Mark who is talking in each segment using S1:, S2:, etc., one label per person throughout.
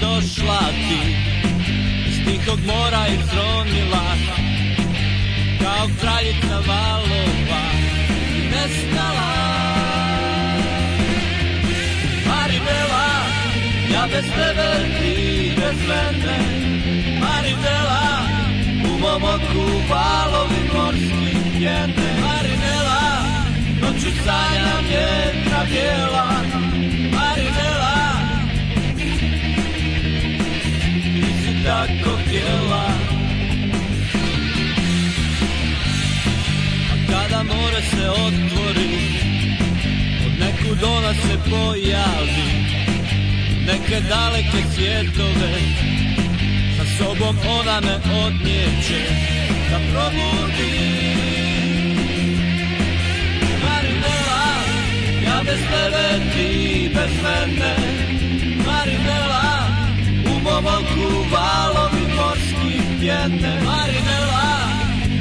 S1: došla ti S tihog mora i tronila Kao kraljica valova I nestala Maribela Ja bez tebe, ti bez mene Maribela U mom oku valovi morski jene Marinela Noću sanjam jedna bijela Marinela Ti si tako htjela A kada more se otvori Od nekud ona se pojavi Neke daleke svjetove Sa sobom ona me odnijeće Da probudim Marinela, ja bez tebe, ti bez mene Marinela, u mom oku valovi morski pjene Marinela,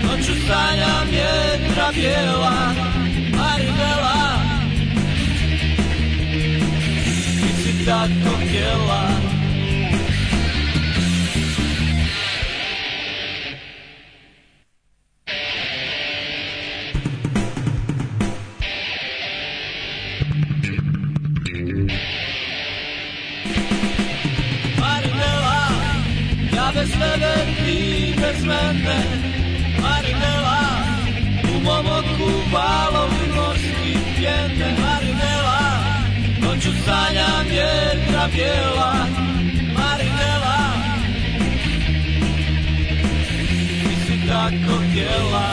S1: noću sanjam jedra bijela Marinela, ti si tako htjela Marinela, ja bez tebe, ti bez mene Marinela, u mom oku valovi morski pjene Marinela, noću sanjam jedna bijela Marinela, ti si tako htjela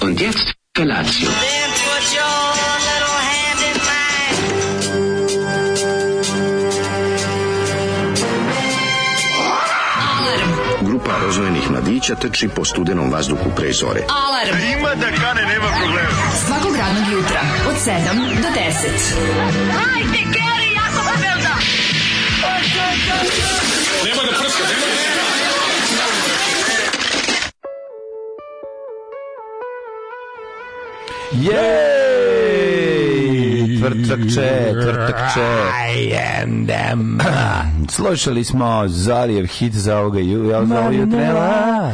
S2: Und jetzt Felatio.
S3: Then put your little hand in mine.
S4: Grupa rozvojenih mladića trči po studenom vazduhu pre zore.
S5: Alarm. Ima da kane, nema problema. Svakog radnog jutra, od 7 do 10. Hajde, Keri, jako se velda.
S6: Jej! Tvrtakče, tvrtakče. Slušali smo Zalijev hit za ovoga ju, ja za ovo jutra.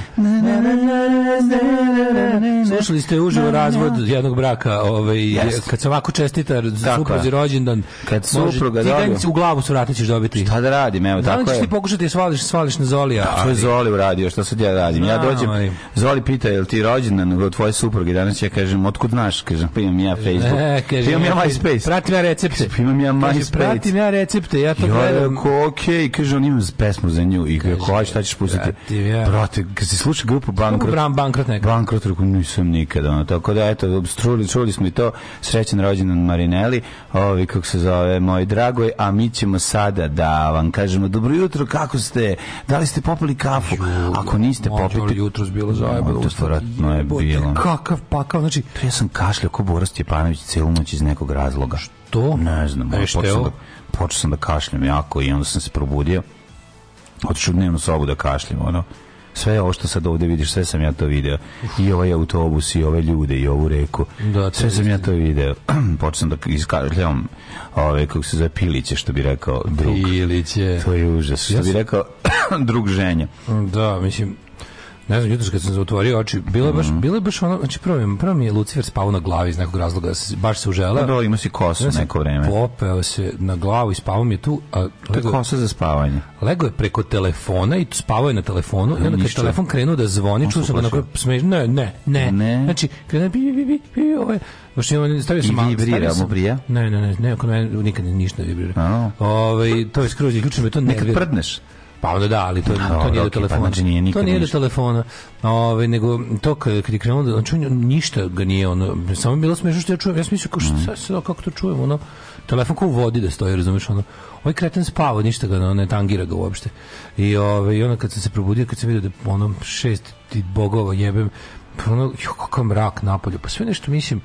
S7: Slušali ste uživo razvod jednog braka, ovaj,
S6: Jest.
S7: kad se ovako čestita
S6: Tako
S7: supruzi
S6: je.
S7: rođendan,
S6: Kad
S7: može-
S6: supruga
S7: ti
S6: dobije-
S7: dan u glavu surati ćeš dobiti.
S6: Šta Pa da radim, evo,
S7: Da li
S6: tako
S7: ćeš
S6: je.
S7: ti pokušati da je svališ, svališ na Zolija?
S6: To je Zoli uradio, šta sad ja radim? Ja
S7: Znam,
S6: dođem,
S7: ali-
S6: Zoli pita, jel ti rođendan od tvoje supruge? Danas ja kažem, otkud znaš? Kažem, pa imam ja Facebook.
S7: E,
S6: Pa
S7: kaže,
S6: imam ja
S7: ja-
S6: MySpace.
S7: Pratim ja recepte.
S6: Pa imam ja
S7: Kaže,
S6: MySpace.
S7: Pratim ja recepte, ja to
S6: I ona je
S7: gledam.
S6: rekao, okej, kaže, on ima pesmu za nju. I kaže, hoće, šta ćeš pustiti?
S7: pratim ja.
S6: Brate, kad si sluša grupu Bankrot,
S7: Bram bankrot neka.
S6: Bankrot rekao, nisam nikada. Ono. Tako da, eto, čuli, čuli smo i to. Srećan rođendan Marineli, ovi, kako se zove, moj dragoj, a mi ćemo sada da vam kažemo, dobro jutro, kako ste? Da li ste popili kafu? Ako niste,
S7: Mlađo,
S6: popite.
S7: jutros bilo zajebano.
S6: Mlađo, stvarno je
S7: Jebote,
S6: bilo.
S7: Kakav pakao, znači,
S6: Ja sam kašljao ko Boras Stjepanović celu moć iz nekog razloga.
S7: to?
S6: Ne znam,
S7: E,
S6: ono,
S7: šta je
S6: počeo sam, da,
S7: ovo?
S6: počeo sam da kašljem jako i onda sam se probudio. Otišao u dnevnu sobu da kašljem, ono. Sve ovo što sad ovde vidiš, sve sam ja to video. I ovaj autobus, i ove ljude, i ovu reku.
S7: Da, to
S6: sve
S7: je
S6: sam ja to video. počeo sam da iskašljam ove, kako se zove, piliće, što bi rekao drug.
S7: Ilić je.
S6: To je užas. Što bi rekao drug ženja.
S7: Da, mislim, ne znam, jutros kad sam zatvorio oči, bilo je baš,
S6: Mhm.
S7: bilo je baš ono, znači prvo, mi- prvo mi je Lucifer spao na glavi iz nekog razloga, da se- baš se užela.
S6: Pa Dobro, ima si kosu
S7: sam
S6: neko vreme.
S7: Popeo se na glavu i spavao mi je tu, a
S6: To je
S7: lego,
S6: kosa za spavanje.
S7: lego je preko telefona i spavao je na telefonu i onda kad je
S6: ništa.
S7: telefon krenuo da zvoni, čuo sam ga na
S6: uplašio.
S7: smeš, ne, ne, ne,
S6: Ne.
S7: Znači, krenuo je bi, bi, bi, bi, bi, ovaj, baš je on, stavio sam
S6: I
S7: malo-
S6: vibrira,
S7: stavio sam-
S6: mu brija?
S7: Ne, ne, ne, ne, kod mene nikad ništa ne
S6: A.
S7: vibrira. Ovaj, to je skroz, ključno me to ne
S6: Kad prdneš.
S7: pa onda da, ali to, to
S6: dobro,
S7: nije do
S6: okej, pa
S7: telefona.
S6: znači nije nikad
S7: to nije do
S6: ništa.
S7: telefona. Ove, nego to kad, kad je krenulo, da- znači on- ništa ga nije ono, samo je bilo smešno što ja čujem, ja sam mislio kao šta se, kako to čujem, ono, telefon kao u vodi da stoji, razumiješ, ono, ovaj kreten spava, ništa ga ono, ne tangira ga uopšte. I, ove, I onda kad sam se probudio, kad sam vidio da ono šest ti bogova jebem, pa ono, jo, kakav mrak napolju, pa sve nešto mislim,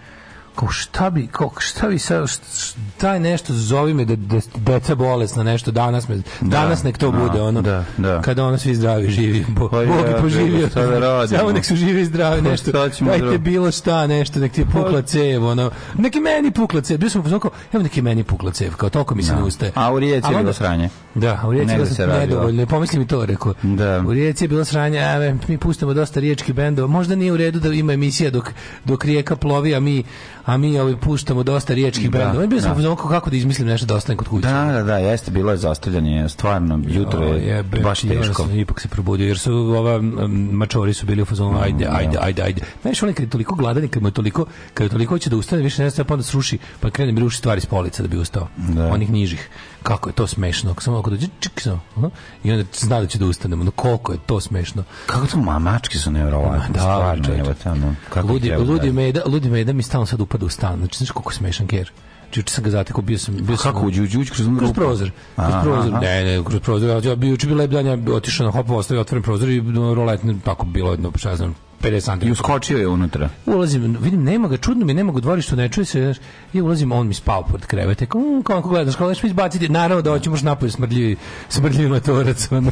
S7: kao šta bi, kao šta bi sad, šta, taj nešto zovi me da da- deca bolesna nešto danas me danas nek to
S6: da,
S7: bude ono
S6: da, da.
S7: kada ono svi zdravi živi bo,
S6: Pa
S7: Bog
S6: ja,
S7: je poživio
S6: bre, šta da radimo?
S7: samo nek su živi i zdravi
S6: Pa
S7: nešto
S6: šta ćemo Pa- drugo?
S7: dajte bilo šta nešto nek ti je pukla cev ono nek i meni pukla cev bio sam pozvao evo neki meni pukla cev kao toliko mi se ne ustaje
S6: A u Rijeci
S7: Ali
S6: je bilo
S7: onda-
S6: sranje.
S7: da a u Rijeci je
S6: Negde
S7: bilo
S6: se radilo.
S7: nedovoljno pomislim i to rekao
S6: Da.
S7: u Rijeci je bilo sranje a ve, mi pustimo dosta riječkih bendova možda nije u redu da ima emisija dok dok rijeka plovi a mi a mi ovaj puštamo dosta riječkih
S6: Da,
S7: bendova I bio sam
S6: da.
S7: pozvao kako da izmislim nešto da ostane kod kuće
S6: Da, da, da, jeste, bilo je zastavljanje, stvarno, jutro
S7: O,
S6: je
S7: jebe,
S6: baš
S7: Ovaj, ja
S6: teško.
S7: sam Ipak se probudio, jer su ova um, mačori su bili u
S6: Mm,
S7: fazonu, ajde, ajde, ajde, ajde. Znaš, onaj kad je toliko gladan i kad mu je toliko, kad je toliko hoće da ustane, više ne staje, pa onda sruši, pa krene mi ruši stvari s polica da bi ustao. Onih nižih. Kako je to smešno. Samo ako dođe, čik, samo, ono, i onda zna da će da ustane. Ono, koliko je to smešno.
S6: Kako to ma- mačke su nevjerovatne,
S7: Da,
S6: stvarno,
S7: čovječe.
S6: evo tamo. Kako
S7: Ludi,
S6: ih jebe,
S7: ludi,
S6: da.
S7: meda, ludi meda mi stalno sad upada u stan. Znači, znaš koliko je smešan ker. Znači, sam ga zatekao, bio sam... Bio sam
S6: Kako uđu, uđu, uđu kroz onu
S7: Kroz
S6: rupu?
S7: prozor. Kroz
S6: Aha,
S7: prozor.
S6: aha.
S7: Ne, ne, kroz prozor. Ja- Ja bi juče bio lep dan, ja bi otišao na hopovo, ostavio otvoren prozor i no, roletni, tako bilo jedno, šta ja znam, 50
S6: I
S7: santi.
S6: uskočio je unutra.
S7: Ulazim, vidim, nema ga, čudno mi, je, nema ga u dvorištu, ne čuje se, znaš, ja ulazim, on mi spao pod krevet, kao, mm, kao ako gledaš, kao, znaš mi izbaciti, naravno da hoćemo još napolje smrdljivi, smrdljivi matorac, ono,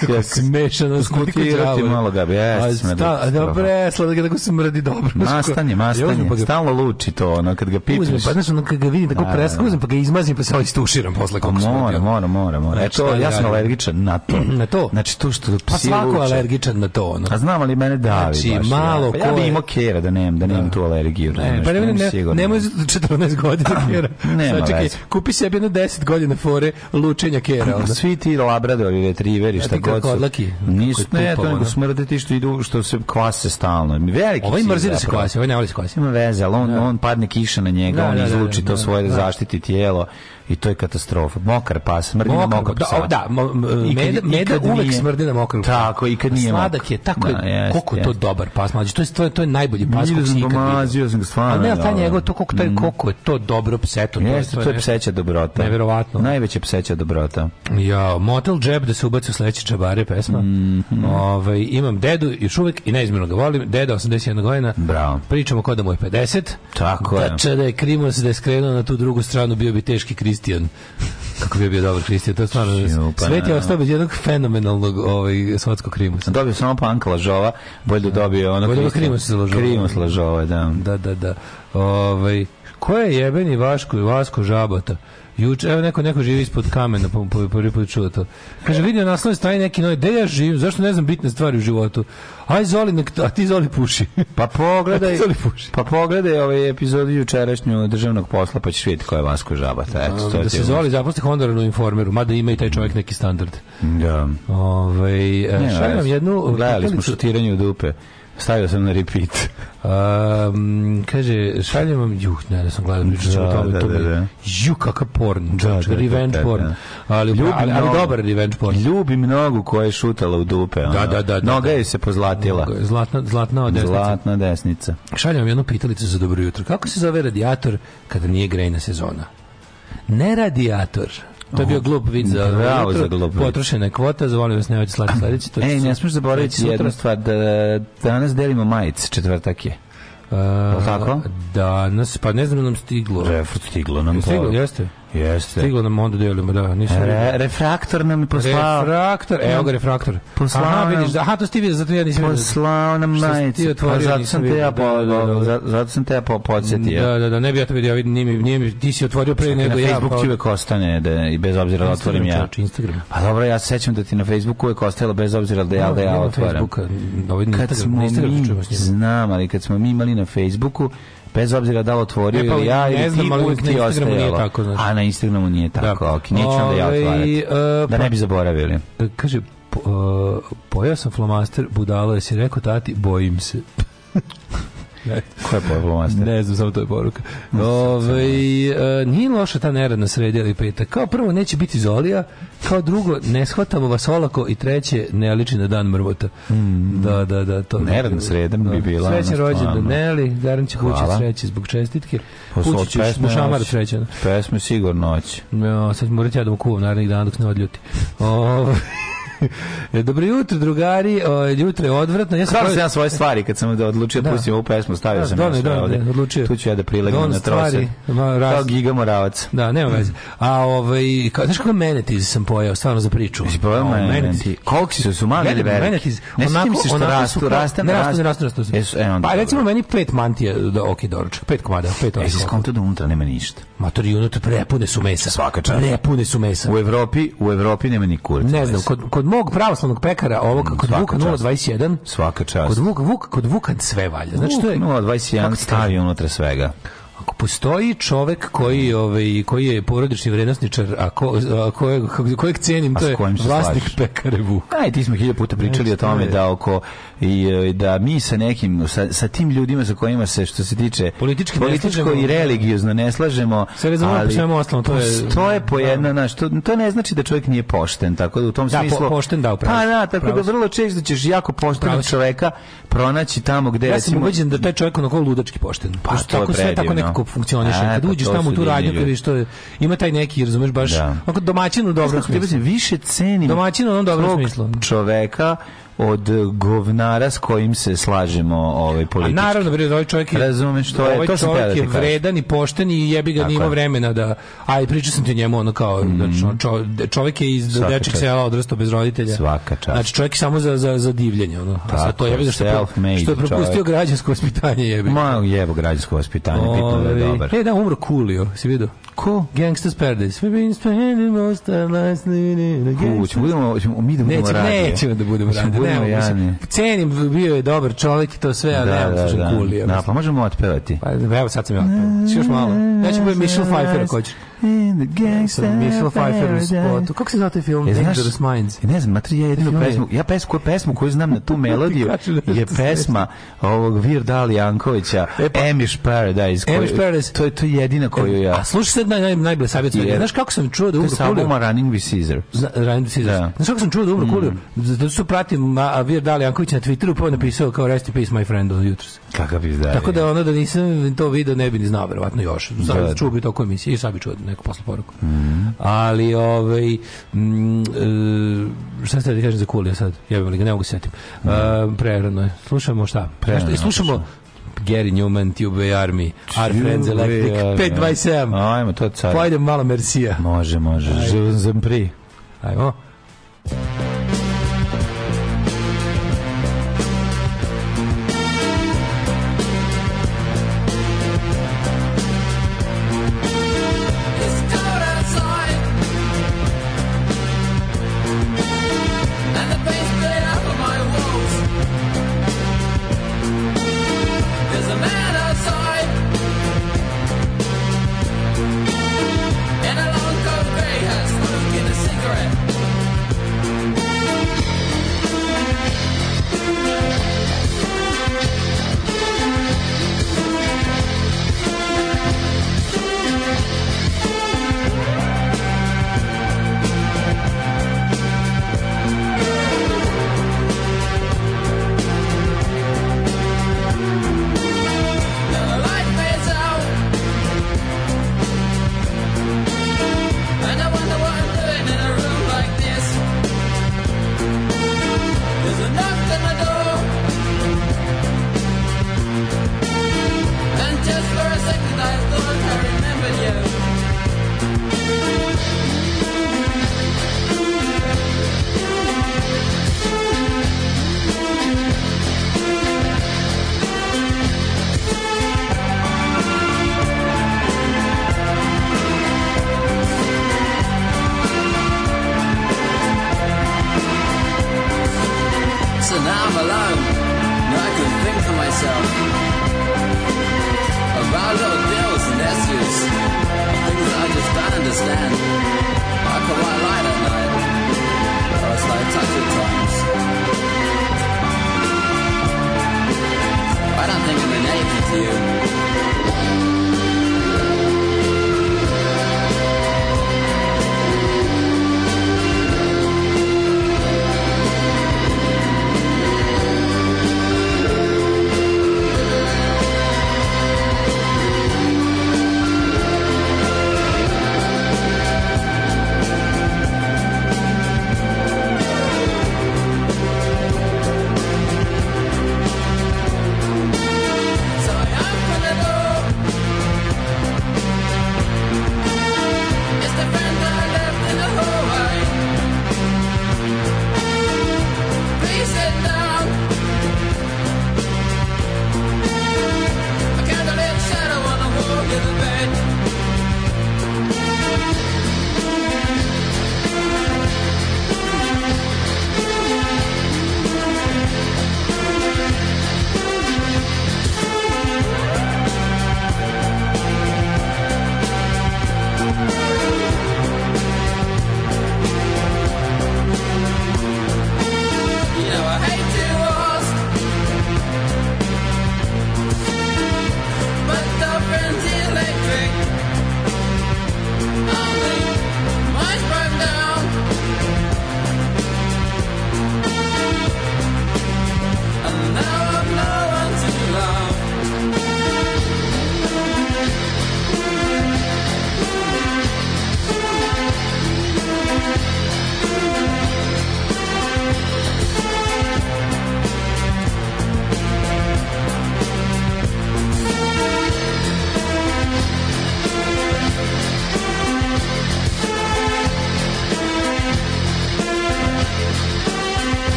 S7: kako smešano,
S6: Skutirati malo ga, jeste, smrdljivi,
S7: Da,
S6: strašno.
S7: bre, sladga da ga smrdi dobro.
S6: Mastanje,
S7: Ja uzmem
S6: mastanje,
S7: pa ga
S6: stalno luči to, ono, kad ga
S7: uzmem,
S6: pipneš.
S7: pa znaš, ono, kad ga vidim, tako
S6: Da, da,
S7: presko,
S6: da.
S7: uzmem, pa ga izmazim, pa se ovaj stuširam posle, kako
S6: Mora, mora, mora, mora.
S7: Znači,
S6: Eto,
S7: šta
S6: ja
S7: da
S6: sam
S7: radim?
S6: alergičan na to.
S7: Na to?
S6: Znači, to što psi
S7: Pa svako je
S6: luče.
S7: alergičan na to, ono.
S6: A znam ali mene davi
S7: Znači,
S6: baš.
S7: malo
S6: ja. Pa ja
S7: ko
S6: bi
S7: je-
S6: imao kera da nemam, da nemam tu alergiju.
S7: Ne,
S6: razumeš,
S7: pa ne, ne,
S6: nemam
S7: ne,
S6: sigurno.
S7: nemoj za 14 godina kera.
S6: Nema
S7: Sad čekaj,
S6: veze.
S7: kupi sebi jedno 10 godina fore lučenja kera. ono.
S6: A
S7: Onda.
S6: Svi ti labradori, retriveri,
S7: Ja
S6: šta
S7: E, ti kako
S6: god su.
S7: odlaki,
S6: Nisu,
S7: kako je
S6: ne,
S7: tupavo,
S6: to nego
S7: ono.
S6: smrde ti što idu, što se kvase stalno. Veliki
S7: Ovaj
S6: psi
S7: mrzi da se
S6: zapravo.
S7: kvasi, ovaj ne voli da se kvasi.
S6: Ima veze, ali on, on padne kiša na njega,
S7: Da,
S6: on
S7: da, da,
S6: izluči
S7: da,
S6: to
S7: da,
S6: svoje da,
S7: da.
S6: zaštiti tijelo i to je katastrofa. Mokar pas, smrdi na
S7: Mokar,
S6: mokar
S7: da,
S6: psa.
S7: o, da, mo- m-
S6: I kad-
S7: meda,
S6: i
S7: meda
S6: kad
S7: uvek
S6: nije-
S7: smrdi na mokru. Pa
S6: Tako, i kad nije
S7: Sladak
S6: mokar.
S7: je, tako je,
S6: Da, jeste,
S7: koliko je to
S6: jeste.
S7: dobar pas, mlađi. To je, to je, to je najbolji pas
S6: Vidio
S7: kog
S6: sam
S7: si ikad vidio.
S6: pomazio sam ga stvarno.
S7: Ali ne, ali taj
S6: dobro.
S7: njegov, to koliko, taj,
S6: Mm.
S7: koliko je to dobro pseto.
S6: Jeste, to je
S7: nešto-
S6: pseća dobrota.
S7: Neverovatno.
S6: Najveća pseća dobrota.
S7: Ja, Motel Jeb da se ubaci u sledeći čabare pesma.
S6: Mhm.
S7: Ovaj, imam dedu još uvek i neizmjerno ga volim. Deda 81 godina.
S6: Bravo.
S7: Pričamo kao da mu je 50.
S6: Tako je.
S7: Dače da je Krimos da je skrenuo na tu drugu stranu bio bi teški Kristijan. Kako bi bio dobar Kristijan, to je stvarno.
S6: Ju, pa
S7: svet je
S6: ne.
S7: ostao bez jednog fenomenalnog ovaj, svatskog Krimosa.
S6: Dobio sam opa Anka Lažova, bolje da dobio ono...
S7: Bolje da
S6: Krista-
S7: Krimos Lažova.
S6: Krimos Lažova, da.
S7: Da, da, da. Ovaj, ko je jebeni Vaško i Vasko Žabota? Juče, evo neko, neko živi ispod kamena, po, po, prvi put čuo to. Kaže, vidio naslovne strani neki novi, gde ja živim, zašto ne znam bitne stvari u životu? Aj Zoli, nek, a ti Zoli puši.
S6: Pa pogledaj,
S7: Zoli puši.
S6: pa pogledaj ovaj epizodu jučerašnju državnog posla, pa ćeš vidjeti ko je Vasko Žabata. Eto, to
S7: da
S6: ti
S7: se
S6: je-
S7: Zoli zaposli Hondoranu informeru, mada ima i taj čovjek neki standard.
S6: Da.
S7: Ovaj, e,
S6: Ne,
S7: šaljem vam jednu...
S6: Gledali smo
S7: pitalicu.
S6: šutiranje u dupe. Stavio sam na repeat.
S7: Um, kaže, šaljem vam, juh, ne, da sam gledao, pričat ćemo o
S6: Da,
S7: tome,
S6: da,
S7: to mi-
S6: da, da.
S7: ju, kakav porn, čovječe,
S6: da, da,
S7: revenge
S6: da,
S7: porn,
S6: da.
S7: ali,
S6: Ljubim
S7: ali, ali
S6: mnogo.
S7: dobar revenge porn.
S6: Ljubi mnogu koja je šutala u dupe. ono.
S7: Da, da, da, da,
S6: Noga
S7: da.
S6: je se pozlatila.
S7: Zlatna, zlatna od desnice.
S6: Zlatna desnica.
S7: Šaljem vam jednu pitalicu za dobro jutro. Kako se zove radijator kada nije grejna sezona? Ne radijator. To je bio glup vid za
S6: Bravo
S7: Dobro jutro.
S6: za glup vid.
S7: Potrošena je kvota, zvolim vas, nemojte slati sledeći. to će
S6: Ej,
S7: se-
S6: E, ne smiješ
S7: to
S6: zaboraviti
S7: će Pa sutra.
S6: jednu stvar, da danas delimo majice, četvrtak je.
S7: A,
S6: tako?
S7: Danas, pa ne znam da nam stiglo.
S6: Refrat stiglo nam.
S7: Stiglo,
S6: poruku.
S7: jeste.
S6: Jeste.
S7: Stiglo nam onda delimo, da, nisam
S6: Re, refraktor nam je poslao.
S7: Refraktor, evo ga refraktor.
S6: Poslao
S7: Aha,
S6: nam-
S7: vidiš, da- aha, to si ti vidio, zato ja nisam vidio.
S6: Poslao nam
S7: Što si ti
S6: majice.
S7: otvorio,
S6: Pa zato
S7: nisam
S6: sam te ja
S7: vidio. Da, da, da.
S6: po- za- zato sam te ja po- podsjetio.
S7: Da, da, da, ne bi ja to vidio, vidim, nije, mi- nije, mi- ti si otvorio pre nego
S6: na
S7: ja.
S6: Facebooku
S7: pa-
S6: ti uvek ostane da, i bez obzira da otvorim
S7: Instagram,
S6: ja.
S7: čovječe, Instagram.
S6: Pa dobro, ja se sećam da ti na Facebooku uvek ostajalo bez obzira da ja, da ja
S7: Nema
S6: otvaram.
S7: Facebooka, ovaj na
S6: Kad
S7: Instagram,
S6: smo
S7: na Instagram se
S6: mi,
S7: čujemo s njim.
S6: znam, ali kad smo mi imali na Facebooku, bez obzira da li otvorio
S7: E, pa,
S6: ili ja
S7: ne
S6: ili ti,
S7: znam, ali
S6: uvek
S7: na
S6: ti
S7: Instagramu nije
S6: ostajalo.
S7: tako, znači.
S6: A na Instagramu nije tako,
S7: Da.
S6: da. ok, neću onda ja
S7: Ovaj,
S6: otvarati.
S7: e,
S6: da
S7: pa-
S6: ne bi zaboravili.
S7: Kaže, po, uh, pojao sam flomaster, budalo je si rekao, tati, bojim se. ne,
S6: Ko je pojavilo master?
S7: ne znam, samo to je poruka. Ove, uh, nije loša ta neradna sredi ili petak. Kao prvo, neće biti zolija, kao drugo, ne shvatamo vas olako i treće, ne liči na dan mrvota.
S6: Mm.
S7: Da, da, da. To
S6: Neradna sreda bi bila,
S7: Srećan
S6: ono,
S7: rođendan,
S6: stvarno.
S7: Neli, garan će kući
S6: Hvala.
S7: sreće zbog čestitke.
S6: Pa su od
S7: Kući ćeš
S6: pesme
S7: mu šamar
S6: noć.
S7: srećan.
S6: Pesme sigurno oći.
S7: Ja, sad ću morati ja da mu kuvam narednih dana dok se ne odljuti. Ove, Dobro jutro, drugari. O, jutro je odvratno. Ja sam
S6: Stvarno sam ja svoje stvari kad sam da odlučio da. pustim ovu pesmu, stavio
S7: Da,
S6: sam
S7: Done,
S6: ja sve
S7: Done,
S6: ovde.
S7: da, odlučio.
S6: Tu ću ja da prilegnem
S7: Don
S6: na trose.
S7: stvari, ma, raz-
S6: Kao Giga Moravac.
S7: Da, nema veze. A ovaj, ka, znaš kako menetiz sam pojao, stvarno za priču.
S6: Si pojel
S7: O,
S6: mene pa ti? Koliko si su mali ili
S7: Gledam,
S6: veliki?
S7: menetiz,
S6: Ne sjetim
S7: onako-
S6: se što
S7: onako
S6: rastu,
S7: su kao-
S6: raste,
S7: ne rastu, ne rastu, ne rastu.
S6: Jesu, e, onda
S7: pa
S6: dobro.
S7: recimo meni pet mantija da ok doručak, pet komada, pet
S6: E,
S7: ovih
S6: si
S7: komada.
S6: skonto da unutra nema ništa.
S7: Matori unutra prepune su mesa.
S6: Svaka čast.
S7: Prepune su mesa.
S6: U Evropi, u Evropi nema ni kurca.
S7: Ne znam, kod, kod mog pravoslavnog pekara, ovo kod
S6: Mm, svaka
S7: Vuka
S6: čast.
S7: 021,
S6: Svaka čast.
S7: Kod Vuk, Vuk, kod Vuka sve valja. Znači to je
S6: 0,21
S7: kako ti kažem?
S6: stavi unutra svega.
S7: Ako postoji čovek koji ovaj koji je porodični vrednosničar, a, ko, a kojeg, kojeg cenim,
S6: A s
S7: to je
S6: kojim se
S7: vlasnik
S6: slažeš?
S7: pekare Vuk.
S6: Aj, ti smo hiljada puta pričali o tome da oko i e, da mi sa nekim sa, sa tim ljudima sa kojima se što se tiče
S7: Politički ne
S6: političko
S7: slažemo.
S6: i religiozno ne slažemo,
S7: Se razumemo po svemu ostalom, to je-
S6: to je po jedno, znaš, to, to ne znači da čovjek nije pošten, tako da u tom
S7: Da, po-
S6: smislu
S7: pošten, da, upravo
S6: Pa
S7: si,
S6: da, tako da
S7: upravo si.
S6: vrlo često ćeš jako poštenog
S7: Upravo si.
S6: čoveka pronaći tamo gde
S7: Ja sam
S6: recimo-
S7: ubeđen da taj čovjek onako ludački pošten. Pa,
S6: to je
S7: tako sve tako
S6: predivno.
S7: nekako funkcioniše.
S6: E,
S7: Kad
S6: pa
S7: uđeš
S6: to
S7: tamo u
S6: su
S7: tu
S6: divni
S7: radnju, kad
S6: ljudi.
S7: vidiš to je, ima taj neki, razumeš, baš
S6: Da.
S7: onako domaćin u dobrom
S6: Znaš kako ti
S7: smislu.
S6: kažem, više cenim
S7: Domaćin u onom dobrom
S6: svog
S7: smislu.
S6: čoveka od e, govnara s kojim se slažemo ovaj
S7: A
S6: politički.
S7: naravno, bre, ovaj čovjek je,
S6: Razumeš, to je-
S7: ovaj
S6: to sam teo da
S7: čovjek
S6: ti
S7: je
S6: kažem.
S7: vredan i pošten i jebi ga
S6: Tako
S7: nima
S6: je. Mhm.
S7: vremena da... Aj, pričao sam ti o njemu, ono kao, znači, on čo, de- čovjek je iz
S6: Svaka
S7: dečeg
S6: čast.
S7: sela odrastao bez roditelja.
S6: Svaka čast.
S7: Znači, čovjek je samo za, za, za divljenje, ono. A sad
S6: Tako
S7: to
S6: je,
S7: jebi ga što, je pro-
S6: self-made
S7: što je propustio
S6: čovjek.
S7: građansko vaspitanje, jebi. ga.
S6: Ma, jevo građansko vaspitanje, pitno da je
S7: Ovaj,
S6: dobar.
S7: E, da, umro Coolio, si vidio?
S6: Ko?
S7: Gangsta's Paradise. We've been spending most of our lives living in a
S6: Ku, ćemo budemo, ćemo, mi da budemo
S7: Nećemo,
S6: radije.
S7: nećemo da budemo
S6: Mislim,
S7: radi.
S6: budemo
S7: Budemo,
S6: jadni.
S7: mislim, cenim, bio je dobar čovjek i to sve,
S6: Da,
S7: ali
S6: da,
S7: nemam da,
S6: da.
S7: kulija.
S6: Da, pa možemo otpevati.
S7: Pa evo sad sam ja otpevao. Još malo. Ja ću budem Michelle Pfeiffer ako hoćeš. Sam Michelle Pfeiffer u spotu. Kako se zove taj film?
S6: E, znaš,
S7: Dangerous Minds.
S6: e, ne znam, matri, ja jedinu
S7: Film je-
S6: pesmu, ja pesmu, koju pesmu koju znam na tu melodiju
S7: kažem da
S6: je
S7: se
S6: pesma ovog Virda Jankovića, Amish Paradise. koju-
S7: Amish Paradise. E,
S6: To je, to je jedina koju ja...
S7: A slušaj sad naj, naj, najblesavije
S6: Je.
S7: Znaš kako sam čuo da
S6: To je
S7: umro
S6: sa
S7: Coolio?
S6: albuma Running with Caesar.
S7: Zna- Ryan Caesar.
S6: Da. Mm.
S7: Znaš kako sam čuo da umro Coolio? Zato što pratim a, Vir Dali Janković na Twitteru, pa on je napisao kao Rest in Peace my friend od jutros.
S6: Kakav izdaje.
S7: Tako da ono da nisam to video ne bi ni znao verovatno još. Sad
S6: Da, Mhm. da.
S7: čuo bi to koje emisije i sad bi čuo neku posle poruku. Ali ovaj mm, e, šta ste da kažem za Kulija sad? Ja bih ga ne mogu se setim. E, prerano je. Slušamo šta?
S6: Prerano
S7: Prerano,
S6: je,
S7: slušamo Gary Newman, Tube Army, Our Friends
S6: Tube
S7: Electric,
S6: Army.
S7: 527.
S6: Ajmo, to je car.
S7: Pojdem malo Mercija.
S6: Može, može. Živan sam pri.
S7: Ajmo.
S8: It's cold outside, and the paint's played out on my walls. There's a man outside in a long coat, grey hat, smoking a cigarette.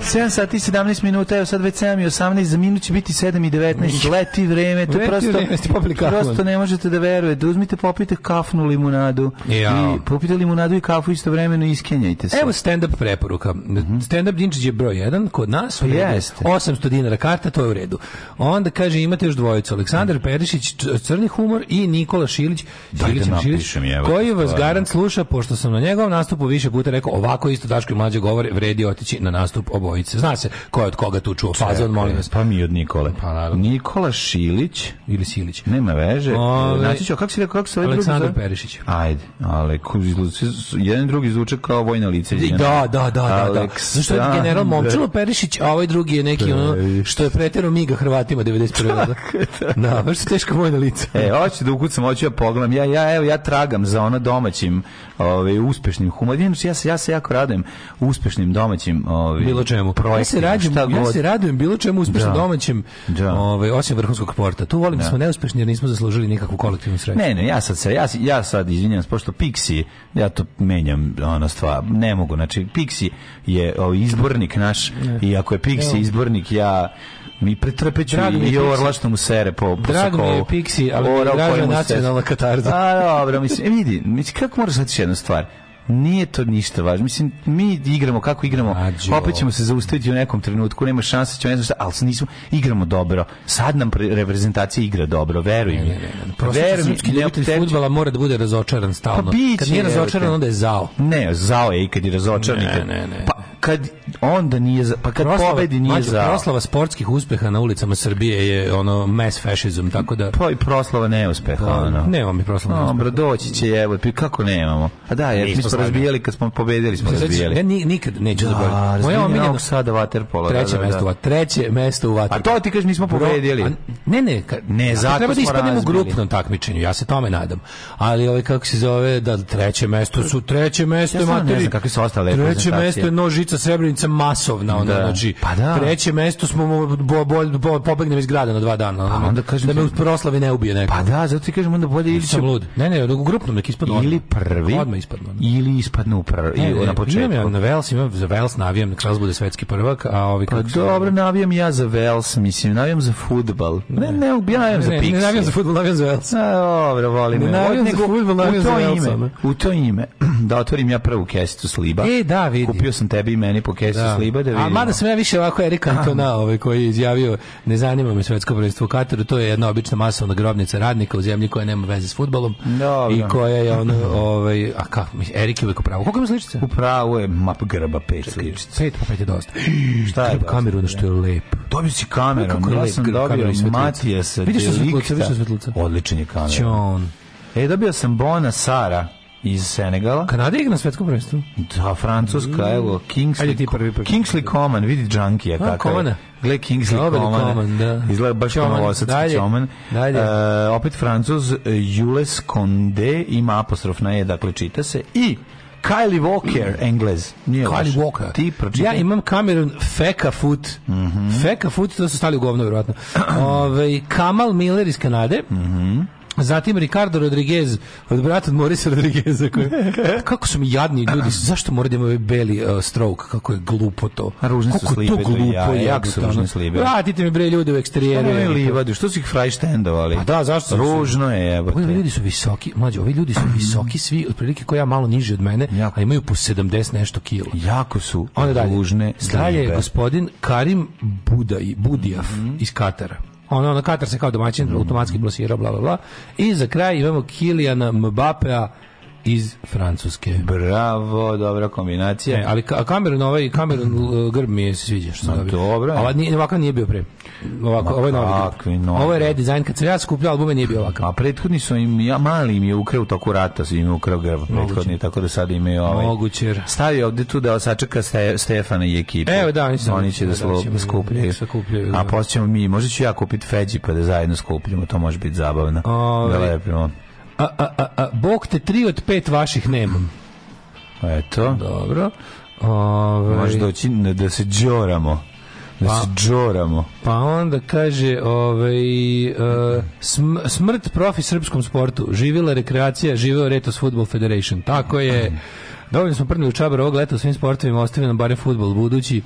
S6: 7 sati i 17 minuta, evo sad već 7 i 18, za minut će biti 7 i 19, leti vreme, to
S7: Leti
S6: prosto,
S7: vreme, ste popili kafu.
S6: prosto ne možete da verujete. Uzmite, popijte kafnu limunadu,
S7: Jao.
S6: i popijte limunadu i kafu istovremeno i iskenjajte se.
S7: Evo stand-up preporuka. Stand-up Dinčić je broj 1 kod nas. u redu je.
S6: Mhm. Pa jeste.
S7: 800 dinara karta, to je u redu. Onda kaže imate još dvojicu.
S6: Mhm.
S7: Aleksandar Perišić, c- crni humor i Nikola Šilić.
S6: Daj da napišem, jebote,
S7: koji vas
S6: stvarno.
S7: garant sluša, pošto sam na njegovom nastupu više puta rekao ovako isto Daško i mlađe govore, vredi otići na nastup obojice. Zna se ko je od koga tu čuo fazon, molim vas.
S6: Pa mi od Nikole.
S7: Pa, naravno.
S6: Nikola Šilić,
S7: Ili Silić.
S6: nema veže.
S7: Ove-
S6: Znači ću, kako si rekao, kako se ovaj drugi
S7: Aleksandar
S6: zove?
S7: Perišić.
S6: Ajde, ali ko- izlu- jedan i drugi zvuče kao vojna lice.
S7: Da, da, da, da, da.
S6: Aleksandar-
S7: Zašto je general Momčilo Perišić, a ovaj drugi je neki ono što je pretero miga Hrvatima 91. Da, da baš su teška vojna lica.
S6: E, hoću da ukucam, hoću ja pogledam. Ja, ja, evo, ja tragam za ono domaćim, ovaj uspešnim humorima. Ja se, ja se jako radujem uspešnim domaćim, ovaj
S7: bilo čemu. Ja se
S6: projektima,
S7: radim,
S6: šta
S7: ja
S6: god.
S7: se radujem bilo čemu uspešno
S6: Da.
S7: domaćem,
S6: Da.
S7: ovaj osim vrhunskog sporta. Tu volim da smo neuspešni jer nismo zaslužili nikakvu kolektivnu sreću.
S6: Ne, ne, ja sad se, ja, ja sad izvinjam se, pošto Pixi, ja to menjam, ono stvar, ne mogu, znači Pixi je o, izbornik naš i ako je Pixi
S7: Evo.
S6: izbornik, ja mi pretrpeću
S7: Drag mi je
S6: i
S7: Pixi.
S6: orla što mu sere po, po
S7: Drag mi je
S6: sokovu.
S7: Pixi, ali mi je
S6: Orao
S7: draža
S6: koji mu se-
S7: nacionalna katarza.
S6: A, dobro, mislim, e, vidi, mislim, kako moraš shvatiti jednu stvar? Nije to ništa važno. Mislim, mi igramo kako igramo.
S7: Mlađo.
S6: Opet ćemo se zaustaviti u nekom trenutku, nema šanse, ćemo ne znam šta, ali nismo, igramo dobro. Sad nam pre- reprezentacija igra dobro, veruj mi.
S7: Prosto
S6: Veruj mi,
S7: srpski
S6: ne Pa
S7: ljubitelj
S6: opterećuj-
S7: fudbala mora da bude razočaran stalno.
S6: biće,
S7: Kad nije
S6: jebote.
S7: razočaran, onda je zao.
S6: Ne, zao je i kad je razočaran. i
S7: Ne,
S6: kad-
S7: ne, ne.
S6: Pa kad onda nije za, pa kad pobedi nije
S7: mlađe,
S6: zao.
S7: proslava sportskih uspeha na ulicama Srbije je ono mass fascism, tako da...
S6: Pa i proslava
S7: Pa,
S6: neuspeha. ono.
S7: Nemamo mi proslava. na
S6: Dobro, doći će, evo, pa kako nemamo? A da, jer mi smo
S7: slavni.
S6: razbijali, kad smo pobedili, smo
S7: Sećaš- Ja
S6: razbijali.
S7: ni, nikad neću zaboraviti.
S6: A,
S7: Pa, Moja
S6: razbijali
S7: omiljena
S6: Novog Sada Waterpola.
S7: treće
S6: da, da,
S7: mesto,
S6: da.
S7: u- treće mesto u
S6: A
S7: vatru.
S6: to ti kažeš, nismo pobedili.
S7: A, Ne, ne, ka,
S6: Ne,
S7: ako
S6: zato
S7: treba da
S6: smo
S7: ispadnemo u
S6: razbili.
S7: grupnom takmičenju, ja se tome nadam. Ali ovaj kako se zove, da treće mesto su treće mesto
S6: Ja
S7: je
S6: stvarno ne
S7: materi-
S6: znam kakve su ostale
S7: Treće
S6: reprezentacije.
S7: mesto je nožica srebrnica masovna, ono,
S6: Da.
S7: znači.
S6: Pa da.
S7: Treće mesto smo mo- bo, bo, bo, pobegnem iz grada na dva dana, ono,
S6: Pa onda kažem
S7: da me
S6: ti-
S7: u proslavi ne ubije neko.
S6: Pa da, zato ti kažem, onda bolje ili će
S7: sam lud. Ne, ne, u grupnom nek ispadnu.
S6: ili
S7: odmah.
S6: prvi
S7: Odmah ispadnu. ono.
S6: ili ispadnu prvi
S7: Ne, ne,
S6: na početku.
S7: Imam ja na Vels, imam za Vels navijam, na Vels bude svetski prvak, a ovi
S6: Pa
S7: kako se-
S6: dobro, navijam ja za Vels, mislim, navijam za futbal. Ne, ne, ja navijam za
S7: Ne,
S6: Pixi.
S7: ne navijam za fudbal, navijam za Vels.
S6: A, dobro, volim.
S7: Ne
S6: me.
S7: navijam
S6: Ovo,
S7: za fudbal, navijam
S6: u
S7: za
S6: to
S7: Velsa,
S6: ime, U to ime, da otvorim ja prvu kesicu sliba.
S7: E, da, vidi.
S6: Kupio sam tebi i meni po kesicu sliba da vidimo.
S7: A mada sam ja više ovako Erik Cantona, ovaj, koji je izjavio ne zanima me svetsko prvenstvo u Kataru, to je jedna obična masovna grobnica radnika u zemlji koja nema veze s fudbalom
S6: Dobro.
S7: i koja je ono, ovaj, a kako, mislim, Erik je uvijek upravo. Koliko ima sličice?
S6: Upravo je map grba pet sličica.
S7: Pet, pa pet je dosta.
S6: Šta je?
S7: Treba kameru, ono što je lep.
S6: Dobio si kameru,
S7: Kako je
S6: ja
S7: lep
S6: sam
S7: grb, kamera
S6: dobio
S7: i svetlica.
S6: Matijasa.
S7: Vidiš što svetluca,
S6: Delikta.
S7: vidiš što svetluca.
S6: Odličan je kamer.
S7: Ćon.
S6: E, dobio sam Bona Sara iz Senegala.
S7: Kanada igra na svetskom prvenstvu?
S6: Da, Francuska, evo, Kingsley,
S7: Mm. Ajde ti prvi, prvi.
S6: Kingsley Coman, vidi džankija kakav
S7: Comana.
S6: je. Gle Kingsley
S7: Dobar je
S6: Coman.
S7: Coman, da.
S6: Izgleda baš kao
S7: Coman,
S6: novosadski
S7: dalje,
S6: Coman.
S7: dalje.
S6: E, opet Francuz, e, Jules Condé, ima apostrof na E, dakle čita se. I Kylie Walker, Englez. Nije
S7: Kali
S6: loš.
S7: Walker.
S6: Ti pročitaj. Mhm.
S7: Ja imam Cameron Feka Foot. Feka Foot, to su stali u govno, vjerojatno. Ove, Kamal Miller iz Kanade.
S6: Mhm.
S7: Zatim Ricardo Rodriguez, od brata od Morisa Rodrigueza. Koji, kako su mi jadni ljudi, zašto moraju da imaju ovaj beli uh, stroke, kako je glupo to.
S6: A ružne su
S7: Kako je
S6: slibe,
S7: to glupo,
S6: ja,
S7: jebote,
S6: jako su ružne
S7: ono.
S6: slibe.
S7: Vratite mi bre ljude u eksterijeru.
S6: Ono je
S7: jebote.
S6: livadu, što su ih frajštendovali?
S7: Pa da, zašto Pa su-
S6: Ružno je, evo.
S7: Ovi ljudi su visoki, mlađi, ovi ljudi su visoki svi, otprilike koja ja malo niži od mene,
S6: Jako.
S7: a imaju po 70 nešto kila.
S6: Jako su
S7: Onda dalje.
S6: ružne
S7: Dalje je
S6: slibe.
S7: gospodin Karim Budaj, Budijaf
S6: Mhm.
S7: iz Katara. Ono, ono, Katar se kao domaćin automatski plasirao, bla, bla, bla. I za kraj imamo Kilijana Mbapea iz Francuske.
S6: Bravo, dobra kombinacija.
S7: E, ali Ka- Cameron, ovaj Cameron l- grb mi je se sviđa što sam
S6: Ma,
S7: dobio.
S6: dobro je.
S7: Ova nije, ovakav nije bio pre. Ovako, ovo je novi
S6: kakvi
S7: grb.
S6: novi.
S7: Ovo je redizajn. Kad sam ja skupljao albume nije bio ovakav.
S6: A prethodni su im, ja, mali im je ukrao u toku rata, su im je ukrao grb prethodni, tako da sad imaju ovaj.
S7: Moguće.
S6: Stavio ovde tu da sačeka Ste, Stefana i ekipu.
S7: Evo, da, oni su-
S6: Oni će da,
S7: da, da
S6: slo,
S7: ćemo-
S6: da skupljaju.
S7: nek se kupljaju, da.
S6: A posle ćemo mi, možda ću ja kupiti feđi pa da zajedno skupljamo, to može biti zabavno.
S7: Ovaj.
S6: Da lepimo.
S7: A, a, a, a, Bog te tri od pet vaših nemam.
S6: Eto,
S7: Dobro. Ovaj,
S6: može doći na- da se džoramo. Da se džoramo.
S7: Pa onda kaže ovaj, e, sm- smrt profi srpskom sportu. Živjela rekreacija, živeo Retos Football Federation. Tako je. Dovoljno smo prnuli u čabar ovog leta u svim sportovima, ostavio nam barem futbol, budući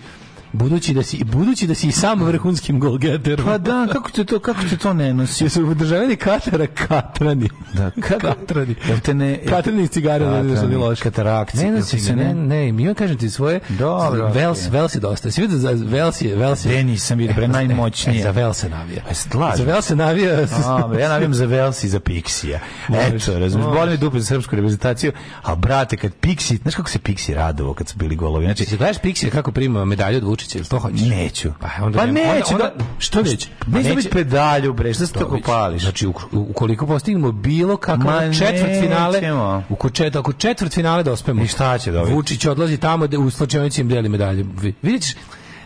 S7: Budući da si budući da si i sam vrhunskim golgeterom.
S6: Pa da, kako te to, kako te to ne nosi?
S7: Jesu udržavani Katara Katrani.
S6: Da, kada,
S7: Katrani.
S6: jel te ne...
S7: Katrani iz cigara, da vidiš da nije loše.
S6: Katarakcije.
S7: Ne nosi se, ne, ne, mi vam kažem ti svoje.
S6: Dobro,
S7: Vels,
S6: okej.
S7: Vels je dosta. Si vidio za Vels je, Vels je.
S6: Denis sam vidio, bre,
S7: E, za-
S6: najmoćnije.
S7: e, Za Vels se navija.
S6: E, slažem
S7: Za Vels se navija.
S6: Dobro, ja navijam za Vels i za Pixija.
S7: Možeš,
S6: Eto, razumiješ,
S7: možeš.
S6: boli me dupe za srpsku reprezentaciju, a brate, kad Pixi, znaš kako se Pixi radovao kad su bili golovi? Znači,
S7: Znači, gledaš Pixija kako prima medalju od Vučića, ili to hoćeš?
S6: neću.
S7: Pa, onda
S6: pa
S7: nema.
S6: neću,
S7: Onda-
S6: da-
S7: onda- što neće? Pa
S6: Neću
S7: neće.
S6: dobiti pedalju, bre, šta se
S7: Dobit
S6: tako
S7: ću.
S6: pališ?
S7: Znači, u- u- ukoliko postignemo bilo
S6: Ma
S7: kakav četvrt finale,
S6: nećemo.
S7: uko čet, ako četvrt finale dospemo,
S6: I šta će dobiti?
S7: Vučić odlazi tamo gde u slačionici im deli medalje. Vi- Vidjet ćeš,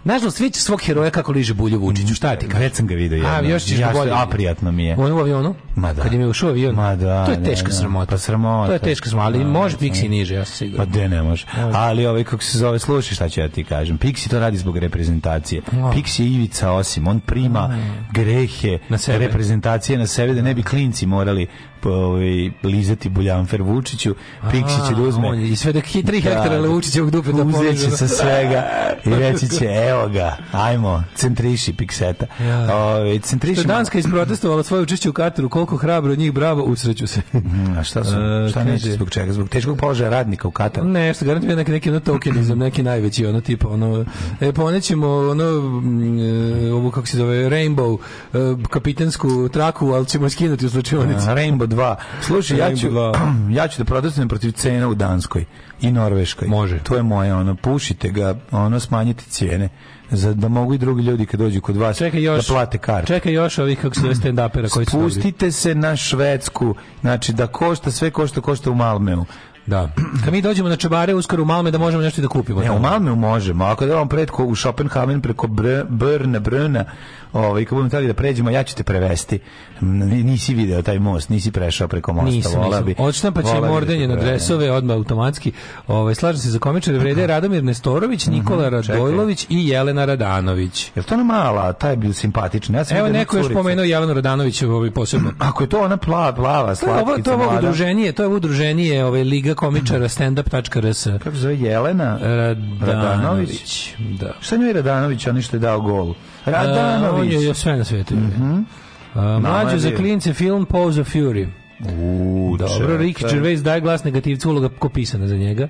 S7: Nažalost, vidjet ćeš svog heroja kako liže bulju Vučiću, šta ti kažem?
S6: Već sam ga vidio
S7: A,
S6: jednom.
S7: još ćeš
S6: Ja
S7: ga
S6: što-
S7: bolje.
S6: a, prijatno mi je.
S7: Ono u avionu?
S6: Ma da.
S7: Kad im je ušao avion?
S6: Ma da,
S7: To je
S6: da,
S7: teška
S6: da.
S7: sramota.
S6: Pa sramota.
S7: To je teška sramota, ali
S6: Da,
S7: može
S6: da.
S7: Pixi niže, ja sam
S6: Pa
S7: siguran.
S6: de ne može. Ali ovaj kako se zove, slušaj šta ću ja ti kažem. Pixi to radi zbog reprezentacije. Pixi je Ivica Osim, on prima grehe
S7: Na sebe.
S6: reprezentacije na sebe da ne bi klinci morali po- ovaj, lizati buljanfer Vučiću. Pixi će da uzme
S7: A, on je I sve dok hi- tri hektara
S6: da.
S7: Vučićevog dupe da
S6: uzet će
S7: poveže.
S6: sa svega i reći će, evo ga, ajmo, centriši Pixeta.
S7: Ja.
S6: Ovaj,
S7: To je
S6: centriši
S7: Danska isprotestovala svoje učešće u Kataru, koliko hrabro od njih, bravo, usreću se.
S6: Mm, A šta su?
S7: E,
S6: šta neće?
S7: kaže-
S6: Zbog čega? Zbog teškog položaja radnika u Kataru.
S7: Nešto, garantujem je neki, neki ono tokenizam, neki najveći, ono tipa, ono, e, ponećemo, ono, mm, e, ovu, kako se zove, Rainbow, e, kapitensku traku, ali ćemo je skinuti u slučajnici.
S6: Rainbow 2. Slušaj, ja ću,
S7: Rainbow
S6: ja ću da protestujem protiv cena u Danskoj i Norveškoj.
S7: Može.
S6: To je moje, ono, pušite ga, ono, smanjite cijene. Za, da mogu i drugi ljudi kad dođu kod vas
S7: Čekaj još,
S6: da plate karte.
S7: Čekaj još ovih, kako se zove, stand-upera koji su dobili.
S6: Pustite se na Švedsku, znači da košta, sve košta, košta u Malmeu.
S7: Da. Kad mi dođemo na čebare, uskoro u Malme, da možemo nešto i da kupimo.
S6: Ne,
S7: tamo.
S6: E, u Malmeu možemo, ako da vam pretko u Schopenhagen preko Br Brna, Brna, ovaj, kad budemo htjeli da pređemo, ja ću te prevesti. M, Nisi video taj most, nisi prešao preko mosta.
S7: Nisam,
S6: voleo
S7: nisam.
S6: bi-
S7: Odštampaće
S6: voleo bi da
S7: mordenje
S6: te
S7: na
S6: prevedem.
S7: dresove, odmah automatski. Ovaj, slažem se za komičare vrede Radomir Nestorović,
S6: Mhm.
S7: Nikola Radojlović i Jelena Radanović.
S6: Jel to ona mala, taj je bio simpatičan. Ja sam
S7: Evo
S6: vidio jednu
S7: neko je još
S6: curicu.
S7: pomenuo Jelenu Radanović ovaj posebno.
S6: Ako je to ona plava, plava,
S7: To je ovo, to
S6: slatkica
S7: je ovo
S6: mlada.
S7: udruženije, to je ovo udruženije ovaj, Liga komičara standup.rs
S6: Kako se zove Jelena?
S7: E,
S6: Radanović.
S7: Radanović. Da.
S6: Šta njoj je Radanović, on što je dao gol?
S7: A, E, on je
S6: Radanović.
S7: još sve na svetu. A,
S6: Mhm. je
S7: mlađo za
S6: bio.
S7: klince film Pose of Fury.
S6: U,
S7: Dobro,
S6: čekaj.
S7: Rick Gervais daje glas negativcu uloga ko pisana za njega.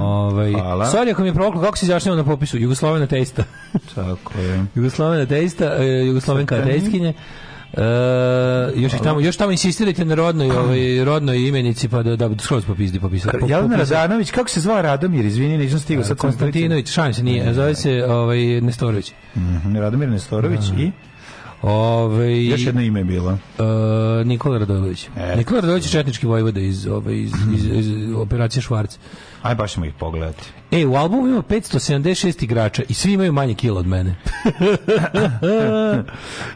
S7: Ovaj,
S6: Mhm. Hvala.
S7: sorry ako mi je provoklo, kako si izjašnjava na popisu? Jugoslovena teista.
S6: Tako je.
S7: Jugoslovena teista, e, Jugoslovenka teistkinje. E, još, ih tamo, još tamo insistirajte na rodnoj, ovaj, rodnoj imenici pa da, da skroz popizdi popisa. po-
S6: Jelena
S7: popisa-
S6: Radanović, kako se zva Radomir? Izvini, nisam stigao sad. sam
S7: E, Konstantinović, šalim se, nije, zove se ovaj, Nestorović.
S6: Mhm, Radomir Nestorović i
S7: Ovaj,
S6: još jedno ime je bilo.
S7: e, Nikola Radojlović.
S6: Eto.
S7: Nikola Radojlović je četnički vojvoda iz, ovaj, iz, iz, iz operacije Švarc.
S6: Aj baš ćemo ih pogledati.
S7: E, u albumu ima 576 igrača i svi imaju manje kila od mene.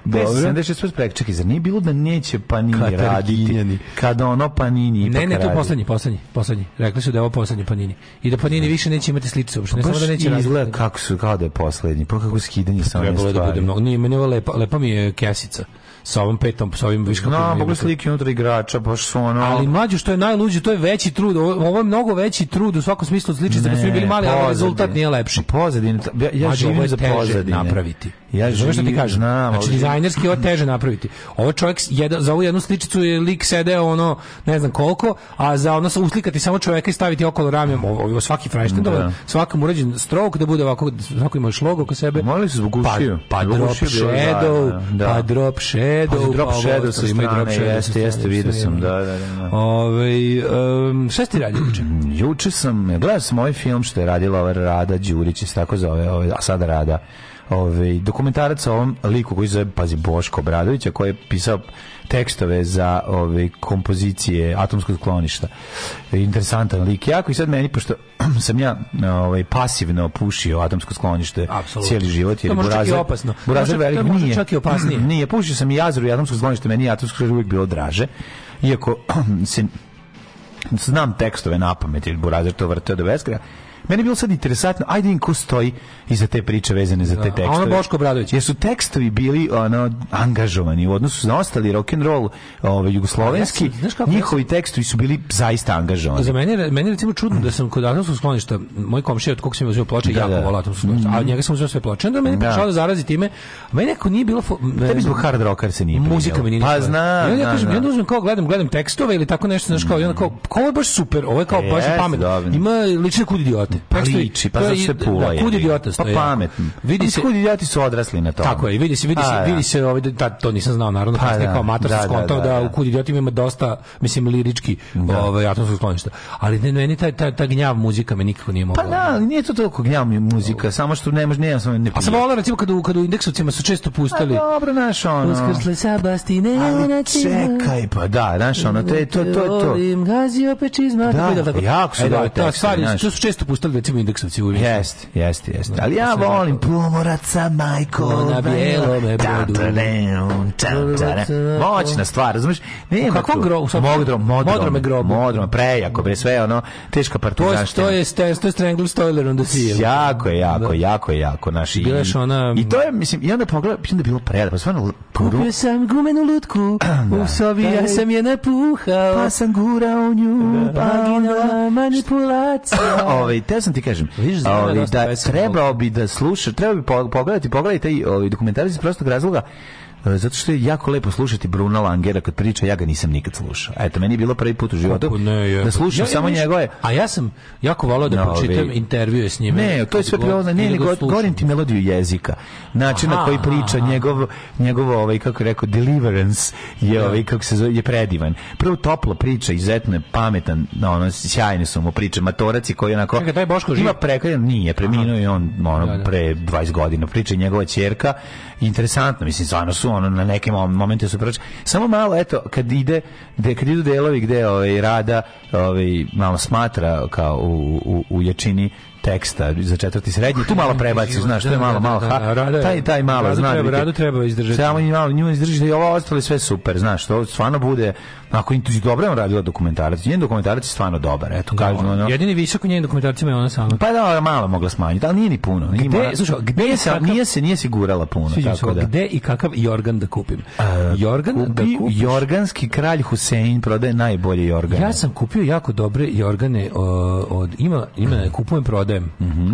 S6: Pa 76 plus prek, čekaj, zar nije bilo da neće Panini raditi?
S7: Katarkinjani.
S6: Kada ono Panini ipak
S7: ne, ne, to je
S6: radi?
S7: poslednji, poslednji, poslednji. Rekli su da je ovo poslednji Panini. I da Panini više neće imati sličice uopšte. Ne samo
S6: Pa Baš
S7: da neće raditi.
S6: izgleda kako su, kao da je poslednji. Prvo kako skidanje sa one
S7: Trebalo je da bude
S6: stvari.
S7: mnogo. Nije, meni je ovo lepa, lepa mi je kesica. Sa ovom petom, sa ovim viškakom.
S6: No, mogu
S7: jebote.
S6: slike unutra igrača, baš su ono...
S7: Ali mlađu što je najluđe, to je veći trud. Ovo, ovo je mnogo veći trud u svakom smislu sličice, da su mi bili mali, ali rezultat nije lepši.
S6: Pozadine, ja, ja
S7: Mlađe, ovo
S6: živim
S7: je
S6: za
S7: teže
S6: pozadine.
S7: napraviti.
S6: Ja živim,
S7: Razumeš šta ti kažem?
S6: Znam,
S7: znači,
S6: ali-
S7: dizajnerski je ovo teže napraviti. Ovo čovjek, s- jedan, za ovu jednu sličicu je lik sedeo ono, ne znam koliko, a za ono sa- uslikati samo čovjeka i staviti okolo ramjem, ovo, ovo svaki frajšten, da. svakom urađen strok, da bude ovako, svako ima logo oko sebe.
S6: Morali su zbog
S7: pa,
S6: ušiju.
S7: pa
S6: Zbog
S7: drop
S6: ušiju bilo
S7: shadow,
S6: zajedno, da.
S7: pa drop shadow, pa
S6: Pazi, drop
S7: ovo
S6: shadow
S7: ostalo,
S6: sa
S7: ima i drop
S6: strane,
S7: shadow sa
S6: jeste,
S7: strane,
S6: jeste, vidio
S7: sve
S6: sam,
S7: ima.
S6: da, da, da, da.
S7: Ovaj, em, šta ste radili juče?
S6: Juče sam, gledao sam ovaj film što je radila ova Rada Đurić, se tako zove, ovaj, a sada Rada. Ovaj, dokumentarac o ovom liku koji se zove, pazi, Boško Obradovića, koji je pisao tekstove za ove kompozicije atomskog skloništa. Interesantan lik. Jako i sad meni, pošto sam ja ovaj, pasivno pušio atomsko sklonište
S7: Apsolutno.
S6: cijeli život, jer
S7: To
S6: je
S7: može čak i
S6: Burazer,
S7: opasno.
S6: Burazer
S7: Može- to
S6: velik
S7: može
S6: nije.
S7: čak i opasnije.
S6: Nije, pušio sam i jazru i atomsko sklonište, meni je atomsko sklonište uvijek bilo draže. Iako se znam tekstove na pamet, jer Burazer to vrteo do beskraja. Meni je bilo sad interesantno, ajde im ko stoji iza te priče vezane za te
S7: Da, a
S6: tekstove.
S7: ono Boško Obradović.
S6: Jer su tekstovi bili ono, angažovani u odnosu na ostali rock and roll ovaj, jugoslovenski,
S7: A Pa ja sam- znaš kako-
S6: njihovi tekstovi su bili zaista angažovani.
S7: Za mene, je- meni je recimo čudno da sam kod atomskog skloništa, moj komšija od kog sam uzeo ploče,
S6: Da,
S7: jako
S6: da.
S7: volao atomsko sklonište, a od njega sam uzeo sve ploče, onda meni
S6: Da.
S7: pokušao da zarazi time, a meni nekako nije bilo... fo-
S6: Tebi zbog hard rocker se nije primjelo.
S7: muzika mi nije
S6: Pa
S7: ništa.
S6: znam,
S7: I onda ja
S6: znam,
S7: kažem,
S6: znam.
S7: i onda uzmem kao gledam, gledam tekstove ili tako nešto, znaš kao, i onda kao, kao ovo je baš super, ovo je kao baš
S6: Jeste,
S7: pametno.
S6: dobro.
S7: Ima lične kud idiote.
S6: Pa
S7: Tekstovi-
S6: liči, pa
S7: to je
S6: zato
S7: i-
S6: se pula.
S7: Da,
S6: jebi
S7: kud
S6: ga.
S7: idiota stoje.
S6: Pa pametno.
S7: Vidi se,
S6: Kud idioti su odrasli na to.
S7: tako je, vidi se, vidi
S6: A, da.
S7: se, vidi se, ovaj da tad to nisam znao naravno,
S6: Pa
S7: pa,
S6: da,
S7: kao mator
S6: da,
S7: sam
S6: da,
S7: skontao
S6: da, da.
S7: da, u kud idiotima ima dosta, mislim lirički, ovaj atomskog skloništa. Ali ne, meni taj taj taj gnjav muzika me nikako nije mogla.
S6: Pa da, ali nije to toliko gnjavna muzika, samo što nemaš, nema sam ne
S7: A sam volao recimo kad u kad u indeksovcima su često
S6: Ali,
S7: puštali.
S6: dobro, znaš, ono...
S7: Pa Uskrsle sabastine na
S6: Ali
S7: cima.
S6: čekaj, pa da, znaš, ono, to je to, to je to.
S7: Volim gazio pečizma.
S6: Da,
S7: tako tako.
S6: jako su
S7: E,
S6: dobri
S7: ta
S6: tekstovi,
S7: stvar je-
S6: znaš.
S7: To su često pustali recimo indeksovci u Yes.
S6: Jeste, jeste, jeste. Ali ja volim pomoraca, majko,
S7: Na bijelome
S6: ta,
S7: brodu.
S6: ta, deum, ta, ta, da. Moćna stvar, razumiješ? Nema
S7: U kakvom
S6: tu.
S7: grobu? Sad-
S6: Modro, modro,
S7: Modrome grobu.
S6: Modrome, prejako, bre, sve je ono, teška
S7: To je,
S6: partizanština.
S7: to je, Stan- to je Strangler Stoiler on the Sea.
S6: Jako je, jako, jako, jako naši.
S7: Bila je još ona-
S6: I to je, mislim, i onda pogledaj, mislim da je bilo prelepo, stvarno
S7: Kupio
S6: ru-
S7: sam gumenu lutku, u sobi
S6: Da.
S7: ja sam je napuhao.
S6: pa sam gurao nju, pa onda...
S7: Vaginalna manipulacija.
S6: Ovaj, te sam ti kažem,
S7: Vidiš, Zorana je
S6: ovaj,
S7: dosta
S6: da
S7: pesma.
S6: trebao bi da sluša, trebao bi po- pogledati, pogledaj taj ovaj, dokumentarac iz prostog razloga, e, zato što je jako lepo slušati Bruna Langera kad priča, ja ga nisam nikad slušao. Eto, meni je bilo prvi put u životu
S7: Kako ne, je.
S6: da slušam
S7: Ja- ja
S6: samo
S7: ništa-
S6: njegove.
S7: A ja sam jako volao da
S6: Na,
S7: pročitam
S6: ovi-
S7: intervjue s njime.
S6: Ne, to je
S7: Kad
S6: sve
S7: god-
S6: bilo, ne,
S7: ili
S6: ne,
S7: ga
S6: nego
S7: slušam.
S6: govorim ti melodiju jezika, način na
S7: Aha,
S6: koji priča,
S7: aha.
S6: njegov, njegov ovaj, kako je rekao, deliverance je, ovaj, kako se zove, je predivan. Prvo topla priča, izuzetno je pametan, no, ono, sjajne su mu priče, matoraci koji onako...
S7: Čekaj, taj Boško živ?
S6: Ima prekrajan, nije, preminuo je on, ono,
S7: Da, da.
S6: pre 20 godina, priča i njegova ćerka, interesantno, mislim, stvarno su, ono, na nekim mom- momente su priča. Samo malo, eto, kad ide, gde, kad idu delovi gde, ovaj, rada, ovaj, malo smatra kao u, u, u jačini teksta za četvrti srednji, tu malo prebaci, znaš, to je malo, malo,
S7: Da, da, da,
S6: ha,
S7: rado je-
S6: taj, taj malo,
S7: rado
S6: zna.
S7: treba-
S6: biti-
S7: rado treba izdržati.
S6: Samo i malo nju izdržite i ovo ostalo je sve super, znaš, to stvarno bude, ako intu- dobro je on radila dokumentarac, njen dokumentarac je stvarno dobar, eto, kažem, ono,
S7: Jedini višak u njenim dokumentarcima je ona sama.
S6: pa da, ona malo je mogla smanjiti, ali nije ni puno. Nije
S7: Gde-
S6: morala-
S7: slušaj, gde
S6: nije
S7: je
S6: se,
S7: kakav-
S6: nije se, nije se gurala puno,
S7: Sviđa mi se
S6: tako
S7: ovo.
S6: da.
S7: Gde i kakav jorgan da kupim? jorgan da
S6: Kupi
S7: kupim.
S6: jorganski kralj Husein prodaje najbolje jorgane.
S7: Ja sam kupio jako dobre jorgane o, od ima ima
S6: Mhm.
S7: kupujem prodajem.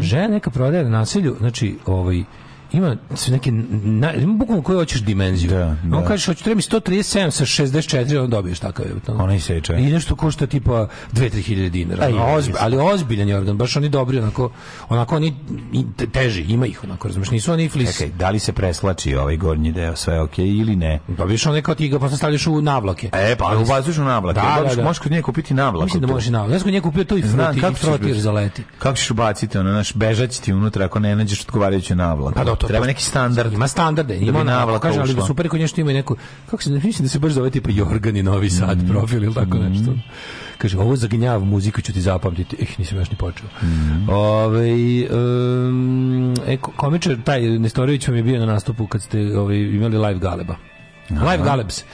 S7: Žena neka prodaje na naselju, znači ovaj ima su neke na, ima bukvalno koju hoćeš dimenziju.
S6: Da, da.
S7: On kaže hoću treba mi 137 sa 64, on dobiješ takav. je, ono.
S6: Ona i seče.
S7: I nešto košta tipa 2-3 hiljade dinara.
S6: Aj,
S7: Ono,
S6: jebi
S7: ozbi-
S6: se.
S7: ali ozbiljan jorgan, baš oni dobri, onako, onako oni i te- teži, ima ih, onako, razumiješ, nisu oni flis.
S6: Čekaj, da li se preslači ovaj gornji deo, sve ok ili ne?
S7: Dobiješ one kao ti ga posle stavljaš u navlake.
S6: E, pa ubaziš u navlake.
S7: Da, da,
S6: Dobiš-
S7: da.
S6: Možeš kod nje kupiti navlaku.
S7: Mislim da
S6: tu.
S7: može i navlake. Ja sam kod nje kupio to i
S6: Znam,
S7: fruti, i
S6: kako ćeš
S7: frotir
S6: ubaciti?
S7: zaleti.
S6: Kako ćeš ubaciti ono, naš bežać ti unutra ako ne nađeš odgovarajuću navlaku?
S7: Pa da, to-
S6: Treba
S7: to-
S6: neki standard.
S7: Ima standarde,
S6: Da
S7: ima
S6: bi
S7: ona
S6: navlaka
S7: kaže, ali
S6: ušla.
S7: super kod nje što ima i neku, kako se, mislim da se baš zove tipa Jorgan i Novi Sad
S6: Mm.
S7: profil ili tako nešto. Kaže, ovo za gnjav muziku ću ti zapamtiti. Eh, nisam još ni počeo.
S6: Mm.
S7: Ovaj, em, e, ko- komičar, taj Nestorović vam je bio na nastupu kad ste ovaj, imali live galeba. Live Galebs.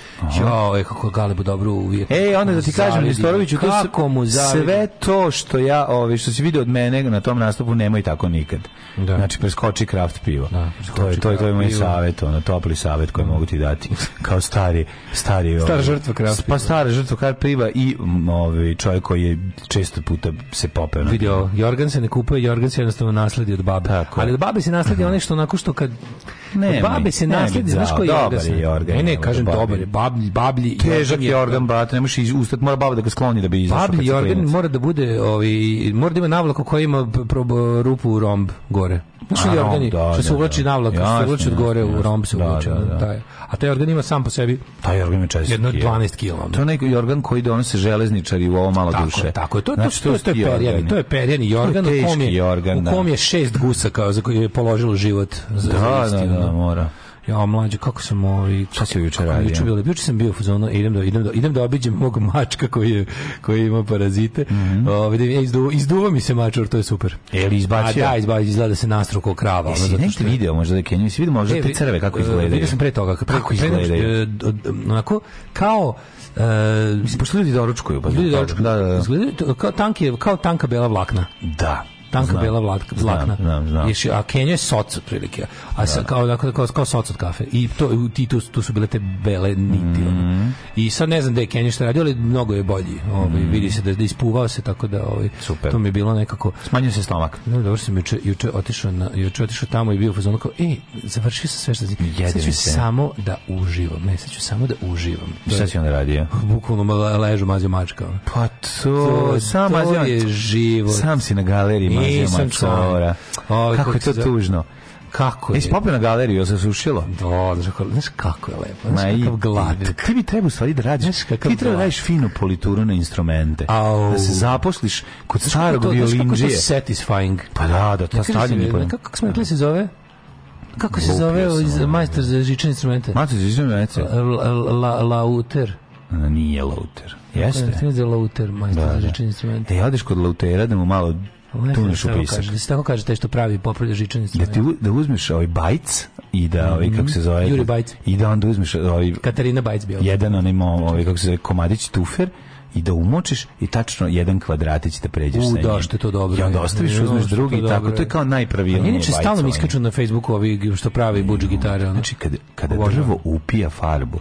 S7: Jo, e, kako je Galebu dobro uvijek.
S6: Ej, E, onda da ti kažem,
S7: Zavidim.
S6: Nestoroviću, to se-
S7: kako mu zavidim.
S6: sve to što ja, ovaj, što si vidio od mene na tom nastupu, nemoj tako nikad.
S7: Da.
S6: Znači, preskoči kraft pivo.
S7: Da,
S6: to je, to je, to je
S7: kraft
S6: moj
S7: pivo.
S6: savjet, ono, topli savjet koji mogu ti dati. Kao stari, stari...
S7: Stara
S6: ovaj,
S7: žrtva kraft
S6: Pa
S7: piva.
S6: stara žrtva kraft piva i mm, ovaj, čovjek koji je često puta se popeo na
S7: Vidio, Jorgan se ne kupuje, Jorgan se jednostavno nasledi od babe.
S6: Tako je.
S7: Ali od babe se nasledi onaj što onako što kad
S6: Nemoj,
S7: od babe se
S6: nemoj
S7: nasledi,
S6: biti
S7: znaš
S6: zao,
S7: koji
S6: dobar
S7: Jorgan.
S6: je Jorgan,
S7: Ne, ne,
S6: nemoj
S7: kažem
S6: da babi.
S7: dobar je, bablji, bablji.
S6: Težak je organ, brate, ne možeš iz- ustat, mora baba da ga skloni da bi izašao. kad
S7: Bablji
S6: si
S7: Jorgan
S6: klinac.
S7: mora da bude, ovaj, mora da ima navlaku koja ima p- prob- rupu u romb gore. Znaš
S6: A,
S7: li Jorgani,
S6: romb, da,
S7: što se
S6: da,
S7: uvlači
S6: da.
S7: navlaka, što
S6: Jasno,
S7: se uvlači od
S6: jasno,
S7: gore u
S6: jasno.
S7: romb se
S6: Da,
S7: uvlači. ono
S6: da, da.
S7: taj. A taj organ ima sam po sebi
S6: Taj organ je često.
S7: jedno
S6: kilo.
S7: 12 kila. ono.
S6: To je neki organ koji donose železničari u ovo malo
S7: Tako,
S6: duše.
S7: je, tako je. To, to,
S6: Znači,
S7: to, to, je
S6: su ti
S7: perjani,
S6: organi.
S7: to je perjani jorgan,
S6: To je
S7: u kom
S6: teški
S7: je,
S6: organ,
S7: u kom
S6: da.
S7: je šest gusa kao, za koje je položilo život. Za, za
S6: Da, da,
S7: isti, ono.
S6: da, mora.
S7: Ja, mlađe, kako sam ovi...
S6: Šta si juče
S7: Kako
S6: radio?
S7: Juče bilo, juče sam bio u fazonu, idem da idem da idem da obiđem mog mačka koji je koji ima parazite. Mm
S6: Mhm.
S7: da mi- ja izdu, izduva mi se mačor, to je super.
S6: Je li E, izbacio?
S7: A da, izbacio, izgleda da se nastro kao krava. ono,
S6: Jesi
S7: zato
S6: nešto
S7: što je-
S6: video možda da Kenju? Jesi vidio možda
S7: E,
S6: te
S7: vi-
S6: crve kako
S7: e,
S6: izgledaju?
S7: Vidio sam pre toga. Pre,
S6: Kako
S7: pre nego što-
S6: izgledaju?
S7: e, d- d- onako, kao... e,
S6: Pošto ljudi doručkuju. Pa
S7: Ljudi dočekuju.
S6: Da, da, da.
S7: Izgledaju to- kao, tanki, kao tanka bela vlakna.
S6: Da.
S7: Tanka
S6: Znam.
S7: bela vlatka, vlakna.
S6: znam, znam.
S7: Je ši- a Kenja je soc otprilike. A sa, kao, onako, kao, kao soc od kafe. I to, ti, tu, tu su bile te bele niti.
S6: Mhm.
S7: ono. I sad ne znam da je Kenja šta radio, ali mnogo je bolji. Ovaj, Vidi se da, da ispuvao se, tako da ovaj,
S6: Mhm. Super.
S7: to mi je bilo nekako...
S6: Smanjio se stomak.
S7: Ne, dobro sam juče, juče otišao na juče otišao tamo i bio u fazonu kao ej, završio sam sve što sam.
S6: Jedi
S7: Sad ću
S6: mi se.
S7: samo da uživam. Ne, sad ću samo da uživam. To
S6: Šta
S7: je
S6: si onda radio?
S7: bukvalno ma- ležu mazio mačka. ono.
S6: Pa to, sam
S7: to
S6: mazio-
S7: je život.
S6: Sam si na galeriji mazio
S7: Nisam
S6: mačora.
S7: sam. Ovaj,
S6: Kako je
S7: kako
S6: to
S7: se zove?
S6: tužno.
S7: Kako je?
S6: Jesi popio na galeriju, jel se sušilo?
S7: Do, E, znaš kako, znaš kako je lepo. Znaš
S6: Ma i
S7: kakav glad.
S6: Ti bi treba u stvari da radiš.
S7: Znaš
S6: Ti
S7: kakav
S6: treba da
S7: glad.
S6: radiš finu polituru na instrumente.
S7: Au.
S6: Da se zaposliš kod starog
S7: To- znaš kako je
S6: violinđije.
S7: to satisfying.
S6: Pa da, da, ta
S7: Kako se-
S6: stavljanje je bolje.
S7: Kako, kako smo rekli se zove? Kako se
S6: Lupio
S7: zove
S6: sam,
S7: iz-
S6: ono.
S7: majstor za žičane instrumente?
S6: Mato, si izvim rece?
S7: La- la- Lauter.
S6: Nije lauter. Jeste?
S7: Instrument za Lauter, majstor
S6: Da,
S7: za
S6: da.
S7: žičane instrumente.
S6: E, odeš kod lautera da mu malo
S7: E,
S6: tuneš u
S7: Tako
S6: pisak.
S7: kaže, Da se tako kaže taj što pravi popravlja žičane
S6: Da
S7: instrumente.
S6: ti u- da uzmeš ovaj bajc i da ovaj kako se zove
S7: Mhm. Juri Bajc.
S6: i da onda uzmeš ovaj
S7: Katarina Bajc bio.
S6: jedan onaj mo- ovaj kako se zove komadić tufer i da umočiš i tačno jedan kvadratić da pređeš
S7: U,
S6: sa njim.
S7: da, što je to dobro.
S6: I onda ostaviš,
S7: Jo,
S6: uzmeš
S7: što je
S6: drugi i
S7: dobro.
S6: tako. To je kao ono, najpravilnije.
S7: Inače,
S6: bajcovanje.
S7: stalno mi iskaču na Facebooku ovi što pravi buđu gitare. ono.
S6: Znači, kada, kada
S7: Obožavam.
S6: drvo upija farbu,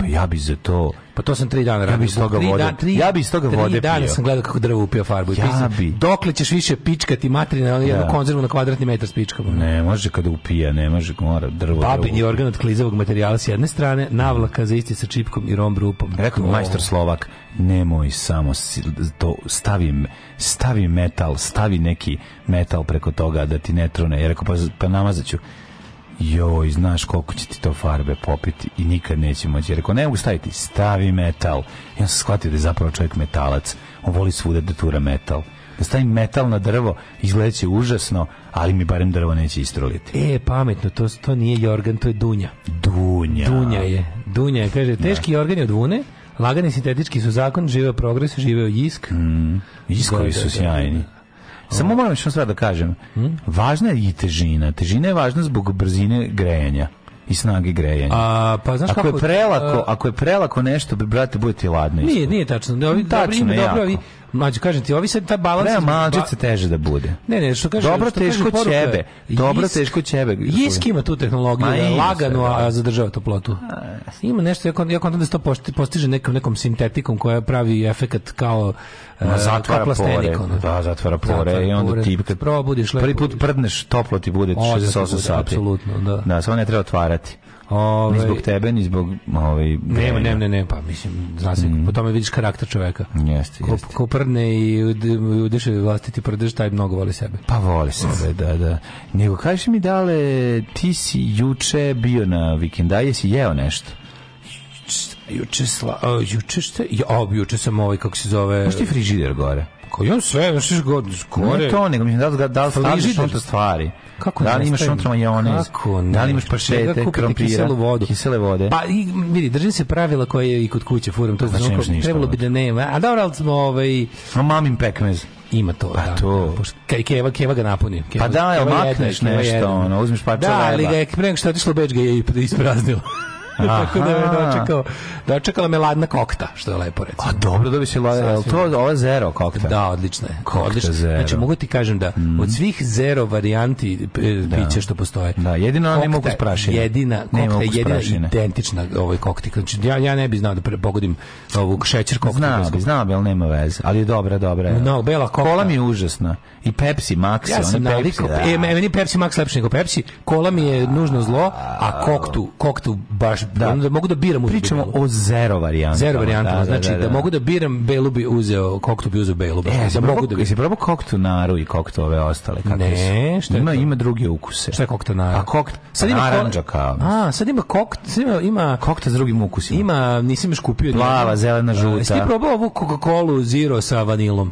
S6: pa ja bi za to...
S7: Pa to sam tri dana radio.
S6: bi iz toga
S7: Tri
S6: vode-
S7: dan- tri-
S6: ja bi iz toga vode
S7: Tri dana
S6: pio.
S7: sam gledao kako drvo upija farbu. I
S6: Ja
S7: pisam,
S6: bi.
S7: Dokle ćeš više pičkati materina, ono jednu
S6: Da.
S7: konzervu na kvadratni metar s pičkama.
S6: Ne može kada upija, ne može, mora drvo... drvo.
S7: Babin je organ od klizavog materijala s jedne strane, navlaka za isti sa čipkom i rom grupom.
S6: Pa Rekao
S7: To-
S6: mi majstor Slovak, nemoj samo si- to stavi, stavi metal, stavi neki metal preko toga da ti ne trune. Ja rekao, pa, pa namazaću. Joj, znaš koliko će ti to farbe popiti i nikad neće moći. Ja rekao, ne mogu staviti, stavi metal. I on se shvatio da je zapravo čovjek metalac. On voli svuda da tura metal. Da stavim metal na drvo, izgledaće užasno, ali mi barem drvo neće istroliti.
S7: E, pametno, to, to nije jorgan, to je dunja.
S6: Dunja.
S7: Dunja je. Dunja je, kaže, teški jorgan je od vune, lagani sintetički su zakon, živeo progres, živeo
S6: Mm.
S7: jisk. Da,
S6: Iskovi
S7: da, Hm?
S6: su
S7: da.
S6: sjajni. Samo moram što sad da kažem. Važna je i težina. Težina je važna zbog brzine grejanja i snage grejanja.
S7: A, pa znaš
S6: ako
S7: kako...
S6: je prelako,
S7: a,
S6: ako je prelako nešto, bi brate bude ti ladno. isto.
S7: Nije, nije tačno. Ne, ovi,
S6: Tačno,
S7: tačno, dobro, ima,
S6: jako.
S7: dobro, ovi, mlađe, kažem ti, ovi sad ta balans...
S6: Treba
S7: između ba-
S6: malčice teže da bude.
S7: Ne, ne, što kaže,
S6: Dobro,
S7: što kaže
S6: teško
S7: poruka,
S6: ćebe. Dobro, teško ćebe.
S7: Jisk ima tu tehnologiju,
S6: Ma,
S7: da je
S6: ima sve,
S7: lagano,
S6: da.
S7: a zadržava toplotu. Ima nešto, jako, jako onda se to pošti- postiže nekom, nekom sintetikom koja pravi efekat kao,
S6: Ma,
S7: e,
S6: zatvara
S7: kao plastenik.
S6: pore.
S7: ono.
S6: Da, zatvara pore.
S7: Zatvara
S6: I onda
S7: pore.
S6: ti kad
S7: probudiš lepo.
S6: prvi put prdneš, toplo ti bude
S7: Odlično ti
S6: 68
S7: bude,
S6: sati.
S7: apsolutno, da.
S6: Da, samo ne treba otvarati.
S7: Ovaj,
S6: Ni zbog tebe, ni zbog... Ovaj,
S7: Nema,
S6: grejanja.
S7: ne, ne, ne, pa mislim, zna se, po tome vidiš karakter čoveka.
S6: Mm. Jeste,
S7: Ko,
S6: jeste.
S7: ko prdne i ud- udiše vlastiti prdež, taj mnogo voli sebe.
S6: Pa voli sebe, da, da. Nego, kaži mi, dale, ti si juče bio na vikenda, jesi jeo nešto?
S7: Juče sla, a, juče šta? Ja, a, juče sam ovaj kako se zove.
S6: Možeš ti frižider gore?
S7: Ko ja sve, znaš što god,
S6: Ne
S7: gore.
S6: to, nego mislim, da li, ga- da li stavljaš
S7: Frižider?
S6: unutra stvari?
S7: Kako
S6: da
S7: ne
S6: li imaš
S7: stavim?
S6: unutra majonez?
S7: Kako ne?
S6: Da li imaš
S7: Čega
S6: paštete,
S7: kupiti
S6: krompira?
S7: kiselu vodu?
S6: Kisele vode.
S7: Pa i, vidi, držim se pravila koje je i kod kuće furam to
S6: Znači,
S7: znači,
S6: nemaš ništa
S7: trebalo bi
S6: unutra.
S7: da nema. A dobro, ali smo ovaj
S6: A mamin pekmez.
S7: ima to.
S6: Pa
S7: da,
S6: to.
S7: Da, pošto- Kaj Keva, Keva ga napuni. Keva,
S6: Pa da, jel
S7: Keva jedne,
S6: makneš
S7: Keva
S6: nešto,
S7: jedne.
S6: ono, uzmeš parče
S7: Da, ali
S6: leba.
S7: ga je pre nego što je otišlo u Beč ga je i ispraznilo. Tako da me
S6: Aha.
S7: dočekao, dočekala me ladna kokta, što je lepo recimo.
S6: A dobro, dobiš si lada. Jel to ova zero kokta?
S7: Da, odlična je.
S6: Kokta
S7: odlična.
S6: zero. Mhm.
S7: Znači, mogu ti kažem da od svih zero varijanti e, pića što postoje.
S6: Da, jedino ona nema
S7: kokta
S6: ukus prašine.
S7: Jedina,
S6: Nema
S7: kokta je
S6: ukus
S7: jedina
S6: prašine.
S7: identična ovaj kokti. Znači, ja, ja ne bi znao da pre- pogodim ovog šećer kokta.
S6: Znam bi, znam bi, ali nema veze. Ali je dobra, dobra. je.
S7: No, bela kokta.
S6: Kola mi je užasna. I Pepsi, Maxi,
S7: Ja sam
S6: one Pepsi,
S7: navikao.
S6: da.
S7: E, meni je Pepsi Max lepši nego Pepsi. Kola mi je nužno zlo, a koktu, koktu baš,
S6: Da.
S7: da. Onda mogu da biram. uzeti
S6: Pričamo
S7: belu.
S6: o zero varijantama.
S7: Zero varijantama, znači da, mogu da biram, belu bi uzeo, koktu bi uzeo belu. baš,
S6: E, jesi
S7: da
S6: probao,
S7: mogu da
S6: da
S7: bi.
S6: jesi probao koktu naru i koktu ove ostale? kakve
S7: Ne,
S6: su?
S7: šta je
S6: ima,
S7: to?
S6: Ima druge ukuse.
S7: Šta je koktanara?
S6: A kokt, sad
S7: ima
S6: ima
S7: ko-
S6: naranđa kao.
S7: A, sad ima kokt, sad ima, ima
S6: Kokta s drugim ukusima.
S7: Ima, nisam još kupio.
S6: Plava,
S7: nijednu.
S6: zelena,
S7: A,
S6: žuta.
S7: Jesi ti probao ovu Coca-Cola Zero sa vanilom?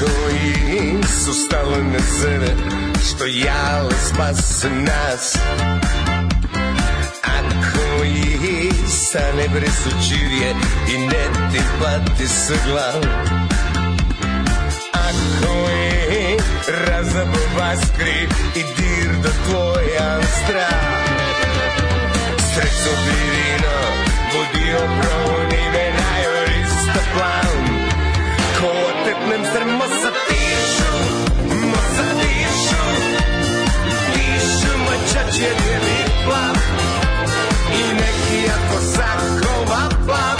S9: koji nisu stali na sebe Što jale spase nas A koji sa nebre su čivije I ne ti pati s glav A koji razabu vaskri I dir do tvoja strah Sreću bi vino Budio pronive najorista plan Ko otepnem srmo sa pišu Mo sa dišu Pišu moj čač je bijeli plav I neki ako sakova plav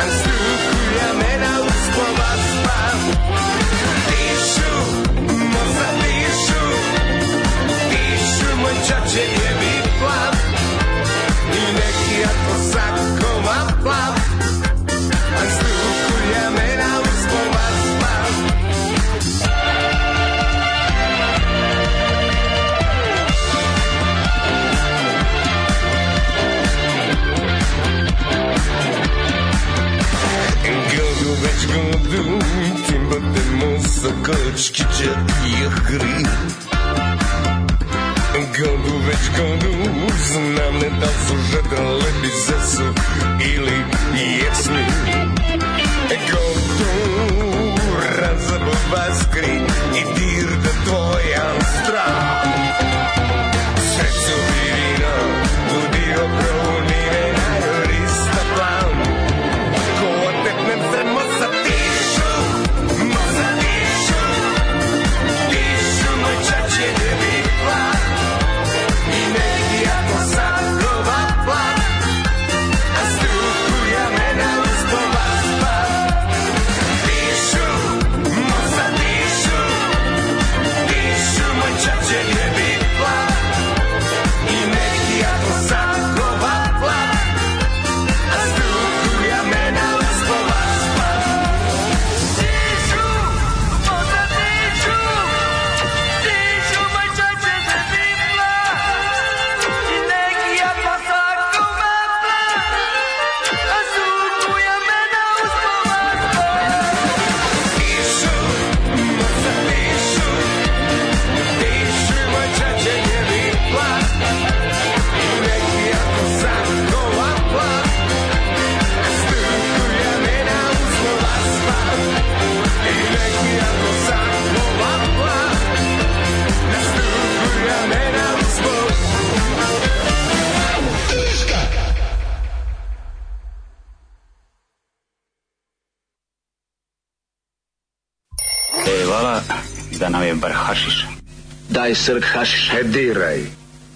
S9: A struku ja mena uspova spav Pišu Mo sa dišu Pišu moj čač je bijeli plav I neki ako sakova plav a struku ja mena uspova spav Gudu već gudu Timbate musa kočkića i jahri Gudu već gudu Znam ne da li su žedra lebi zesu Ili jesni Gudu Razabu vaskri I dir da tvoja strah Sreću bi vino Budio pronive Najorista plan Ko odepnem zrmo sa tišu Mo sa tišu Tišu moj čače Debi plan I neki ako sad Gova plan A struku ja mena Uspova span Tišu Mo sa tišu Tišu moj čače
S10: e
S2: bar hašiša. Daj srk hašiš. E, diraj.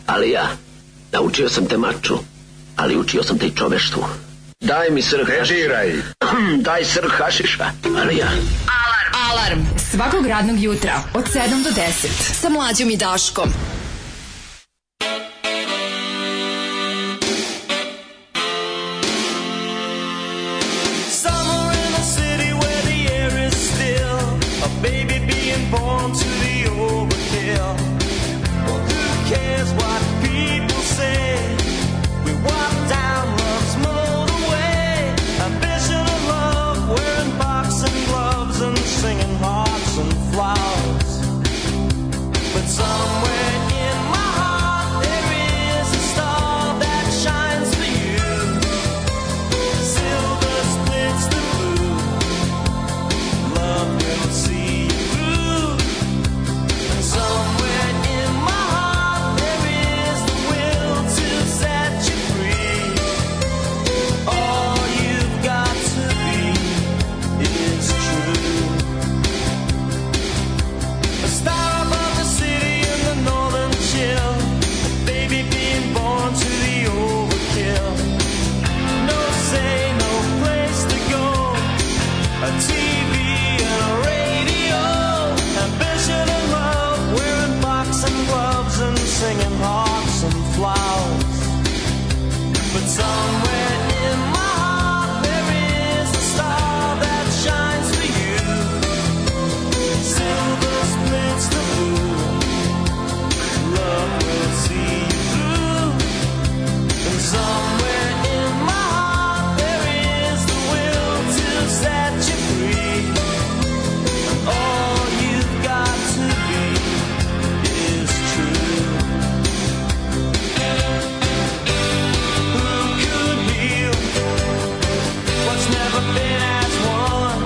S2: Ali ja, naučio sam te maču, ali učio sam te i čoveštvu. Daj mi srk hašiša. diraj. Daj srk hašiša. Ali ja,
S5: Alarm svakog radnog jutra od 7 do 10 sa mlađom i Daškom.
S1: Somewhere in the city where the air is still, a baby being born to the overkill. Well, who cares what people say? We walk down love's motorway, a vision of love, wearing boxing gloves and singing hearts and flowers. But somewhere in my heart there is a star that shines for you. Silver splits the blue. Love will see you through. And somewhere in my heart there is the will to set you free. All you've got to be is true. A star above the city in the northern chill. A baby being born to the overkill. No say, no place to go. A TV and a radio. Ambition and love. Wearing boxing gloves and singing hearts and flowers. But somewhere in my heart there is a star that shines for you. Silver splits the blue. Love will see you through. And somewhere in my heart there is the will to set you free. And all you've got to be is true. Who could heal what's never been as one?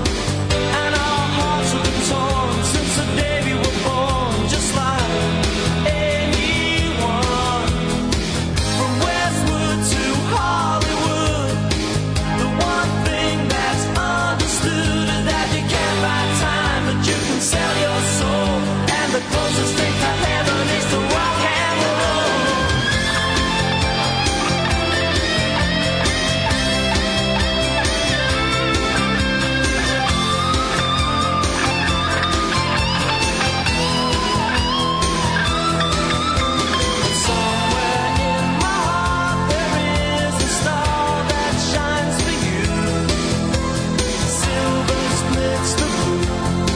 S1: And our hearts have been torn since the day we were born, just like anyone. From Westwood to Hollywood, the one thing that's understood is that you can't buy time, but you can sell your soul. And the closest thing to heaven is to rock and roll. Somewhere in my heart there is a star that shines for you. Silver splits the blue.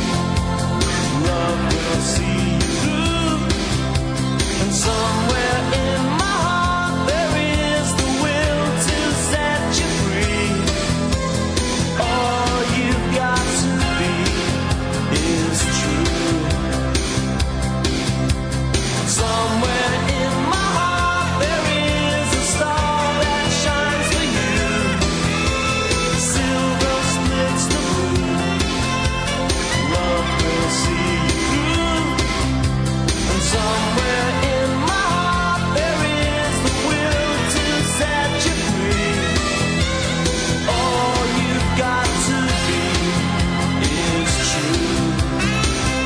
S1: Love will see you through. And somewhere in my heart there is the will to set you free. All you've got to be is true. Somewhere in my heart there is a star that shines for you. Silver splits the blue. Love will see you through. And somewhere in my heart there is the will to set you free. All you've got to be is true.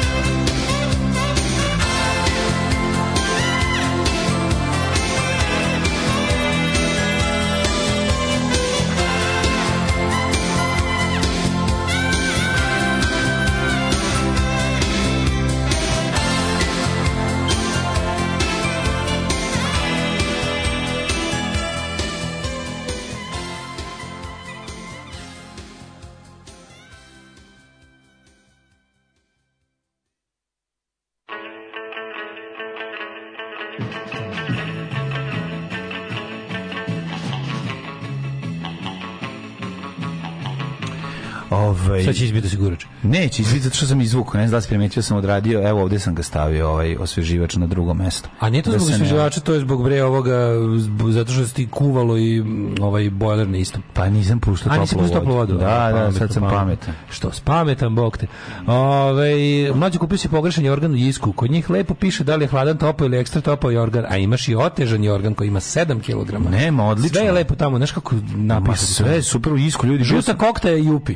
S6: Ovaj,
S7: Sad će izbiti sigurač.
S6: Neće izbiti, zato što sam izvukao, ne znam da li si primetio, sam odradio, evo ovdje sam ga stavio, ovaj osveživač na drugo mesto.
S7: A nije to
S6: Da
S7: zbog
S6: se ne-
S7: osveživača, to je zbog bre ovoga, zb- zato što si ti kuvalo i m, ovaj bojler na istom.
S6: Pa nisam puštao
S7: A nisi
S6: toplu
S7: pustio toplu vodu.
S6: Da, da, sad sam pametan.
S7: Što, spametan, bog te. Ove, mlađo kupio si pogrešan jorgan u Jisku. Kod njih lepo piše da li je hladan topao ili ekstra topao jorgan, a imaš i otežan jorgan koji ima 7 kg.
S6: Nema, odlično. Pa
S7: Sve je lepo tamo, znaš kako
S6: Ma
S7: napisano.
S6: sve je super u isku, ljudi. bio
S7: Žuta kokta je jupi.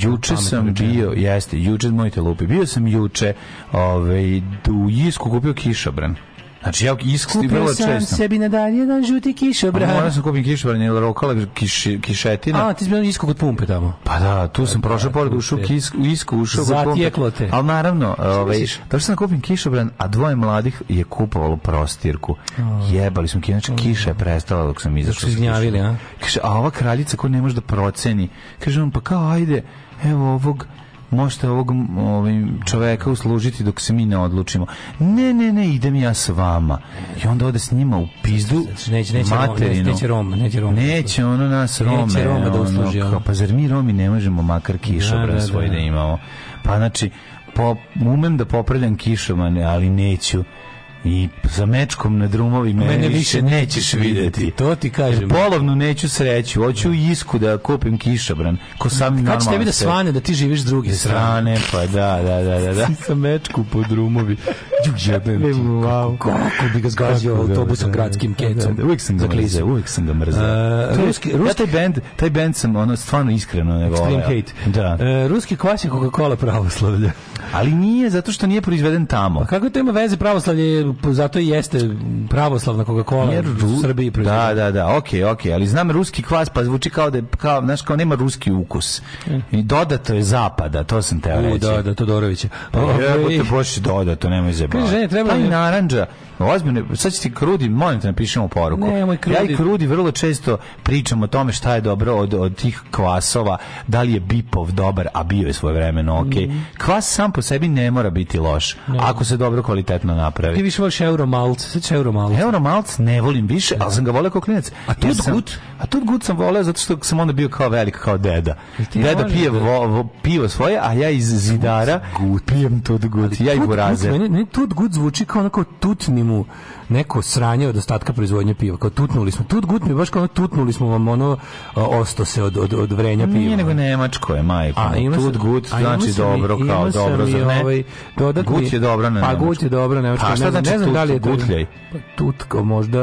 S6: Juče
S7: pametno
S6: sam
S7: rečeno.
S6: bio, jeste, juče moj te lupi. Bio sam juče, ovaj u Isku kupio kišobran. Znači ja isk vrlo
S7: Kupio sam
S6: često.
S7: sebi na dan jedan žuti
S6: Morao
S7: kišobran.
S6: sam kupim kišobran, jer rokala kiš- kišetina.
S7: A, ti si bio iskog od pumpe tamo.
S6: Pa da, tu sam prošao pored ušao
S7: te.
S6: kis, u isku ušao kod kompa-
S7: Zatjeklo te.
S6: Ali naravno, ovaj
S7: misliš?
S6: to što sam kupim kišobran, a dvoje mladih je kupovalo prostirku. Jebali smo kino, znači kiša je prestala dok sam izašao.
S7: su
S6: sa
S7: izgnjavili,
S6: kišobranom.
S7: a?
S6: Kaže, a ova kraljica ko ne može da proceni. Kaže on pa kao ajde, evo ovog možete ovog m, ovim čoveka uslužiti dok se mi ne odlučimo. Ne, ne, ne, idem ja s vama. I onda ode s njima u pizdu.
S7: Znači, neće- neće Rom-
S6: materinu.
S7: neće Rom- neće Rom.
S6: Neće ono nas Rome.
S7: Roma da
S6: ono,
S7: usluži, ono.
S6: kao, pa zar mi Romi ne možemo makar kišobran
S7: Da, da, da.
S6: svoj da imamo? Pa znači, po, umem da popravljam kišomane, ali neću. I za mečkom na drumovi mene,
S7: Mene
S6: E, više
S7: više
S6: nećeš vidjeti. E,
S7: To ti kažem.
S6: Polovnu neću sreću, hoću u isku da kupim kišobran, ko sam normalno
S7: Kad će tebi da svane da ti živiš s druge strane?
S6: strane, pa da, da, da, da. da.
S7: Sa mečku po drumovi.
S6: Jebem ti,
S7: Wow. Kako bi ga zgazio
S6: Kako ga-
S7: autobusom
S6: da, da,
S7: gradskim
S6: da, da,
S7: kecom.
S6: da, Uvijek sam ga
S7: Zaklizao.
S6: mrzeo, uvijek sam ga mrzeo.
S7: E,
S6: To je-
S7: ruski-
S6: ja
S7: ruski-
S6: taj band, taj band sam ono stvarno iskreno ne voleo.
S7: Extreme hate.
S6: Da.
S7: E, ruski kvas je Coca-Cola pravoslavlja.
S6: Ali nije zato što nije proizveden tamo.
S7: Pa kako to ima veze pravoslavlje? Zato i jeste pravoslavna Coca-Cola
S6: Jer
S7: u
S6: Ru-
S7: Srbiji proizvodnja.
S6: Da, da, da, okej, okej, ali znam ruski kvas, pa zvuči kao da je, kao, znaš, kao nema ruski ukus. I dodato je zapada, to sam teo reći.
S7: E. U, da, da, Todorovića.
S6: Pa
S7: Ovaj,
S6: jebote, boš dodato, nemoj zajebavati.
S7: Kaže, žene, treba
S6: Taj
S7: mi-
S6: narandža, ozbiljno, sad će ti krudi, molim te napišemo poruku.
S7: Nemoj Krudi.
S6: Ja i krudi vrlo često pričam o tome šta je dobro od, od tih kvasova, da li je Bipov dobar, a bio je svoje vremeno, ok.
S7: Mhm.
S6: Kvas sam po sebi ne mora biti loš, ako se dobro kvalitetno napravi.
S7: Ti više voliš Euromalt. Sveći Euromalt.
S6: Euromalc ne volim više, ali sam ga voleo kao klinac.
S7: A Tut
S6: Jer sam-
S7: Gut?
S6: A Tut Gut sam voleo zato što sam onda bio kao velik, kao deda.
S7: ti
S6: Deda
S7: voliš
S6: pije
S7: da-
S6: vo, vo- pivo svoje, a ja iz zidara pijem Tut Gut. Ja i
S7: Tut
S6: buraze.
S7: Gut, Meni, meni tut gut zvuči kao onako tutni mu neko sranje od ostatka proizvodnje piva. Kao tutnuli smo. Tut gut mi je baš kao ono tutnuli smo vam ono a, osto se od, od, od vrenja piva.
S6: Nije nego nemačko je, majko. Tut Gut znači dobro, kao dobro. Zar ne?
S7: Ovaj, dodatni,
S6: Gut je dobro na
S7: Pa
S6: nemačkom.
S7: gut je dobro na nemačkom.
S6: Pa
S7: ne
S6: šta
S7: znam-
S6: znači
S7: ne znam
S6: tut,
S7: da li je to-
S6: gutljaj?
S7: Pa Tut kao možda...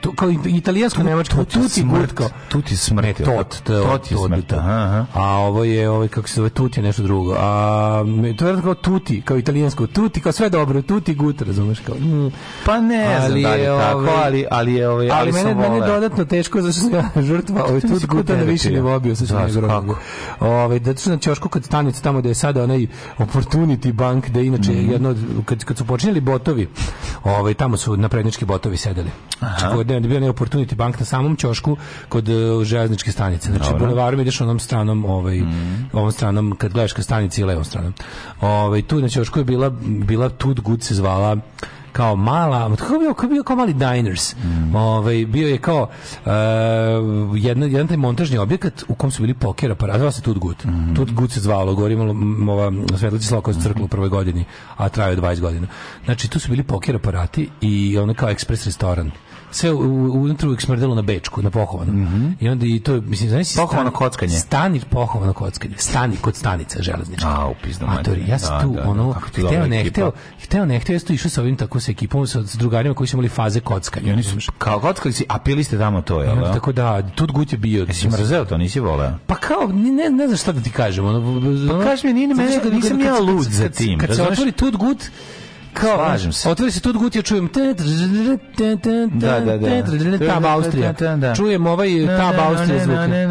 S7: Tu, kao i- italijansko nemačko.
S6: Tut je
S7: Tut i
S6: smrt.
S7: gut kao...
S6: Tut je smrt.
S7: Ne, tot, to je
S6: Tot je
S7: tot,
S6: smrt,
S7: tot.
S6: aha, aha.
S7: A ovo je, ovaj, kako se zove, tuti je nešto drugo. A, me- to je vjerojatno kao tuti, kao italijansko. Tuti, kao sve dobro, tuti gut, razumeš? Kao, mm.
S6: Pa ne znam
S7: Ali
S6: da li je
S7: je,
S6: tako,
S7: ovaj,
S6: ali, ali, je, ovaj,
S7: Ali, mene,
S6: sam
S7: mene je
S6: voleo.
S7: dodatno teško, zato što sam ja žrtva, ovaj
S6: Ti si
S7: tut guta na
S6: guterapija.
S7: više nivo bio, sad ću
S6: Da,
S7: na grobu.
S6: kako?
S7: Ovaj, zato što na Ćošku kad stanicu tamo gde je sada onaj Opportunity Bank, da inače jedno, od- kad, kad su počinjeli botovi, ovaj, tamo su naprednički botovi sedeli. Znači, kod, ne, bio onaj Opportunity Bank na samom Ćošku kod eh, železničke stanice. Znači, bulevarom ideš onom stranom, ovaj, ovom stranom, kad gledaš ka stanici i levom stranom. Ovaj, tu na Ćošku je bila, bila Tut Gut se zvala kao mala, kako je bio, kako je bio kao mali diners.
S6: Mm.
S7: Ovaj, bio je kao e, jedan, jedan taj montažni objekat u kom su bili poker aparati, zvao se Tut Gut.
S6: Mhm.
S7: Tut Gut se zvalo, gore imalo m, ova Svetlaci Slokovac crkla u prvoj godini, a trajao je 20 godina. Znači, tu su bili poker aparati i ono kao ekspres restoran. Sve u- u- unutra uvijek smrdelo na bečku, na pohovanu. I onda i to, je, mislim, znaš... si
S6: Mhm. Pohovano
S7: stan-
S6: kockanje.
S7: Stani, pohovano kockanje. Stani kod stanica železnička.
S6: A, u pizdu materinu.
S7: Matori, ja sam
S6: Da,
S7: tu,
S6: da, da,
S7: ono,
S6: kako ti dobra
S7: hteo, ne
S6: ekipa.
S7: hteo, hteo ne hteo, ja sam tu išao sa ovim tako sa ekipom, sa, s drugarima koji su imali faze kockanja.
S6: I oni su kao kockali si, a pili ste tamo to, jel?
S7: Onda
S6: da?
S7: tako da, tut gut je bio.
S6: Si mrzeo to, nisi voleo?
S7: Pa kao, ni- ne, ne znam šta da ti kažem. Ono, ono,
S6: kaži mi, nije ni
S7: zato
S6: mene,
S7: što kad-
S6: nisam
S7: kad-
S6: ja
S7: kad-
S6: lud
S7: kad-
S6: za
S7: kad-
S6: tim,
S7: Kad se
S6: razumeš?
S7: otvori tut gut, kao,
S6: Slažem se.
S7: Otvori se tut gut, ja čujem
S6: Da, da, da.
S7: tab Austrija.
S6: Da, da.
S7: Čujem ovaj tab Austrija zvuke.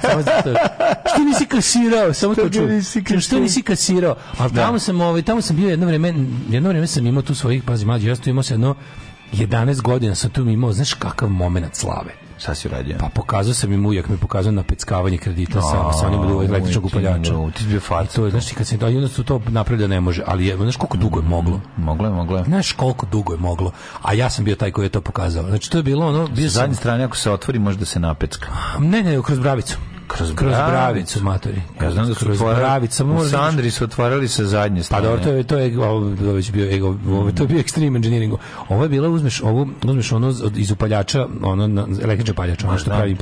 S7: Samo zato- Što nisi kasirao, samo to čujem.
S6: nisi kasirao?
S7: Što nisi kasirao? Ali tamo sam, ovaj, tamo sam bio jedno vrijeme, jedno vrijeme sam imao tu svojih, pazi mlađi, ja sam tu imao se jedno 11 godina sam tu imao, znaš kakav momenat slave.
S6: Šta si uradio?
S7: Pa pokazao sam im ujak, mi pokazao na peckavanje kredita sa, sa onim od električnog
S6: ujke,
S7: upaljača.
S6: no, ti si bio
S7: I to je, znaš, ti kad se, ali onda su to napravili da ne može, ali je, znaš koliko dugo je moglo?
S6: Moglo je, moglo je.
S7: Znaš koliko dugo je moglo, a ja sam bio taj koji je to pokazao. Znači to je bilo ono, bio
S6: Sa zadnje
S7: sam,
S6: strane, ako se otvori, može da se napecka.
S7: ne, ne, kroz bravicu.
S6: Kroz,
S7: Kroz bravicu, matori.
S6: Ja znam da su
S7: Kroz
S6: otvarali-
S7: bravicu. Samo
S6: u
S7: možeš-
S6: Sandri su otvarali sa zadnje
S7: Pa
S6: strane.
S7: dobro, to je to je ovo je već bio ego, ovo to je bio extreme engineering. Ovo je bilo uzmeš ovu, uzmeš ono z- od- iz upaljača, ono na, električni paljač, ono što
S6: da.
S7: pravi.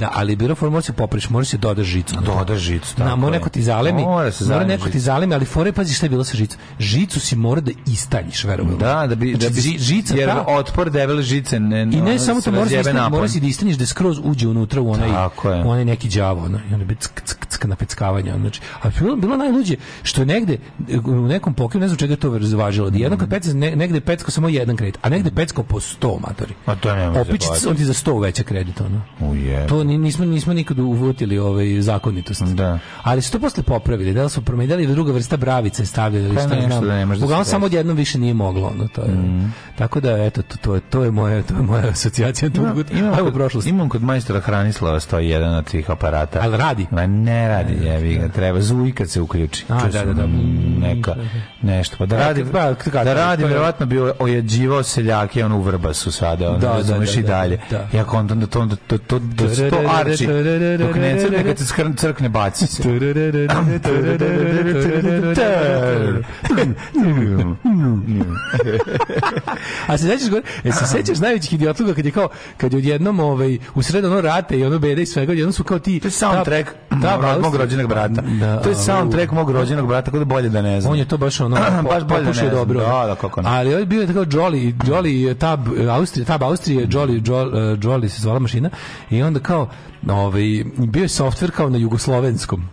S7: Da, ali bilo for može se popriš, može se doda žicu.
S6: Doda žicu, tako
S7: Na, mora
S6: je.
S7: neko ti zalemi.
S6: Mora
S7: Mora,
S6: se zalemi
S7: neko ti
S6: žicu.
S7: zalemi, ali fore pazi šta je bilo sa žicom. Žicu si mora da istanjiš, verujem.
S6: Da, da bi, da bi
S7: Znači, žica
S6: jer
S7: ta,
S6: otpor debele žice ne,
S7: I ne
S6: ono,
S7: samo
S6: se
S7: to moraš da
S6: razjebe
S7: istane,
S6: napolje.
S7: moraš i da istanješ da skroz uđe unutra u onaj,
S6: Tako je.
S7: u onaj neki đavo, ono, i onda bi ck, ck, ck na peckavanje. Ono, znači, a bilo, bilo najluđe što je negde e, u nekom pokrivu, ne znam čega je to razvažilo, da jedno
S6: Mhm.
S7: kad pecka, ne, negde je peckao samo jedan kredit, a negde je peckao po 100 matori.
S6: Ma to ne može
S7: Opič,
S6: zaboraviti.
S7: on ti za 100 uveća kredit, ono.
S6: Ujebe.
S7: To ni, nismo, nismo nikad uvotili ovaj zakonitost.
S6: Da.
S7: Ali su to posle popravili, da li su promenili da druga vrsta bravice stavljali, ili
S6: Pa
S7: šta
S6: nešto
S7: znam.
S6: da ne može da se
S7: Uglavnom
S6: desi. Mhm.
S7: samo odjednom više nije moglo, ono, to je. Tako da, eto, to, to, je, to je moja, to je moja asocijacija.
S6: Imam-
S7: Imam,
S6: imam
S7: Ajmo u
S6: kod-
S7: prošlost.
S6: Imam kod majstora Hranislava stoji jedan od tih aparata.
S7: Ali radi?
S6: Ma ne radi, jevi ga, treba zuji kad se uključi.
S7: A,
S6: Čuo
S7: da,
S6: sam
S7: da, da.
S6: mm, Neka, nešto. Pa da radi,
S7: kad- ba, kad- kad-
S6: da radi,
S7: to je-
S6: vjerovatno bi ojađivao seljake, on u Vrbasu sada, on
S7: Da, da,
S6: razumeš
S7: da,
S6: i
S7: da,
S6: dalje.
S7: da.
S6: Ja kontam da to, onda to, to, to, to, to arči, dok ne crkne, kad se skrn- crkne, baci se.
S7: A se sećaš gore, e, se sećaš najvećih idiotluga kad je kao kad je odjednom ovaj u sred ono rate i ono bede i svega, odjednom su kao ti
S6: To je soundtrack
S7: ta
S6: mog-
S7: Bauhaus-
S6: mog rođenog brata.
S7: Da,
S6: to je
S7: au.
S6: soundtrack mog rođenog brata, tako da bolje da ne znam.
S7: On je to baš ono
S6: baš
S7: baš
S6: bolje da ne
S7: pokušao
S6: znam.
S7: dobro. ono.
S6: Da, da, kako ne.
S7: Ali on je bio tako Jolly, Jolly je tab e, Austrije, tab Austrije, Jolly Jol- e, Jolly se zvala mašina i onda kao ovaj bio je softver kao na jugoslovenskom.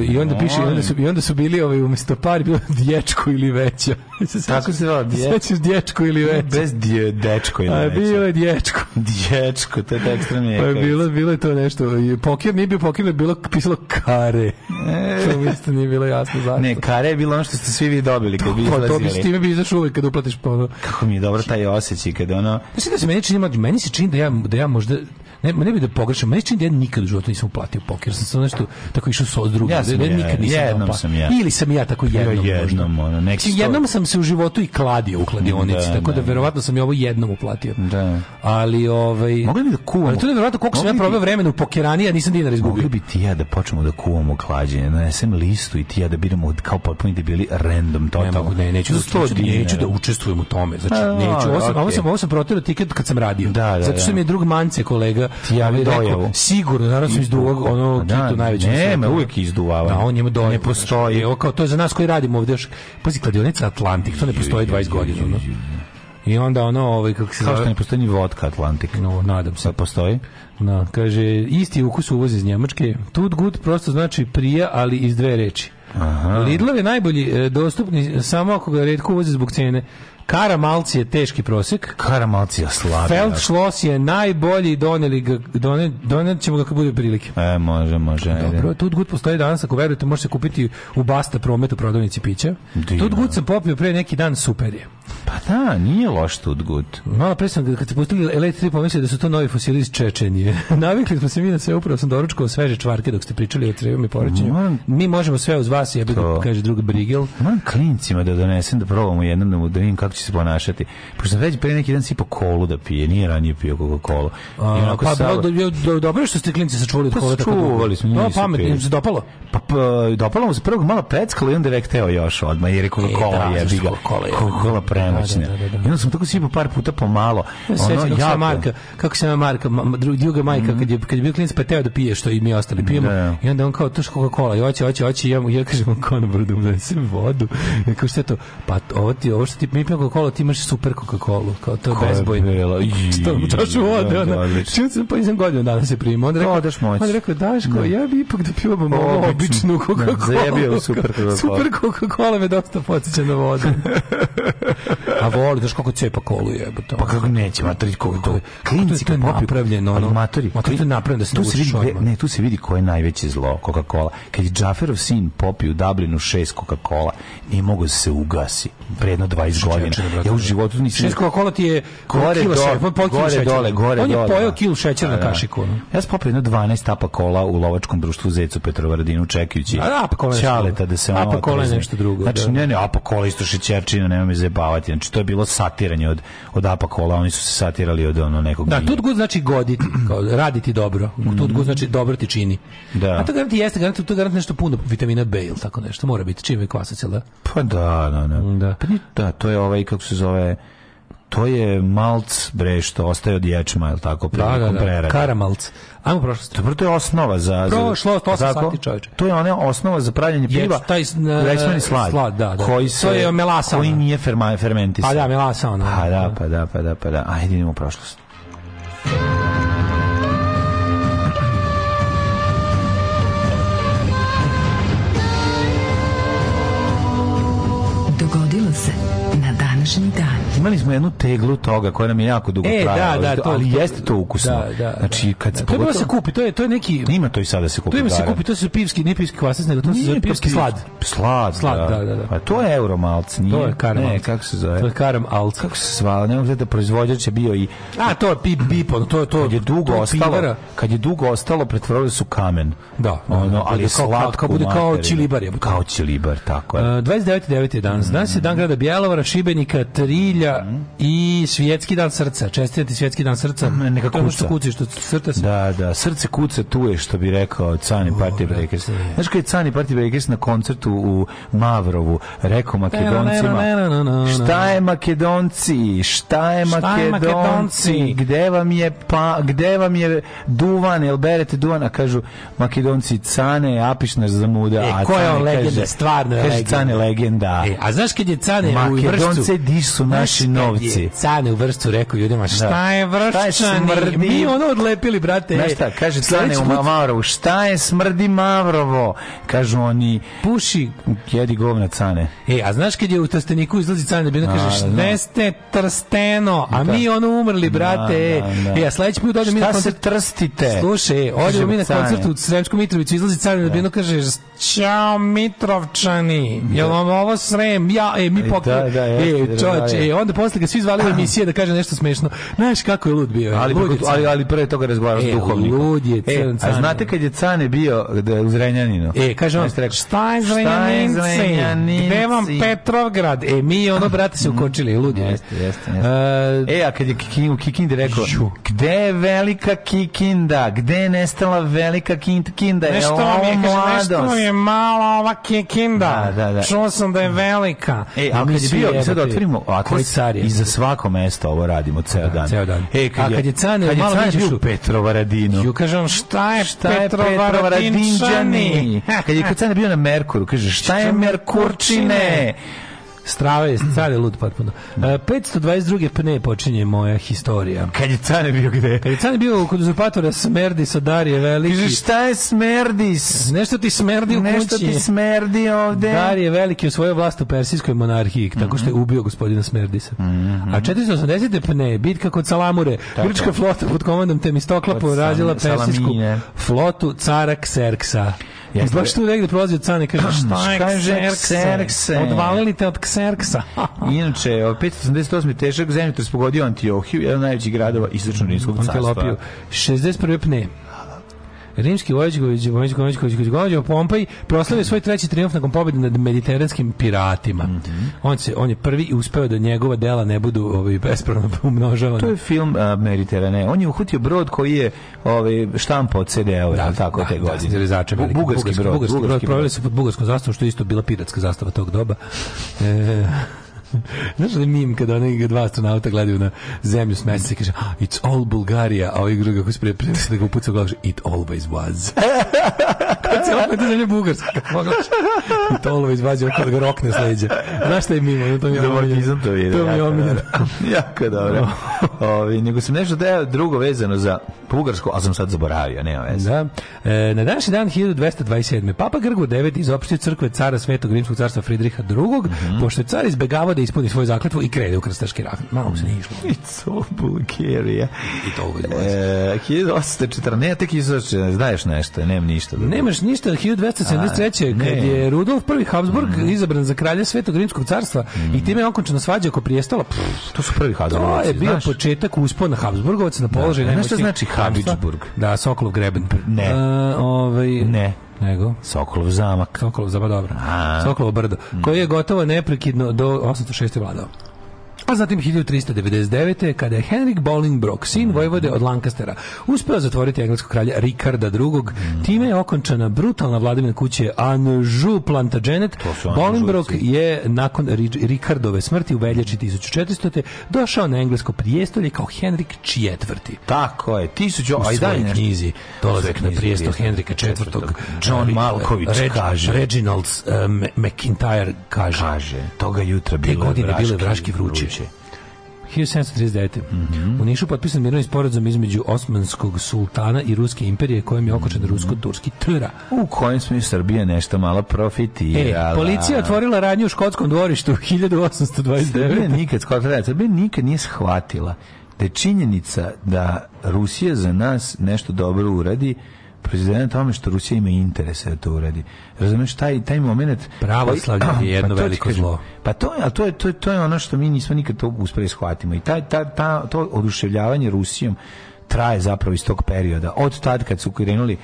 S7: E, I onda piše, i onda su, i onda su bili ovaj, umjesto par, bilo dječko ili veća. Se
S6: Tako
S7: sećaš-
S6: se zvala, dje-
S7: Sećaš dječko ili veća?
S6: Bez dje, dečko ili
S7: A
S6: neće.
S7: bilo je dječko.
S6: Dječko, to je tekstra
S7: Pa je
S6: mlijeka.
S7: bilo, bilo je to nešto. I Pokir nije bio pokir, nego je bilo pisalo kare.
S6: E.
S7: To mi isto nije bilo jasno zašto.
S6: Ne, kare je bilo ono što ste svi vi dobili kad bi
S7: Pa to bi s
S6: izlazili.
S7: time bi izašao uvek kad uplatiš po ono.
S6: Kako mi je dobro taj osjećaj kad ono...
S7: Mislim da se meni čini, mlađe, meni se čini da ja, da ja možda, ne, ne bi da pogrešim, meni se čini da ja nikad u životu nisam uplatio poker, sam samo nešto tako išao sa drugim,
S6: Ja sam
S7: da, da
S6: je-
S7: nikad nisam
S6: jednom
S7: uplatio.
S6: sam ja.
S7: Ili sam ja tako jednom,
S6: Ja jednom,
S7: možda.
S6: ono, neki
S7: Mislim,
S6: sto-
S7: jednom sam se u životu i kladio u kladionici,
S6: Da,
S7: tako da,
S6: da.
S7: verovatno sam i ovo jednom uplatio.
S6: Da.
S7: Ali, ovaj...
S6: Mogli bi da kuvamo.
S7: Ali to je verovatno koliko sam ja
S6: Mogli bi-
S7: proveo vremena u pokerani, a nisam dinar
S6: Mogli
S7: izgubio.
S6: bi ti i ja da počnemo da kuvamo klađenje, nanesem listu i ti i ja da biramo od- kao potpuni debili random
S7: Ne
S6: totalno.
S7: mogu, ne, neću,
S6: Za
S7: da,
S6: 100
S7: neću, da- neću da
S6: dinara.
S7: učestvujem u tome. Znači,
S6: A,
S7: neću. Ovo sam, ovo sam,
S6: okej.
S7: ovo sam proterao tiket kad sam radio.
S6: Da, da,
S7: Zato što
S6: da.
S7: mi je drug Mance kolega
S6: javi
S7: ovaj,
S6: dojavu.
S7: sigurno, naravno sam iz duvog, ono,
S6: Pa Da,
S7: kitu najveće. na
S6: Ne,
S7: svetu.
S6: me uvijek izduvava.
S7: ono." Da, on njemu dojavu.
S6: Ne postoji.
S7: Evo, kao, to je za nas koji radimo ovdje još. Pazi, kladionica Atlantik, to ne postoji 20 godina. ono. I onda ono, ovaj, kako
S6: Kao što
S7: se zove, Pa
S6: ne postoji ni vodka Atlantik.
S7: no, nadam se.
S6: Sad postoji?
S7: Da, kaže, isti ukus uvoz iz Njemačke. Tut gut prosto znači prija, ali iz dve reči. Lidlov je najbolji e, dostupni samo ako ga redko uvozi zbog cene. Kara malci je teški prosek.
S6: Karamalcija slabi.
S7: Feldschloss je najbolji, doneli ga, done, donet ćemo ga kad bude prilike.
S6: E, može, može. ajde.
S7: Dobro, Tut Gut postoji danas, ako verujete, može se kupiti u Basta promet u prodavnici pića.
S6: Divno.
S7: Tut Gut sam popio pre neki dan, super je.
S6: Pa da, nije loš Tutgut.
S7: Malo pre sam, kad ste pustili Elite 3, pomislio da su to novi fosili iz Čečenije. Navikli smo se mi na sve, upravo sam doručkao sveže čvarke dok ste pričali o trebom i porećenju.
S6: Moram-
S7: Mi možemo sve uz vas, ja bih
S6: To.
S7: kaže drug Brigel.
S6: Moram klincima da donesem da probamo jednom da mu da vidim kako će se ponašati. Pošto sam već pre neki dan sipao kolu da pije, nije ranije pio Coca-Cola. I
S7: A,
S6: onako
S7: pa
S6: sad-
S7: do, do, do, dobro je što ste klinci sačuvali od
S6: Pa
S7: kola tako
S6: sačuvali smo,
S7: No,
S6: nisu
S7: pametno,
S6: pili.
S7: im se dopalo.
S6: Pa, pa dopalo mu se prvog malo peckalo i onda je vek teo još odmah, jer je Coca-Cola
S7: E, da,
S6: jebi
S7: zašto
S6: ga.
S7: Coca-Cola je-
S6: Coca-Cola premoćna.
S7: Da, da, da, da.
S6: I onda sam tako sipao par puta pomalo.
S7: Sećam kako se
S6: Ono, jako- Mhm.
S7: zove Marka, kako se zove Marka, ma- ma- dru- druga majka kad je kad je bio klinac pa je teo da pije što i mi ostali pijemo.
S6: Da.
S7: I onda on kao tuš Coca-Cola i hoće, hoće, hoće i ja mu ja kažem on konobar da mu donesem vodu. I kao šta je to? Pa ovo ti ovo što ti mi pijemo Coca-Cola, ti imaš super Coca-Colu, kao to je
S6: Koja je
S7: bezbojno.
S6: bila? Iji,
S7: Što mu čašu vode,
S6: da, da,
S7: ona.
S6: odlično.
S7: Čim sam pa nisam godinu dana se primio. Onda rekao,
S6: Odeš moć.
S7: Onda rekao, daš kao, ja bi ipak da pivam ovu
S6: Običnu.
S7: običnu Coca-Cola.
S6: zajebio u super Coca-Cola.
S7: Super Coca-Cola me dosta podsjeća na vodu. A Pa voli, znaš kako cepa kolu jebote.
S6: Pa kako neće, matori, kako to? Klinci
S7: to je
S6: kad popiju-
S7: napravljeno,
S6: ali
S7: ono.
S6: Matori,
S7: Ma to je
S6: klin-
S7: napravljeno da se
S6: tu se vidi,
S7: naučiš
S6: gde-
S7: odmah.
S6: ne, tu se vidi ko je najveće zlo, Coca-Cola. Kad je Džaferov sin popio u Dublinu šest Coca-Cola, nije mogao da se ugasi. Predno 20 godina.
S7: čekaj, brate,
S6: Ja u životu nisam...
S7: Šest Coca-Cola ti je
S6: Gore
S7: kilo
S6: dole,
S7: šećera, pa pola kilo
S6: gore
S7: šećera.
S6: dole, gore
S7: On je
S6: dole,
S7: pojeo
S6: da.
S7: kilu šećera
S6: Da,
S7: na
S6: da.
S7: kašiku. ono.
S6: Ja sam popio jedno 12 tapa kola u lovačkom društvu Zecu Petrovaradinu čekajući
S7: A da, apa kola je nešto
S6: Ćaleta
S7: drugo.
S6: da se ono
S7: Apa kola je
S6: otrezni.
S7: nešto drugo,
S6: Znači,
S7: da.
S6: ne, ne, apa kola isto šećerčina, nema me zebavati. Znači, to je bilo satiranje od, od Apakola, oni su se satirali od ono nekog...
S7: Da,
S6: minja.
S7: tut good znači goditi, kao raditi dobro. Tut good znači dobro ti čini.
S6: Da.
S7: A to garant jeste, garant, to garant nešto puno vitamina B ili tako nešto, mora biti. Čim je kvasac, jel da?
S6: Pa da, da, da.
S7: Da.
S6: Pa nije- da, to je ovaj, kako se zove, to je malc, bre, što ostaje od ječma, jel tako,
S7: Da,
S6: prilikom
S7: da, da.
S6: prerade.
S7: Karamalc. Ajmo prošlost.
S6: Dobro, to je osnova za... za-
S7: Prošlo, to osam
S6: Tako?
S7: sati, čovječe.
S6: To je ona osnova za pravljenje
S7: Je,
S6: piva.
S7: taj, e,
S6: ječmeni slad.
S7: slad, da, da.
S6: Koji se,
S7: To je melasa,
S6: Koji
S7: ona.
S6: nije ferma, fermentisan.
S7: Pa da, melasa ona.
S6: Pa da, pa da, pa da, pa da. Ajde, idemo u prošlost.
S5: Dogodilo se na današnji dan.
S6: Imali smo jednu teglu toga koja nam je jako dugo
S7: E,
S6: trajala,
S7: da, da, to,
S6: ali jeste to ukusno.
S7: Da, da,
S6: znači, kad se
S7: da. To je bilo
S6: pogotovo-
S7: se kupi, to je, to je neki...
S6: Ima to i sada se kupi.
S7: To ima se
S6: da, da.
S7: kupi, to su pivski, ne pivski kvasac, nego to se zove
S6: Nije
S7: pivski
S6: pivski-
S7: slad.
S6: Slad,
S7: Slad, da, da, da.
S6: A to je euromalc, nije.
S7: To je karamalc.
S6: Ne, kako se zove?
S7: To je karamalc.
S6: Kako se zvala? Ne mogu gledati da proizvođač je bio i...
S7: A, to je pip, bip, ono, to je to.
S6: Kad je dugo
S7: to je
S6: ostalo,
S7: pivara.
S6: kad je dugo ostalo, pretvorili su kamen.
S7: Da, da, da,
S6: ono, ali
S7: bude
S6: je
S7: kao-
S6: slatko.
S7: kao- bude kao
S6: materinu.
S7: čilibar je.
S6: Kao čilibar, tako
S7: E,
S6: je.
S7: 29.9. je danas. Danas
S6: Mm.
S7: je dan grada Bjelovara, Šibenika, Trilja i Svjetski dan srca. Čestitati Svjetski dan srca.
S6: Mm, neka
S7: To je ono što
S6: kuca.
S7: kuci, što srta se.
S6: Da, da, srce kuca tu je što bi rekao Cani Party Breakers. Znaš kad je Cani Party Breakers na koncertu u Mavrovu rekao Makedoncima
S7: Na, na, na, na, na, na.
S6: Šta je Makedonci? Šta je
S7: Šta je Makedonci?
S6: Makedonci? Gde vam je pa, gde vam je duvan? Jel berete duvan? A kažu Makedonci Cane, apiš nas za muda.
S7: E,
S6: a
S7: ko je
S6: Cane
S7: on legenda?
S6: kaže-
S7: Stvarno je
S6: kaže,
S7: legenda.
S6: Cane legenda.
S7: E, a znaš kad je Cane u
S6: Makedonce,
S7: vršcu?
S6: di su
S7: Znaš
S6: naši
S7: kad
S6: novci?
S7: je Cane u vršcu rekao ljudima, šta
S6: Da.
S7: je
S6: Šta je
S7: vršćani?
S6: smrdi?
S7: Mi ono odlepili, brate.
S6: Znaš šta, kaže Cane
S7: Sledeći
S6: u
S7: put
S6: Ma- Mavrovu, šta je smrdi Mavrovo? Kažu oni,
S7: Puši.
S6: jedi govna Cane.
S7: E, a znaš kad je u trsteniku izlazi Cane, bilo
S6: Da,
S7: kaže,
S6: da, da.
S7: ne ste trsteno, a
S6: Da.
S7: mi ono umrli, brate.
S6: Da, da, da.
S7: E, a sledeći put odem mi na
S6: Šta se
S7: koncert.
S6: trstite?
S7: Slušaj,
S6: Kaže
S7: odemo mi na
S6: Cane.
S7: koncert u Sremsku Mitrovicu, izlazi Cane na binu, kaže, čao Mitrovčani, jel vam ovo Srem, ja, e, mi
S6: Da,
S7: pokrijemo.
S6: da, jeste,
S7: e, čovječ,
S6: da, da.
S7: e, onda posle ga svi zvali u emisije da kaže nešto smešno. Znaš kako je lud bio,
S6: Ali,
S7: lud je
S6: preko-
S7: Cane.
S6: ali, ali pre toga razgovarao
S7: E,
S6: s duhovnikom.
S7: lud je
S6: e,
S7: Cane,
S6: a znate kad je Cane bio da, u Zrenjaninu?
S7: E, kaže on,
S6: Znaš rekao,
S7: šta je Zrenjaninci? Gde vam Petrovgrad? E, mi ono, brate, se ukočili, ludi.
S6: Jeste, jeste, jeste. E, a kad je Kikin, u Kikindi rekao,
S7: Ju.
S6: gde je velika Kikinda? Gde je nestala velika Kin- Kinda? Je
S7: Nešto
S6: li
S7: vam je,
S6: ovo
S7: kaže, nešto
S6: mladost?
S7: vam je mala ova kikinda.
S6: Da, da, da.
S7: Čuo sam da je velika.
S6: E, a kad je bio, sad otvorimo, a
S7: koji car je?
S6: i za svako mesto ovo radimo ceo dan.
S7: ceo dan.
S6: E, kad
S7: A kad je Cane,
S6: kad je
S7: malo vidiš
S6: bio
S7: u-
S6: u Petrovaradinu.
S7: Ju kažem, šta je
S6: Šta je
S7: Petrovaradinčani?
S6: Petrovaradinđani? Kad je Cane bio na Merkuru, kaže, šta je Merkurčine?
S7: Strava je, car je lud potpuno. E, 522. pne počinje moja historija.
S6: Kad je Cane bio gde?
S7: Kad je Cane bio kod uzurpatora Smerdi sa Darije
S6: Kaže,
S7: Veliki,
S6: šta je Smerdis?
S7: nešto ti smerdi u kući.
S6: Nešto ti smerdi ovde. Mhm.
S7: Darije Veliki u svojoj vlast u persijskoj monarhiji, tako što je ubio gospodina Smerdisa. A 480. pne, bitka kod Salamure, grčka flota pod komandom Temistokla
S6: Kod
S7: porazila
S6: Sal-
S7: persijsku
S6: Salamine.
S7: flotu cara Kserksa. I
S6: Jeste.
S7: baš tu negde prolazi od cane, kaže, šta je
S6: Šta je
S7: Kserkse?
S6: Kserkse?
S7: Odvalili te od Kserksa.
S6: Inače, 588. težak zemljotres pogodio Antiohiju, jedan od najvećih gradova istočno-rimskog carstva.
S7: Antilopiju. 61. pne. Rimski vojvođa Vojvođa Vojvođa Vojvođa Pompaj proslavio svoj treći trijumf nakon pobjede nad mediteranskim piratima. On se on je prvi i uspeo da njegova dela ne budu ovaj bespravno umnožavana.
S6: To je film uh, Mediterane. On je uhutio brod koji je ovaj, štampao CD-ove, da, tako te godine.
S7: Da, zelizače
S6: Bu-
S7: velike.
S6: bugarski, brod.
S7: Bugarski, brod. Proveli
S6: brod.
S7: su pod bugarskom zastavom, što je isto bila piratska zastava tog doba. E, Znaš li mim kada oni dva astronauta gledaju na zemlju s meseca i kaže "Ah, it's all Bulgaria, a ovaj drugi kako se pripremi da ga upuca u glavu, kaže, it always was. Kad se ovako zemlja bugarska, kako pogledaš, it always was, i ovako da ga rokne s leđa. Znaš šta je mim? ono, To mi je omiljeno.
S6: Domorkizam to vidio.
S7: To mi je
S6: jako
S7: omiljeno.
S6: dobro. jako dobro. Ovi, nego sam nešto deo drugo vezano za Bugarsku, ali sam sad zaboravio, nema veze.
S7: Da. E, na današnji dan 1227. Papa Grgo IX izopštio crkve cara Svetog Rimskog carstva Fridriha II,
S6: Mhm.
S7: pošto je car izbegavao da ispuni svoju zakletvu i krene u krstaški rat. Malo mu se nije išlo.
S6: It's all Bulgaria.
S7: I to ovaj dolazi.
S6: E, 1814, ne, tek 1814, daješ nešto, nemam ništa. drugo.
S7: Nemaš ništa 1273.
S6: A, ne. Mhm.
S7: kad je Rudolf I Habsburg izabran za kralja Svetog Rimskog carstva i time je okončena svađa oko prijestola. Pff,
S6: To su prvi
S7: to
S6: Habsburgovci,
S7: je bio
S6: znaš?
S7: početak uspona Habsburgovaca na položaj
S6: Da. Znaš
S7: najmoćnijeg
S6: šta znači
S7: carstva?
S6: Habsburg?
S7: Da, Sokolov greben.
S6: Ne.
S7: E, ovaj,
S6: Ne.
S7: Nego?
S6: Sokolov zamak.
S7: Sokolov, zaba dobro. Sokolovo brdo, koji je gotovo neprekidno do 806. vladao. Pa zatim 1399. kada je Henrik Bolingbroke, sin vojvode od Lancastera, uspeo zatvoriti engleskog kralja Rikarda II. Time je okončana brutalna vladavina kuće Anjou Plantagenet.
S6: su Anžujci.
S7: Bolingbroke je nakon Ri- Rikardove smrti u veljači 1400. došao na englesko prijestolje kao Henrik IV.
S6: Tako je, tisuću,
S7: U
S6: a i dalje
S7: svojoj
S6: nešto.
S7: knjizi
S6: svojoj
S7: dolazak na
S6: knjizi
S7: prijesto
S6: Prijesto
S7: Henrika IV.
S6: John
S7: eh,
S6: Malković kaže.
S7: Reginald eh, Ma- McIntyre kaže.
S6: Kaže, toga jutra
S7: Te
S6: bilo je
S7: godine
S6: vraški,
S7: bile vraški vruće. Mhm. 1739. U Nišu potpisan mirovni sporazum između Osmanskog sultana i Ruske imperije kojom je okočen rusko-turski tr.
S6: U kojem smo i Srbija nešto malo
S7: E,
S6: profitirala.
S7: policija otvorila radnju u škotskom dvorištu
S6: Srbija
S7: 1829.
S6: nikad, skoro Srbija nikad nije shvatila da je činjenica da Rusija za nas nešto dobro uradi proizvedena na tome što Rusija ima interese da to uradi. Razumeš, taj, taj moment...
S7: Pravoslavlje je
S6: Pa to ti
S7: jedno veliko
S6: kažem.
S7: zlo.
S6: Pa to, je- a to, je, to, je, to je ono što mi nismo nikad to uspeli shvatimo. I taj, ta, ta, to oduševljavanje Rusijom traje zapravo iz tog perioda. Od tad kad su krenuli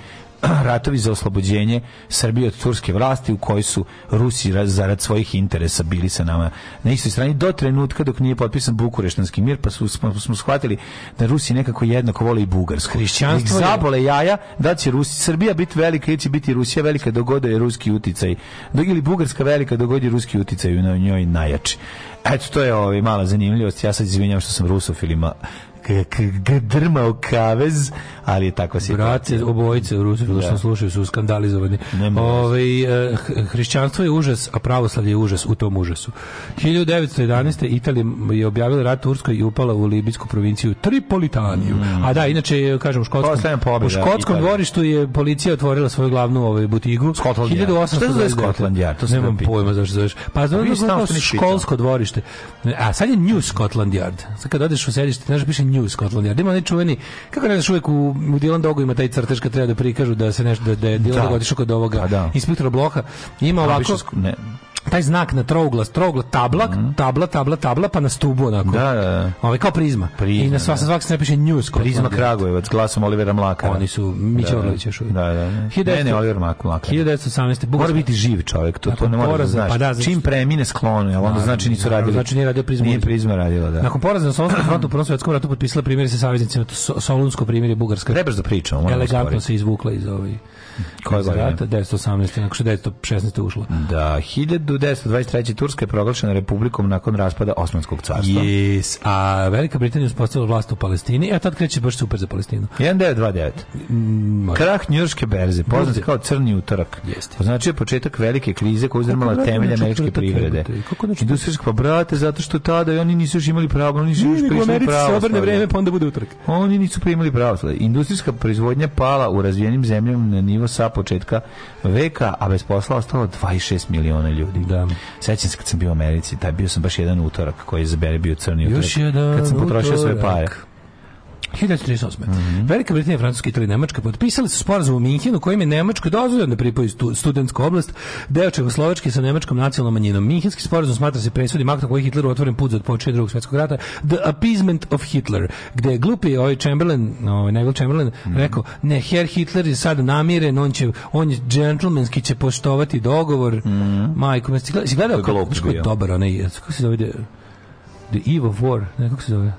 S6: ratovi za oslobođenje Srbije od turske vlasti u kojoj su Rusi raz- zarad svojih interesa bili sa nama na istoj strani do trenutka dok nije potpisan Bukureštanski mir pa su, smo, smo shvatili da Rusi nekako jednako vole i Bugarsku.
S7: Hrišćanstvo
S6: Ih
S7: je-
S6: zabole jaja da će Rusi, Srbija biti velika ili će biti Rusija velika dogoda je ruski uticaj. Dok ili Bugarska velika dogodi ruski uticaj na njoj najjači. Eto, to je ovaj, mala zanimljivost. Ja sad izvinjam što sam rusofilima k- k- k- drmao kavez, ali je takva situacija.
S7: Braće, obojice Rusofila što slušaju su skandalizovani.
S6: Nema veze.
S7: Ove, hrišćanstvo je užas, a pravoslavlje je užas u tom užasu. 1911. Italija je objavila rat Turskoj i upala u libijsku provinciju Tripolitaniju.
S6: Mm.
S7: A da, inače, kažem, u
S6: Postaje
S7: škotskom,
S6: Pa, pobjeda
S7: u škotskom
S6: Italije.
S7: ovaj,
S6: Scotland Yard.
S7: 1829.
S6: Šta se zove Scotland Yard? To sam
S7: Nemam
S6: pitao.
S7: pojma zašto zoveš. Pa zove
S6: vidiš tamo
S7: kao
S6: što nisi pitao.
S7: školsko dvorište. A sad je New Scotland Yard. Sad kad odeš u sedište, znaš da piše New Scotland Yard. Ima onaj čuveni, kako ne znaš uvek u, u Dylan Dogu ima taj crtež kad treba da prikažu da se nešto, da, da je Dylan
S6: Da.
S7: Dog otišao kod ovoga
S6: Pa da.
S7: inspektora bloka. Ima ovako,
S6: Više sk- ne.
S7: taj znak na trouglas, trouglas, tabla, tabla, tabla, tabla, pa na stubu onako.
S6: Da, da, da.
S7: Ovaj, kao prizma.
S6: Prizma,
S7: I na sva, sa svake strane piše New Scotland
S6: Prizma
S7: Yard. Pa
S6: Kragujevac, glasom Olivera Mlakara.
S7: Oni su Mića
S6: Da, da.
S7: Orlić još uvijek.
S6: Da, da. Ne, ne, ne, Oliver Mak- Mlakar.
S7: 1918.
S6: Mora
S7: Bugarska-
S6: biti živ čovjek, to, to
S7: Nakon
S6: ne mora da
S7: poraza,
S6: znaš.
S7: pa da, zato
S6: Čim
S7: što-
S6: premine sklonu, jel onda
S7: Naravno,
S6: znači nisu
S7: naravno,
S6: radili.
S7: znači nije radio Prizmu.
S6: Nije Prizma radila, da.
S7: Nakon poraza na Solonskom frontu u Prvom svjetskom ratu potpisala primjer sa saveznicima, to so- Solunsko primjerje Bugarska.
S6: Trebaš da pričamo, moramo
S7: Elegantno
S6: usporiti.
S7: se izvukla iz ovih
S6: Koje
S7: iz
S6: godine?
S7: rata, 918. Nakon što je 916. ušla.
S6: Da, 1923. Turska je proglašena republikom nakon raspada Osmanskog carstva.
S7: Yes. A Velika Britanija uspostavila vlast u Palestini, e, a tad kreće baš super za Palestinu.
S6: 1929.
S7: Mm, može.
S6: Krah njurške berze, poznat
S7: Drugde.
S6: kao crni utorak.
S7: Jeste.
S6: Označio je početak velike krize koja je
S7: Kako
S6: uzrmala
S7: ne
S6: temelje
S7: čuo
S6: američke
S7: četvrtak,
S6: privrede.
S7: jebote, kako ne čuo
S6: Industrijska, pa brate, zato što tada oni nisu još imali pravo, oni nisu još
S7: Nego u
S6: prišli
S7: Americi se
S6: pravo.
S7: obrne vreme, pa onda bude utorak.
S6: Oni nisu primili pravoslavlje. Industrijska proizvodnja pala u razvijenim zemljama na nivo sa početka veka, a bez posla ostalo 26 miliona ljudi.
S7: Da.
S6: Sećam se kad sam bio u Americi, taj bio sam baš jedan utorak koji je za mene bio crni utorak.
S7: Još jedan
S6: Kad sam potrošio sve
S7: utorak.
S6: pare.
S7: 1938. Velika Britanija, Francuska, Italija i Nemačka potpisali su sporazum u Minhinu kojim je Nemačkoj dozvoljeno da pripoji stu, studentsku oblast deo Čehoslovačke sa nemačkom nacionalnom manjinom. Minhinski sporazum smatra se presudnim aktom koji je Hitleru otvoren put za odpočinje drugog svjetskog rata The Appeasement of Hitler gde je glupi ovaj Chamberlain, ovaj Neville Chamberlain rekao, ne, Herr Hitler je sad namiren, on će, on je džentlmenski će poštovati dogovor. Majko, me si gledao, si gledao kako,
S6: glup
S7: kako je
S6: bio.
S7: dobar onaj, kako se zove, The The Eve of War, ne, kako se zove?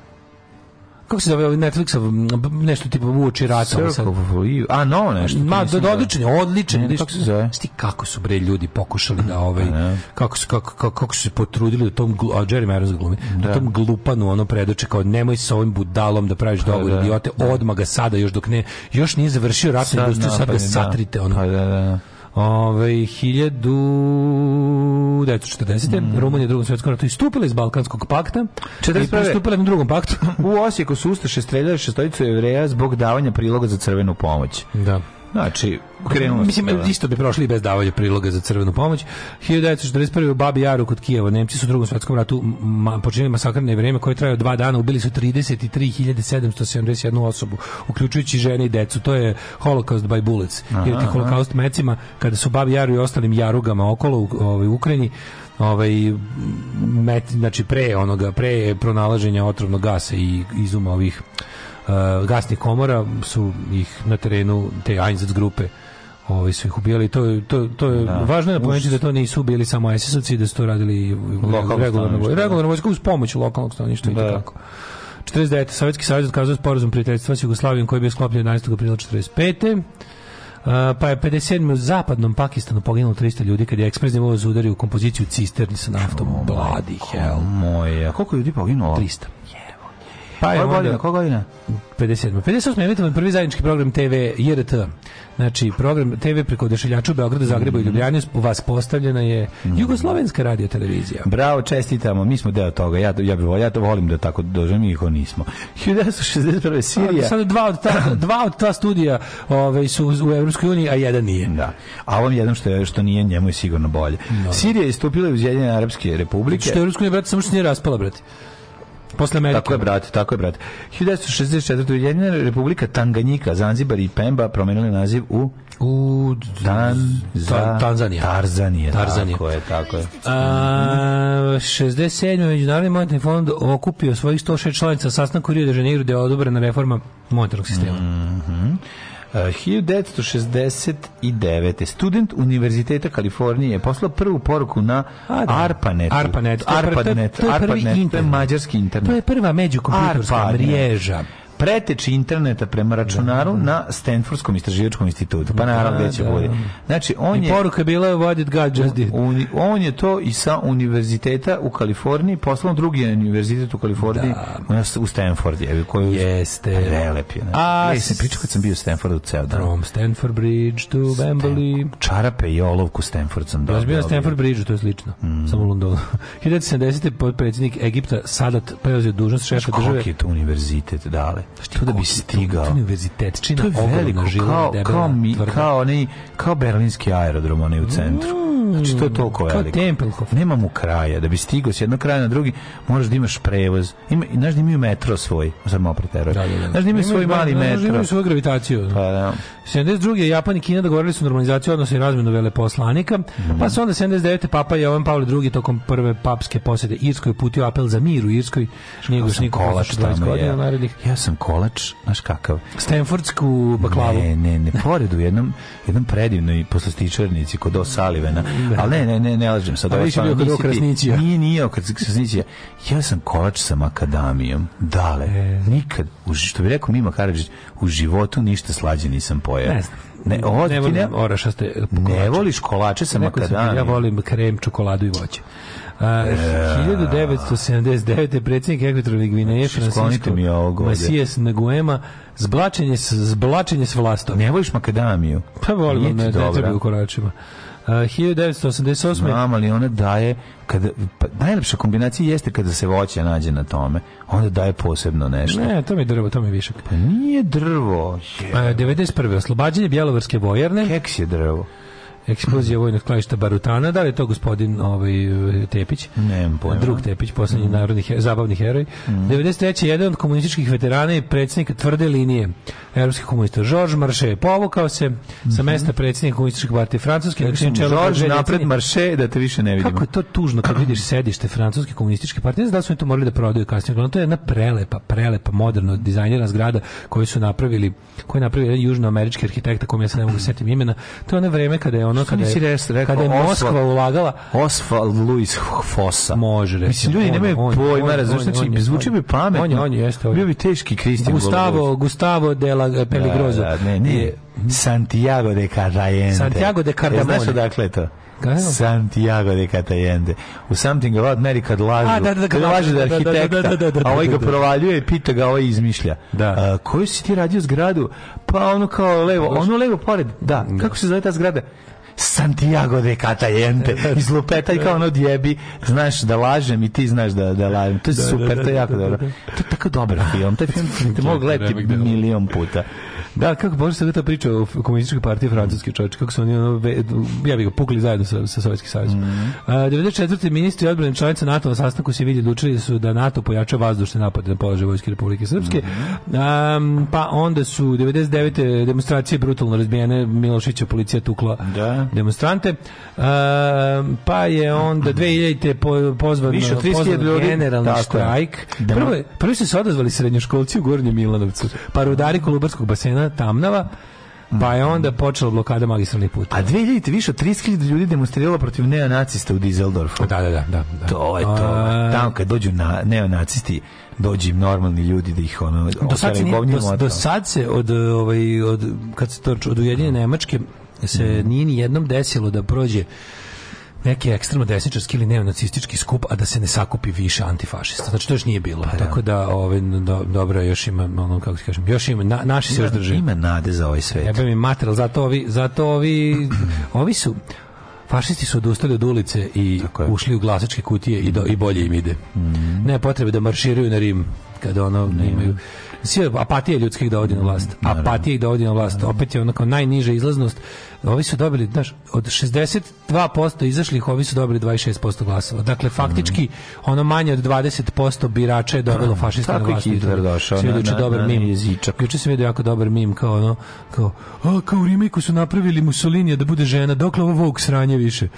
S7: kako se zove ovaj Netflixov m, nešto tipa uoči rata ali sad-
S6: Circle of Leave. A, no, nešto. to
S7: Ma,
S6: nisam
S7: do, do,
S6: gledao.
S7: odličan, je, odličan.
S6: Ne,
S7: je, vidiš,
S6: kako se zove?
S7: znaš ti kako su bre ljudi pokušali da ovaj kako su kako, kako, kako su se potrudili da tom glu- a Jeremy Irons ga glumi, da. tom glupanu ono predoče kao nemoj sa ovim budalom da praviš dogovor
S6: Pa da.
S7: idiote, odmah ga sada još dok ne još nije završio ratnu
S6: Sad
S7: industriju, sad ga
S6: napadne, da.
S7: satrite ono.
S6: Pa, da, da, da.
S7: Ove, 1940. Rumunija u drugom svjetskom ratu istupila iz Balkanskog pakta i
S6: 41..
S7: pristupila na drugom paktu.
S6: U Osijeku su Ustaše streljali šestoricu jevreja zbog davanja priloga za crvenu pomoć.
S7: da.
S6: Znači, krenulo se.
S7: Mislim,
S6: da.
S7: isto bi prošli i bez davanja priloga za crvenu pomoć. 1941. u Babi Jaru kod Kijeva. Nemci su u drugom svjetskom ratu ma, počinili masakrne vrijeme koje traje dva dana. Ubili su 33.771 osobu, uključujući žene i decu. To je Holocaust by bullets. Ili ti Holocaust mecima, kada su Babi Jaru i ostalim jarugama okolo u ovaj, Ukrajini, ovaj met, znači pre onoga pre pronalaženja otrovnog gasa i izuma eh, ovih e, gasnih komora su ih na terenu te Einsatz grupe Ovi su ih ubijali, to, je- to, to je važno je napomenuti da to nisu ubijali samo ISIS-ovci, da su to radili i
S6: Lokalno
S7: regularno
S6: stanovništvo,
S7: vojsko.
S6: da.
S7: Regularno vojsko uz pomoć lokalnog stanovništva i tako. 49. Sovjetski savez otkazao sporazum prijateljstva s Jugoslavijom koji je bio sklopljen 11. aprila 45. Uh, pa je 57. u zapadnom Pakistanu poginulo 300 ljudi kad je ekspresni voz udario u kompoziciju cisterni sa naftom. Bloody hell.
S6: Moje, a koliko je ljudi poginulo?
S7: 300.
S6: Pa je
S7: Koja
S6: onda...
S7: godina,
S6: godina, koja godina?
S7: 57. 58. je emitovan prvi zajednički program TV JRT. Znači, program TV preko odešiljanja u Beogradu, Zagrebu i Ljubljani vas postavljena je
S6: Mhm.
S7: Jugoslovenska radio televizija.
S6: Bravo, čestitamo, mi smo deo toga. Ja, ja, bih, volio- ja to volim da tako dođem, mi ko nismo. 1961. Sirija.
S7: Sad dva od ta, dva od ta studija ovaj, su u Evropskoj uniji, a jedan nije.
S6: Da. A ovom jednom što, je, što nije, njemu je sigurno bolje. Sirija je istupila iz Jedinjene Arabske republike.
S7: Znači, Što je Evropska unija, brate, samo što se nije raspala, brate. Posle Amerike.
S6: Tako je, brate, tako je, brate. 1964. Ujedinjena republika Tanganjika, Zanzibar i Pemba promenili naziv u
S7: U...
S6: Dan, za,
S7: Ta- Tanzanija.
S6: Tarzanija.
S7: Tarzanija.
S6: Tako je, tako je.
S7: A, 67. Međunarodni monetarni fond okupio svojih 106 članica sastanku u Rio de Janeiro gde je odobrena reforma monetarnog sistema.
S6: Uh, 1969. Student Univerziteta Kalifornije je poslao prvu poruku na
S7: A, Pa da.
S6: Arpanetu.
S7: ARPANET. To je pr- to je-
S6: Arpanet.
S7: to je prvi
S6: Arpanet, To je
S7: internet.
S6: mađarski internet.
S7: To je prva međukompjutorska
S6: ARPANET.
S7: mreža.
S6: preteči interneta prema računaru na Stanfordskom istraživačkom institutu. Pa naravno
S7: Da,
S6: gde će
S7: da.
S6: bude. Znači, on
S7: I
S6: je...
S7: poruka je bila what did God just did.
S6: Uni- on je to i sa univerziteta u Kaliforniji, poslao drugi univerzitet u Kaliforniji, u- u Stanfordu, je, koji
S7: Jeste.
S6: Prelep je. ne.
S7: A
S6: Ej, sam pričao kad sam bio u Stanfordu ceo dan.
S7: From Stanford Bridge to Wembley.
S6: Čarape i olovku Stanford sam
S7: Ja
S6: dobio.
S7: sam bio na Stanford Bridge, to je slično.
S6: Mm.
S7: Samo u Londonu. 1970. potpredsjednik Egipta Sadat preuzeo dužnost šefa države.
S6: Koliki je to univerzitet, dale? To da bi stigao.
S7: To je univerzitetčina,
S6: To je veliko,
S7: ogromna, žila,
S6: kao,
S7: debela,
S6: kao, mi,
S7: tvrda.
S6: kao, onaj, kao berlinski aerodrom, onaj u centru. Znači, to je toliko
S7: Kao
S6: veliko.
S7: Tempelhof.
S6: Nema mu kraja. Da bi stigao s jednog kraja na drugi, moraš da imaš prevoz. Ima, znaš da imaju metro svoj. Sad malo preterujem. Znaš da imaju svoj mali
S7: Znaš da
S6: metro.
S7: imaju svoju gravitaciju.
S6: Pa, da.
S7: 72. Japan i Kina dogovorili su normalizaciju odnosa i razmenu veleposlanika,
S6: Mhm.
S7: pa su onda 79. Papa Jovan Pavle II tokom prve papske posjede Irskoj uputio apel za mir u Irskoj. Nije
S6: Ja
S7: ga još
S6: sam
S7: niko
S6: kolač
S7: poslušao 20
S6: tamo,
S7: godina
S6: ja.
S7: narednih.
S6: Ja sam kolač, znaš kakav.
S7: Stanfordsku baklavu.
S6: Ne, ne, ne, pored u jednom, jednom predivnoj poslastičarnici kod Osalivena. Ali ne, ne, ne, ne lažem sad.
S7: A
S6: ovo
S7: više
S6: stvarno
S7: bio kod
S6: nisi ti-
S7: Okrasnićija.
S6: Nije, nije Okrasnićija. Ja sam kolač sa makadamijom. Dale,
S7: E.
S6: nikad, u ži- što bi rekao Mima Karadžić, u životu ništa slađe nisam pojeo.
S7: Ne znam.
S6: Ne, ovo,
S7: ne
S6: ti ne,
S7: volim orašaste
S6: ne voliš kolače sa
S7: Rekao sam ti, Ja
S6: makadamijom.
S7: volim krem, čokoladu i voće. A, 1979. je predsjednik Ekvatorne Gvineje
S6: Znači, sklonite
S7: Francisco
S6: mi ovog ovdje.
S7: Masijas Nguema zblačenje, s- zblačenje s vlastom.
S6: Ne voliš makadamiju.
S7: Pa
S6: Nije
S7: volim,
S6: ti
S7: ne, ne
S6: dobra.
S7: treba u koračima. A, 1988.
S6: Znam, ali ona daje, kada, pa, najlepša kombinacija jeste kada se voće nađe na tome, onda daje posebno nešto.
S7: Ne, to mi je drvo, to mi je višak.
S6: Pa nije drvo. je.
S7: A, 91. Oslobađanje Bjelovarske vojarne,
S6: Keks je drvo.
S7: eksplozija vojnog skladišta Barutana, da li je to gospodin ovaj, e, Tepić?
S6: Nemam pojma. Mhm.
S7: Drug Tepić, posljednji narodni he- zabavni heroj. 93. jedan od komunističkih veterana i predsjednika tvrde linije evropskih komunista. Georges Marché je povukao se sa
S6: Mhm.
S7: mesta predsjednika komunističke partije Francuske. na čijem čelu
S6: Žorž
S7: dve
S6: Znači, napred
S7: decenije-
S6: marše da te više ne vidimo.
S7: Kako je to tužno kad vidiš sedište francuske komunističke partije, ne znam da li su oni to morali da prodaju kasnije, uglavnom to je jedna prelepa, prelepa, moderno dizajnirana zgrada koju su napravili, koju je napravio jedan južnoamerički arhitekta kom ja se ne mogu setim imena. To je ono vreme kada je ono, kada
S6: nisi
S7: je,
S6: res- rekao
S7: kada je
S6: Oslo?
S7: Moskva ulagala,
S6: Oswald Louis Fossa.
S7: Može, recimo.
S6: Mislim, ljudi
S7: On-
S6: nemaju
S7: on- on-
S6: pojma,
S7: on-
S6: razumiješ,
S7: on-
S6: znači,
S7: on je-
S6: zvuči bi pametno.
S7: on je- on je, jeste, on je.
S6: Bio bi teški Kristijan
S7: Gustavo, Gustavo de la Peligrozo.
S6: Da, da, ne, ne. Santiago de Cartagena.
S7: Santiago de Cardamone.
S6: E, Znaš odakle je to?
S7: Kako?
S6: Santiago de Cartagena. U Something About Mary kad lažu,
S7: A, da, da, da,
S6: kad
S7: kad
S6: lažu da je
S7: lažu, da, da, da,
S6: arhitekta,
S7: da, da, da, da,
S6: a ovaj ga
S7: da, da.
S6: provaljuje i pita ga, ovaj izmišlja.
S7: Da.
S6: A, koju si ti radio zgradu? Pa ono kao levo, ono levo pored. Da, kako se zove ta zgrada? Santiago de Catayente iz lupeta i kao ono djebi znaš da lažem i ti znaš da, da lažem to je super, to je jako dobro to je tako dobar film, taj film te mogu gledati milion puta
S7: Da, kako Bože se ta priča o f- komunističkoj partiji francuske čovječe, kako su oni ono, ve- ja bih ga pukli zajedno sa, sa Sovjetskim savjezom.
S6: Mhm.
S7: A, 94. ministri odbrane članica NATO na sastanku se vidi odlučili su da NATO pojača vazdušne napade na položaj Vojske Republike Srpske.
S6: Mhm.
S7: Am, pa onda su 99. demonstracije brutalno razbijene, Milošića policija tukla
S6: Da.
S7: demonstrante. Am, pa je onda 2000. Po, pozvan,
S6: Više od 30.000
S7: pozvan
S6: ljudi.
S7: generalni
S6: Tako je.
S7: štrajk.
S6: Demo-
S7: Prvo je Prvi su se odazvali srednjoškolci u Gornjem Milanovcu, pa rudari Kolubarskog basena Tamnava, Pa je onda počela blokada magistralnih puta.
S6: A 2000, više od 30.000 ljudi demonstriralo protiv neonacista u Dizeldorfu.
S7: Da, da, da. da, da.
S6: To je to.
S7: A-
S6: Tamo kad dođu na, neonacisti, dođu im normalni ljudi da ih ono...
S7: do sad, se,
S6: oteraju
S7: nije-
S6: govnjem
S7: do,
S6: od-
S7: do sad se od, e, ovaj, od, kad se to ču- od Ujedinjene Nemačke se nije ni jednom desilo da prođe neki ekstremno desničarski ili neonacistički skup, a da se ne sakupi više antifašista. Znači, to još nije bilo. Tako da, ovaj, do, dobro, još ima, ono, kako ti kažem, još ima, na, naši se još drže.
S6: Ima nade za ovaj svet.
S7: Jebe mi mater, ali zato ovi, zato ovi, ovi su, fašisti su odustali od ulice i
S6: je.
S7: ušli u glasačke kutije i, do, i bolje im ide. Ne potrebe da marširaju na Rim kada ono imaju Svi, apatija ljudskih dovodi na vlast. Apatija ih dovodi na vlast. Opet je onako najniža izlaznost. Ovi su dobili, znaš, od 62% izašlih, ovi su dobili 26% glasova. Dakle, faktički, ono manje od 20% birača je dobilo fašista na
S6: Tako je
S7: vlast.
S6: Hitler došao
S7: Svi
S6: na-
S7: juče
S6: na-
S7: dobar
S6: na
S7: mim.
S6: jezičak.
S7: Juče sam vidio jako dobar mim kao ono, kao, a kao u Rimiku su napravili Mussolinija da bude žena, dokle ovo Vogue sranje više.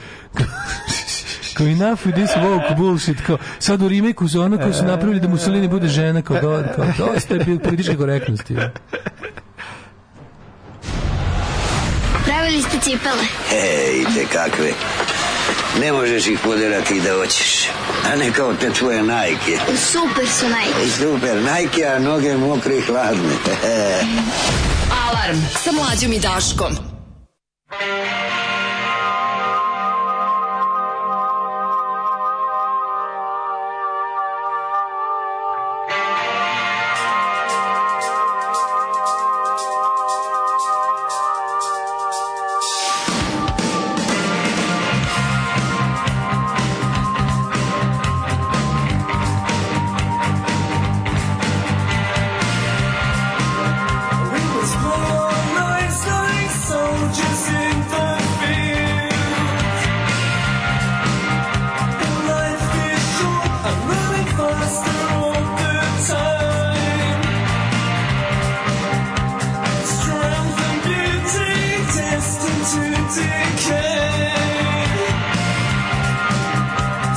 S7: kao enough with this woke bullshit, kao sad u Rimiku su ono koji
S6: E,
S7: su napravili da Mussolini bude žena, kao, do, kao dosta je bio političke korektnosti. ono.
S5: Pravili ste cipele.
S11: Ej, te kakve. Ne možeš ih poderati da hoćeš. A ne kao te tvoje najke.
S5: Super su najbolji.
S11: I E super, najke, a noge mokre i hladne.
S10: Alarm sa mlađom i Daškom.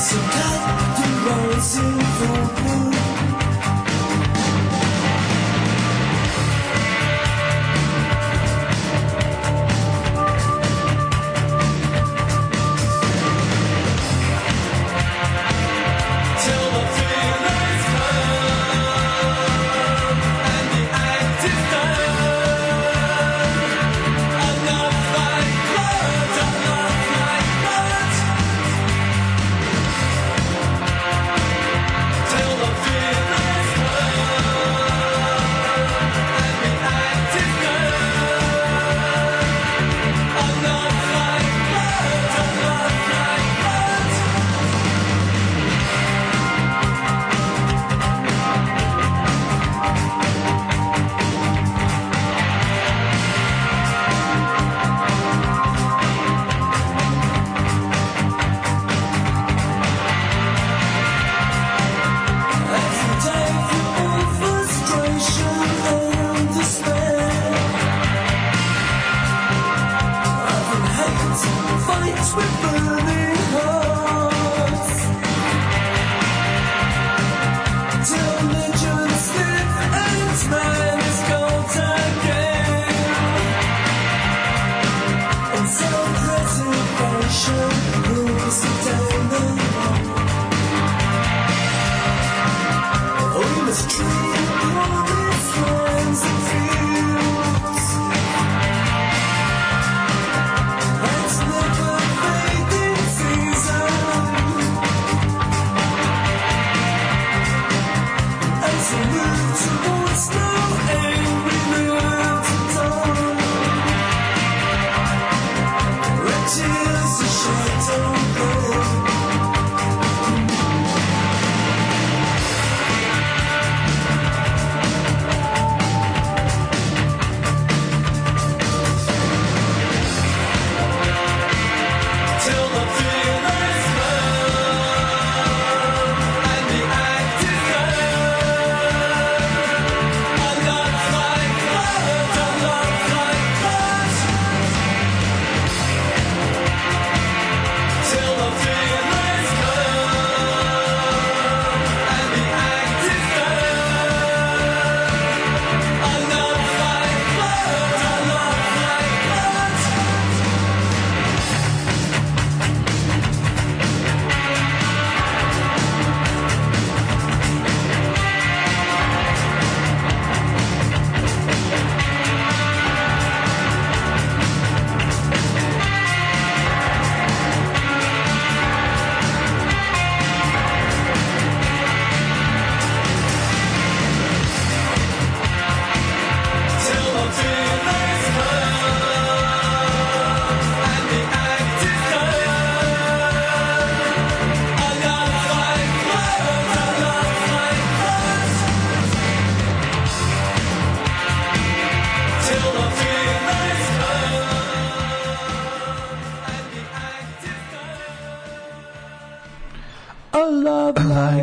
S1: So cut the rose in the blue Till the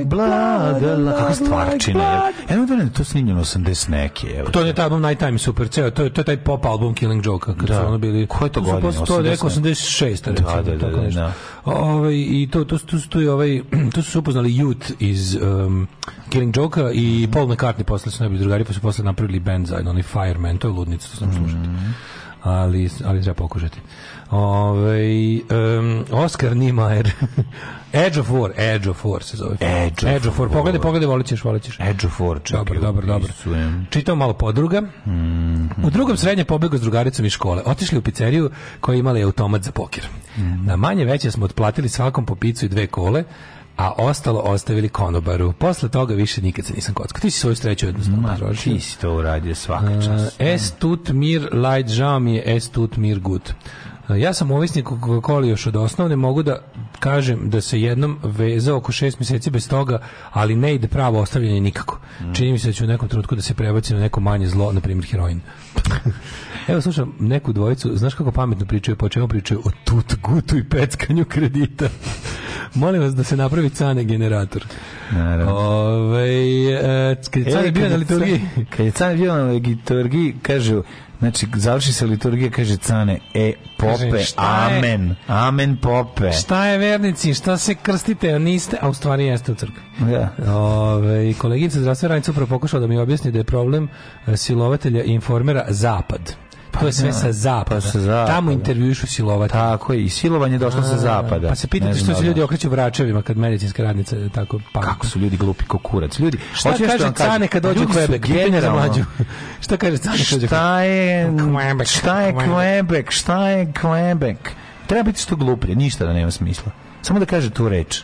S6: blagala. Kakva stvarčina. Evo da ne, to je snimljeno 80 neke. Evo.
S7: To je taj album Night Time Super, ceo, to je, to je taj pop album Killing Joke, kad
S6: Da.
S7: su ono bili...
S6: Koje to
S7: su
S6: godine?
S7: posle- To je neko 86. recimo,
S6: Da, da, da,
S7: tako
S6: da,
S7: nešto.
S6: da.
S7: Ovaj, I to, to, su- tu su- tu je ovaj, tu su se upoznali Youth iz um, Killing Joke i Paul McCartney posle su najbolji drugari, pa su posle napravili band zajedno, oni Fireman, to je ludnica, to sam slušati.
S6: Mhm.
S7: Ali, ali treba pokušati. Ove, um, Oscar Niemeyer Edge of War Edge of War se zove
S6: Edge of
S7: Edge of War,
S6: War.
S7: pogledaj, pogledaj, volit ćeš, volit ćeš
S6: Edge of War, čekaj.
S7: Dobar, dobar, dobar.
S6: upisujem. Mhm.
S7: Čitao malo podruga. U drugom srednje pobegao s drugaricom iz škole. Otišli u pizzeriju koja je imala i automat za pokir.
S6: Mhm.
S7: Na manje veće smo otplatili svakom po picu i dve kole, a ostalo ostavili konobaru. Posle toga više nikad se nisam kockao. Ti si svoju sreću jednostavno
S6: Ma,
S7: potrošio.
S6: ti si to uradio svaka čast.
S7: E, Es tut mir light žao mi je es tut mir gut. E, Ja sam ovisnik Coca-Cola još od osnovne, mogu da kažem da se jednom vezao oko šest mjeseci bez toga, ali ne ide pravo ostavljanje nikako.
S6: Mm.
S7: Čini mi se da ću u nekom trenutku da se prebaci na neko manje zlo, na primjer heroin. Evo slušam neku dvojicu, znaš kako pametno pričaju, po čemu pričaju? O tut gutu i peckanju kredita. Molim vas da se napravi cane generator.
S6: Naravno.
S7: Ove, e, kad je cane
S6: E,
S7: bio
S6: kad
S7: na
S6: je
S7: liturgiji.
S6: Cane- Kad je Cane bio na liturgiji, kažu, znači, završi se liturgija, kaže Cane, e, pope,
S7: Kaže, šta je-
S6: amen, amen, pope.
S7: Šta je vernici, šta se krstite, a niste, a u stvari jeste u crkvi.
S6: Da.
S7: Ove, i koleginica zdravstvena radnica upravo pokušala da mi objasni da je problem e, silovatelja i informera zapad. to je sve
S6: da,
S7: sa
S6: pa
S7: zapada.
S6: sa zapada.
S7: Tamo intervjuišu silovatelja.
S6: Tako je, i silovanje je došlo sa zapada.
S7: Pa se
S6: Ne
S7: pitate
S6: znam
S7: što
S6: da
S7: se
S6: li-
S7: ljudi okreću vračevima kad medicinska radnica je tako pa
S6: Kako su ljudi glupi ko kurac. Ljudi,
S7: Šta
S6: hoću nešto
S7: kaže
S6: da vam kažem.
S7: Cane kad dođe u
S6: Ljudi su
S7: Quebec? Pitanje za
S6: Generalno,
S7: mlađu. Šta kaže Cane kad dođe u Quebec?
S6: šta je,
S7: Quebec,
S6: šta je Quebec, šta je Quebec? Treba biti što gluplje, ništa da nema smisla. Samo da kaže tu reč.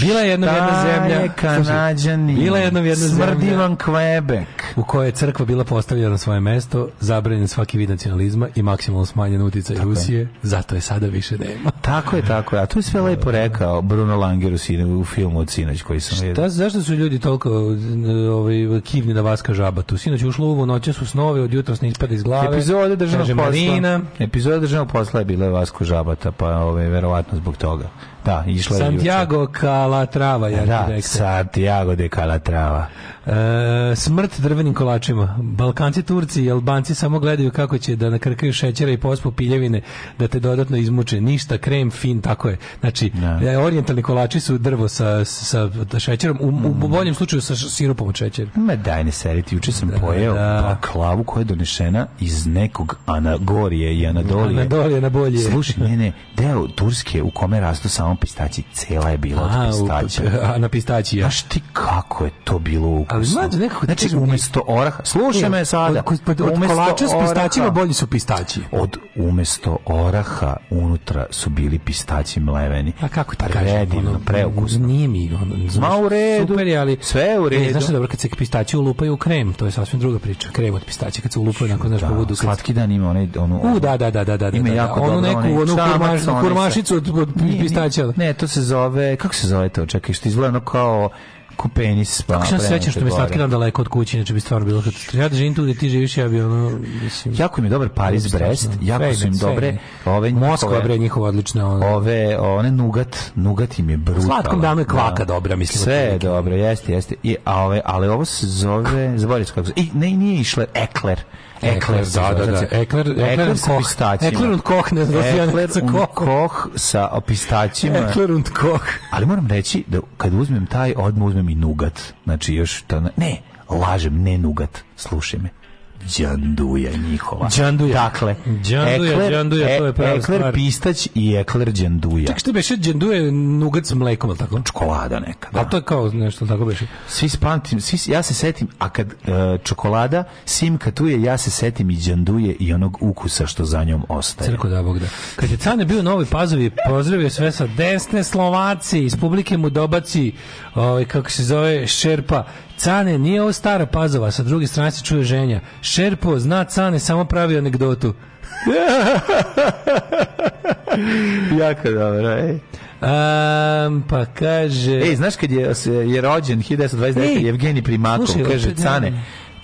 S7: Bila je jednom jedna zemlja.
S6: je Kanadjani?
S7: Slušaj, Bila je jednom jedna zemlja.
S6: Smrdi vam Quebec.
S7: u kojoj je crkva bila postavljena na svoje mesto, zabranjen svaki vid nacionalizma i maksimalno smanjen uticaj Rusije, zato je sada više nema.
S6: Tako je, tako je. A to je sve lepo rekao Bruno Langer u, sine- u filmu od sinoć koji sam vidio.
S7: Da, zašto su ljudi toliko e, ovaj, kivni na Vaska žaba tu? Sinoć ušlo uvo, noće su snovi, od jutra ne ispada iz glave.
S6: Epizoda državnog
S7: Kaže
S6: posla.
S7: Marina,
S6: Epizoda državnog posla je bila Vasko Žabata, pa ove, verovatno zbog toga. Da, išla je juče.
S7: Santiago Calatrava, ja da,
S6: Da, Santiago de Calatrava.
S7: E, smrt drvenim kolačima. Balkanci, Turci i Albanci samo gledaju kako će da nakrkaju šećera i pospu piljevine da te dodatno izmuče. Ništa, krem, fin, tako je. Znači, e, orijentalni kolači su drvo sa, sa šećerom, u,
S6: Mm.
S7: u boljem slučaju sa š- sirupom od šećera.
S6: Ma daj ne seriti, juče sam pojeo
S7: da.
S6: baklavu koja je donešena iz nekog Anagorije i Anadolije.
S7: Anadolije na bolje.
S6: Slušaj, ne, ne, deo Turske u kome rastu samo pistaći, cela je bila
S7: A,
S6: od
S7: u-
S6: pistaća.
S7: a, na pistaćija.
S6: Znaš ti kako je to bilo ukusno?
S7: mlađe, nekako ti
S6: znači,
S7: kažem, e,
S6: umesto oraha, slušaj me sada,
S7: Od, od, od
S6: umesto
S7: kolača s pistaćima
S6: oraha-
S7: bolji su pistaći.
S6: od umesto oraha unutra su bili pistaći mleveni.
S7: A kako ti kažem?
S6: Predivno,
S7: ono,
S6: preukusno.
S7: Nije mi, ono, znaš,
S6: Ma u redu,
S7: super je, ali...
S6: sve je u
S7: Ne,
S6: redu.
S7: znaš što je dobro, kad se pistaći ulupaju u krem, to je sasvim druga priča. Krem od pistaća, kad se ulupaju, nakon, znaš,
S6: Da,
S7: da, povodu...
S6: slatki dan ima onaj, onu,
S7: U, da, da, da, da, da.
S6: Ima
S7: da, da,
S6: jako
S7: onu
S6: dobro,
S7: neku,
S6: onaj
S7: onu
S6: čamac,
S7: kurmaš,
S6: onaj sa-
S7: kurmašicu od, od
S6: Nije, nije.
S7: pistaća.
S6: Ne, to se zove, kako se zove to? Čekaj, što izgleda ono kao ko penis. Pa,
S7: Kako se ja sećam što mi je
S6: prevrte
S7: slatki
S6: gore.
S7: dan daleko od kuće, inače bi stvarno bilo kad... Ja da živim tu gde ti živiš, ja bi ono, mislim...
S6: Jako im je dobar Paris Brest, jako su im
S7: Sve ide,
S6: dobre
S7: sve ide.
S6: ove
S7: Moskva,
S6: njihove-
S7: bre, njihova odlična... ono.
S6: ove one nugat, nugat im je brutalno.
S7: Slatkom danu je kvaka dobra, mislim,
S6: Sve je
S7: otprilike.
S6: dobro, jeste, jeste. I, a ove, ali ovo se zove, zaboravio sam kako se, i, ne, nije išle, ekler.
S7: Ekler,
S6: se
S7: da,
S6: zove,
S7: da, da.
S6: znači,
S7: Ekler- Ekler und
S6: sa
S7: Koch.
S6: pistaćima.
S7: Ekler und Koch, ne znam, ja ne
S6: Ekler
S7: znam
S6: und
S7: Koch.
S6: Koch sa pistaćima.
S7: Ekler und Koch.
S6: Ali moram reći da kad uzmem taj, odmah uzmem i nugat. Znači još to... Ne, ne, lažem, ne nugat. Slušaj me. Đanduja njihova.
S7: Đanduja.
S6: Dakle, E-
S7: Đanduja, đanduja, to je prava
S6: ekler
S7: stvar.
S6: pistać i ekler đanduja.
S7: Čak što beše dženduje nugac s mlekom, ali tako?
S6: Čokolada neka.
S7: Da. A to je kao nešto tako beše.
S6: Svi spamtim, svi, ja se setim, a kad e, čokolada simka tu je, ja se setim i đanduje i onog ukusa što za njom ostaje.
S7: Crko da Bog da. Kad je Cane bio u Novoj Pazovi, pozdravio sve sa desne Slovaci, iz publike mu dobaci, ovaj, kako se zove, Šerpa. Cane, nije ovo stara Pazova, sa druge strane se čuje ženja. Šerpo, zna Cane, samo pravi anegdotu.
S6: jako dobro, ej.
S7: Am, pa kaže...
S6: Ej, znaš kad je, je rođen 1929.
S7: Ej,
S6: Evgenij Primakov,
S7: slušaj,
S6: kaže
S7: opet,
S6: Cane,
S7: da.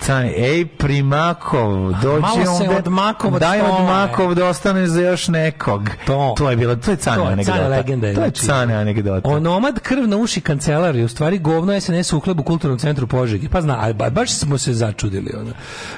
S6: Cane, ej, primakov, dođi
S7: Malo se
S6: onda,
S7: odmakov od
S6: daj
S7: tome.
S6: odmakov da ostaneš za još nekog. To, je bilo, to je Cane
S7: To je
S6: anegdota.
S7: Cane legenda je,
S6: to je
S7: znači.
S6: Cane anegdota.
S7: Onomad krv na uši kancelar je u stvari govno SNS uhleb u kulturnom centru Požegi. Pa zna, a ba- baš smo se začudili. Ono.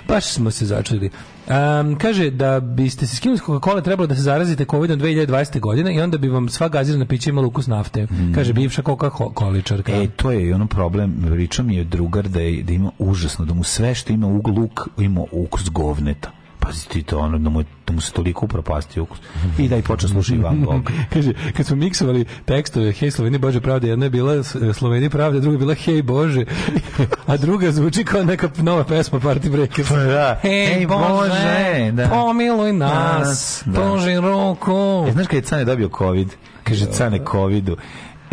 S7: Baš smo se začudili. Ehm, kaže da biste se skinuli s Coca-Cola trebalo da se zarazite COVID-om 2020. godine i onda bi vam sva gazirana pića imala ukus nafte. Kaže bivša Coca-Coličarka.
S6: E, to je i ono problem, pričao mi je drugar da, je, da ima užasno, da mu sve što ima u luk, ima ukus govneta. Pazi ti to, ono, da mu, je- da mu se toliko upropasti ukus. I da i počne slušati Van Gogh.
S7: Kaže, kad smo miksovali tekstove Hej Sloveni Bože pravde, jedna je bila S- e, Sloveni pravde, druga je bila Hej Bože, a druga zvuči kao neka nova pesma Party Breakers.
S6: da.
S7: Hej
S6: Hej,
S7: Bože,
S6: Bože, da.
S7: pomiluj nas,
S6: Nas, da.
S7: pruži ruku.
S6: E, znaš kad je Cane dobio COVID? Kaže, Cane covidu. E,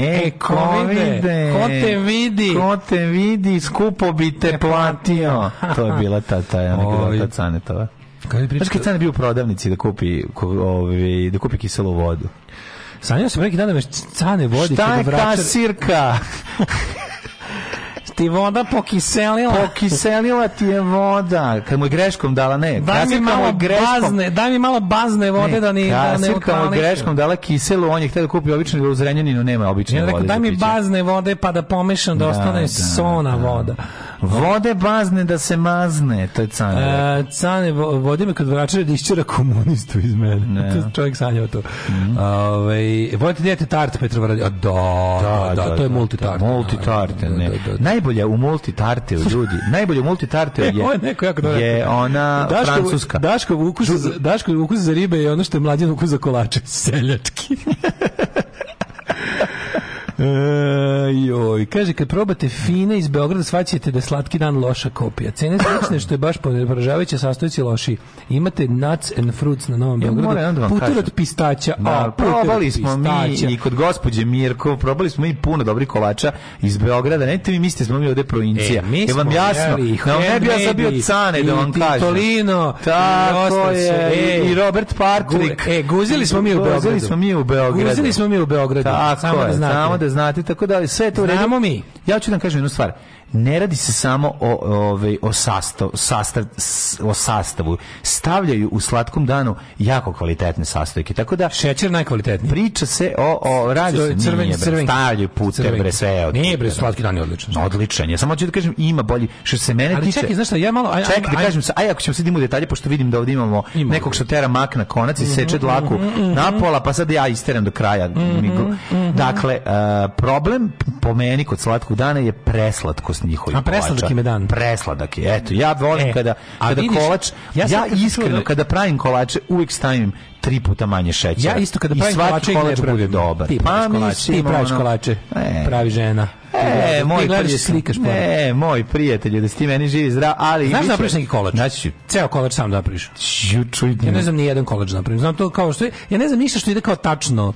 S7: E, covide,
S6: covide,
S7: ko te vidi?
S6: Ko te vidi, skupo bi te platio. To je bila ta, ta,
S7: Ovi.
S6: anegdota Canetova.
S7: Kaj priča?
S6: Znaš kad je Cane bio u prodavnici da kupi, ko- ovaj, da kupi kiselu vodu?
S7: Sanjao sam neki dan da me cane vodi
S6: Šta
S7: kod
S6: je
S7: vračara.
S6: kasirka?
S7: Ti voda pokiselila.
S6: Pokiselila ti je voda. Kad mu je greškom dala, ne.
S7: Daj mi
S6: kasirka mu je
S7: malo
S6: greškom- E,
S7: bazne, daj mi malo bazne vode da ni da ne
S6: kasirka mu je
S7: otališe.
S6: greškom dala kiselu, on je htio da kupi običnu, jer u Zrenjaninu nema obične
S7: Ja rekao,
S6: vode.
S7: daj
S6: za
S7: mi
S6: piće.
S7: bazne vode pa da pomešam da,
S6: Da,
S7: ostane
S6: da,
S7: sona voda.
S6: Vode bazne da se mazne, to je canje.
S7: E, cane, vo- vodi me kod vračara da išćera komunistu iz mene.
S6: Ne.
S7: To čovjek sanjao to. Ovaj, volite dijete tart Petrovaradi? A da, da, da, to je multitart.
S6: Multitarte,
S7: Da, da,
S6: ne.
S7: da, da.
S6: Najbolja u multitarte u ljudi. Najbolja u multitarte je,
S7: Ovo je neko jako dobro
S6: je
S7: rekao.
S6: ona
S7: Daškov-
S6: francuska.
S7: Daškov ukus, za, Daškov ukus za ribe je ono što je mlađan ukus za kolače. Seljački. E, joj, kaže, kad probate fine iz Beograda, svaćate da je slatki dan loša kopija. Cene slične, što je baš poražavajuće, sastojci loši. Imate nuts and fruits na Novom
S6: Ja moram jednom da
S7: Beogradu.
S6: vam
S7: Putur
S6: kažem.
S7: od pistaća. a,
S6: Da,
S7: putur od
S6: probali smo mi
S7: pistaća.
S6: i kod gospođe Mirko, probali smo i puno dobrih kolača iz Beograda. Nemojte mi mislite smo mi ovde provincija.
S7: E, mi
S6: je vam
S7: smo
S6: jasno?
S7: jeli i
S6: Da vam ne bi ja sad bio
S7: handmade-i,
S6: cane da
S7: i
S6: vam kažem.
S7: Titolino, i
S6: Tako
S7: ostali su,
S6: je.
S7: e.
S6: I Robert Patrick.
S7: Gu- e, guzili smo mi u Beogradu.
S6: Guzili smo mi u Beogradu.
S7: Guzili smo mi u Beogradu.
S6: Tako
S7: samo
S6: je,
S7: da znate.
S6: Samo da znate, tako da sve je to u redu.
S7: Znamo mi.
S6: Ja ću da vam kažem jednu stvar. Ne radi se samo o, ovaj, o, sastav, sastav, s- o sastavu. Stavljaju u slatkom danu jako kvalitetne sastojke. Tako da
S7: Šećer najkvalitetniji.
S6: priča se o, o radi se
S7: Crven-
S6: nije, bre,
S7: crvenki.
S6: stavljaju puter,
S7: Crvenki.
S6: bre, sve je od
S7: Nije, bre,
S6: putera.
S7: slatki dan je odličan.
S6: Odličan je. Samo ću da kažem, ima bolji. Što se mene
S7: Ali
S6: tiče...
S7: čekaj, znaš šta, ja malo- aj-
S6: čekaj, da
S7: aj-
S6: kažem, sa- aj ako ćemo sad idemo u detalje, pošto vidim da ovdje imamo
S7: Ima.
S6: nekog što tera mak na konac i
S7: Mm-hmm,
S6: seče dlaku napola, pa sad ja isteram do kraja. mi glu-
S7: mm-hmm.
S6: Dakle, e, problem po meni kod slatkog dana je preslatkost njihovih
S7: A presladak
S6: kolača.
S7: im je dan.
S6: Presladak je. Eto, ja volim
S7: E,
S6: kada,
S7: a
S6: kada
S7: vidiš,
S6: kolač...
S7: ja
S6: Ja,
S7: sam kad sam čuo
S6: iskreno,
S7: da-
S6: kada pravim kolače, uvijek stavim tri puta manje šećera.
S7: Ja isto kada
S6: I
S7: pravim
S6: svaki
S7: kolače,
S6: kolač
S7: ne
S6: bude
S7: pravim.
S6: dobar. Pa
S7: Ti praviš kolače,
S6: mislim,
S7: Pa, ti praviš
S6: ono,
S7: kolače.
S6: e,
S7: Pravi žena.
S6: E,
S7: Ti
S6: moj
S7: gledaš i
S6: prijatelj-
S7: slikaš pored.
S6: E, moj prijatelj, da si ti meni živi zdrav, ali...
S7: Znaš
S6: bit
S7: da
S6: će-
S7: napraviš neki kolač?
S6: Znači,
S7: Ceo kolač sam da napraviš.
S6: ću, čuj,
S7: Ja ne znam ni jedan koleđ napravim. Znam to kao što je, ja ne znam ništa što ide kao tačno.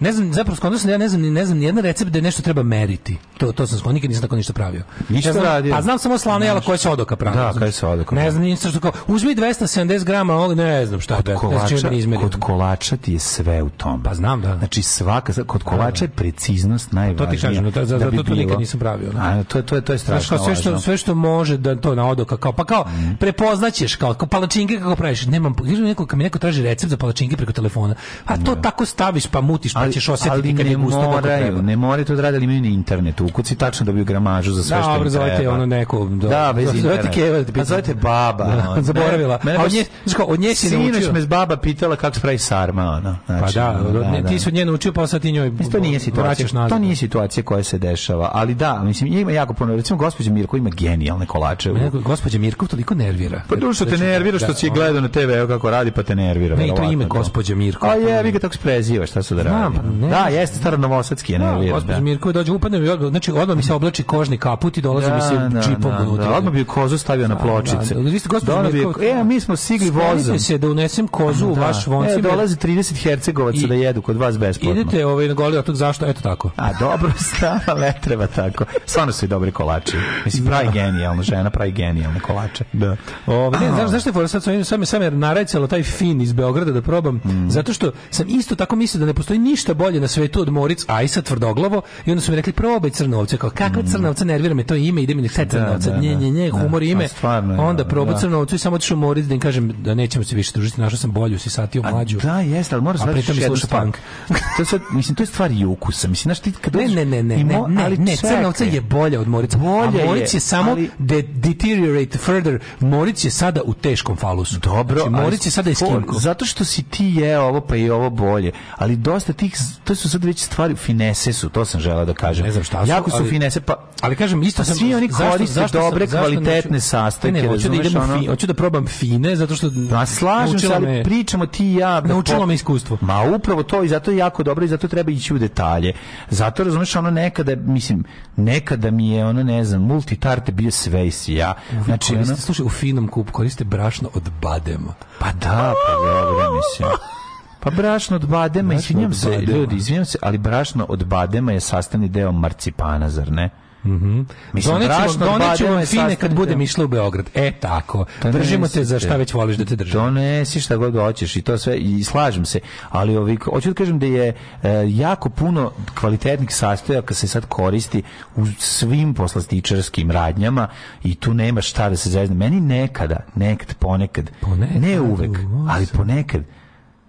S7: Ne znam, zapravo skonto sam da ja ne znam, ni- ne znam ni jedan recept da nešto treba meriti. To, to sam skonto, nikad nisam tako ništa pravio.
S6: Ništa
S7: ja znam,
S6: radio.
S7: Pa znam samo slano jela koje se odoka pravi.
S6: Da,
S7: razumeš?
S6: koje se odoka
S7: Ne
S6: pravi.
S7: znam ništa što kao, uzmi 270 grama ovog, ne znam šta. Kod
S6: kolača,
S7: ne izmerim.
S6: kod kolača ti je sve u tom.
S7: znači, Pa znam, da.
S6: Znači svaka, kod kolača je preciznost najvažnija.
S7: kažem, to- zato to nikad nisam pravio, da.
S6: A, to, je- to, je- to je
S7: Znaš,
S6: strašno Mhm.
S7: kao sve što,
S6: važno.
S7: sve što može da to na odoka kao pa kao prepoznaćeš kao, kao palačinke kako praviš nemam kaže mi neko kad mi neko traži recept za palačinke preko telefona a to tako staviš pa mutiš pa ćeš osetiti kad
S6: ne
S7: je gusto kako treba.
S6: moraju, ne moraju to da rade, ali imaju na internetu. U kuci tačno dobiju gramažu za sve što
S7: Dobro,
S6: im
S7: zovete
S6: treba.
S7: ono neko, do-
S6: Da, bez
S7: zovete
S6: interneta.
S7: Keva da ti
S6: A
S7: pita.
S6: zovete baba.
S7: Da,
S6: ono.
S7: zaboravila.
S6: Mene
S7: A od
S6: baš-
S7: nje- znaš kao, od nje si naučio.
S6: Sinoć me baba pitala kako spravi sarma. Ono.
S7: Pa
S6: Znači,
S7: da,
S6: ono,
S7: ne,
S6: da.
S7: ti su nje naučio, pa sad ti njoj
S6: Mislim, to nije situacija.
S7: vraćaš nazad.
S6: To nije situacija koja se dešava, ali da, mislim ima jako puno. Recimo gospođa Mirko ima genijalne kolače. u-
S7: Mene gospođa Mirkov toliko nervira. Znači,
S6: Pa dušo te nervira što si je gledao na TV, evo kako radi, pa te nervira.
S7: Ne, i ono- to
S6: verovatno,
S7: ime
S6: da.
S7: gospođe Mirko.
S6: A je, vi ga tako spreziva, šta su da
S7: Znam,
S6: radi.
S7: pa ne.
S6: Da, jeste staro novosadski je
S7: Da,
S6: nervira.
S7: gospođa
S6: da.
S7: Mirkov dođe, upadne mi odmah, znači odmah mi se oblači kožni kaput i dolazi mi se
S6: da,
S7: džipom
S6: da,
S7: unutra.
S6: da, odmah bi kozu stavio na pločice.
S7: Da, da, vi ste gospođo
S6: Donao bi je-
S7: Mirković.
S6: E, a mi smo sigli
S7: Spremite
S6: vozom.
S7: se da unesem kozu u
S6: Da.
S7: vaš voncim.
S6: E, dolazi 30 hercegovaca
S7: I-
S6: da jedu kod vas besplatno.
S7: Idete ovaj, na goli otok, zašto? Eto tako.
S6: A dobro, stava, ne treba tako. Stvarno su i dobri kolači. Mislim, pravi genijalno, žena pravi genijalne kolače. Da.
S7: Ove, ne,
S6: Aha.
S7: znaš zašto je fora sad
S6: Mm.
S7: sa ovim, sad me sam narajcalo taj fin iz Beograda da probam, zato što sam isto tako mislio da ne postoji ništa ništa bolje na svetu od Moric Ajsa tvrdoglavo i onda su mi rekli probaj crnovca kao kakva crnovca nervira me to ime ide mi na sve crnovca
S6: Mm. da,
S7: nje nje nje
S6: da.
S7: humor
S6: A
S7: ime
S6: stvarno je,
S7: onda
S6: da,
S7: probaj
S6: da.
S7: crnovcu i samo otišao u Moric da im kažem da nećemo se više družiti našao sam bolju si satio mlađu
S6: Da, jeste, ali moraš
S7: a
S6: znaš
S7: pritom
S6: još
S7: i
S6: jednu
S7: sluša
S6: stvar.
S7: punk
S6: to je sad, mislim, to je stvar i ukusa. Mislim, znaš, ti kad
S7: Ne,
S6: dođeš
S7: ne, ne, ne,
S6: i mo-
S7: ne, ne,
S6: ali
S7: ne,
S6: čekaj.
S7: Crnovca je bolja od Morica.
S6: Bolja
S7: a Moric
S6: je,
S7: je samo
S6: ali-
S7: de deteriorate further. Moric je sada u teškom falusu.
S6: Dobro,
S7: znači,
S6: ali
S7: Moric je sada
S6: for-
S7: iskinko.
S6: Zato što si ti je ovo, pa i ovo bolje. Ali dosta tih, to su sad već stvari, finese su, to sam želeo da kažem.
S7: Ne znam šta su,
S6: Jako su
S7: ali-
S6: finese, pa...
S7: Ali kažem isto
S6: Pa
S7: sam
S6: svi oni
S7: zašto-
S6: koriste
S7: zašto sam-
S6: dobre,
S7: zašto neću-
S6: kvalitetne
S7: Ne,
S6: sastojke,
S7: ne, hoću da
S6: razumeš,
S7: idem u
S6: ono?
S7: fi- hoću da probam fine zato što
S6: Pa slažem se,
S7: naučila
S6: ali
S7: me-
S6: pričamo ti i ja. da
S7: Naučilo
S6: po-
S7: me iskustvo.
S6: Ma upravo to i zato je jako dobro i zato treba ići u detalje. Zato razumeš ono nekada, mislim, nekada mi je ono ne znam, multitarte bio sve i si ja. Znači,
S7: Koriste,
S6: ono,
S7: slušaj, u finom kupu koriste brašno od badema.
S6: pa da, pa dobro, mislim. Pa brašno od badema, izvinjam
S7: od
S6: se,
S7: badema.
S6: ljudi, izvinjam se, ali brašno od badema je sastavni deo marcipana, zar ne? Mislim,
S7: Doneću,
S6: brašno od
S7: doneću
S6: badema
S7: vam
S6: je
S7: Mhm. fine kad
S6: sastavni
S7: budem
S6: deo.
S7: išla u Beograd. E, tako.
S6: To ne
S7: Držimo te za
S6: mislite.
S7: šta već voliš da te držim.
S6: Donesi šta god hoćeš i to sve i slažem se, ali ovi hoću da kažem da je e, jako puno kvalitetnih sastojaka se sad koristi u svim poslastičarskim radnjama i tu nema šta da se zezne. Meni nekada, nekad, ponekad,
S7: Ponekad,
S6: ne uvek,
S7: u,
S6: ali ponekad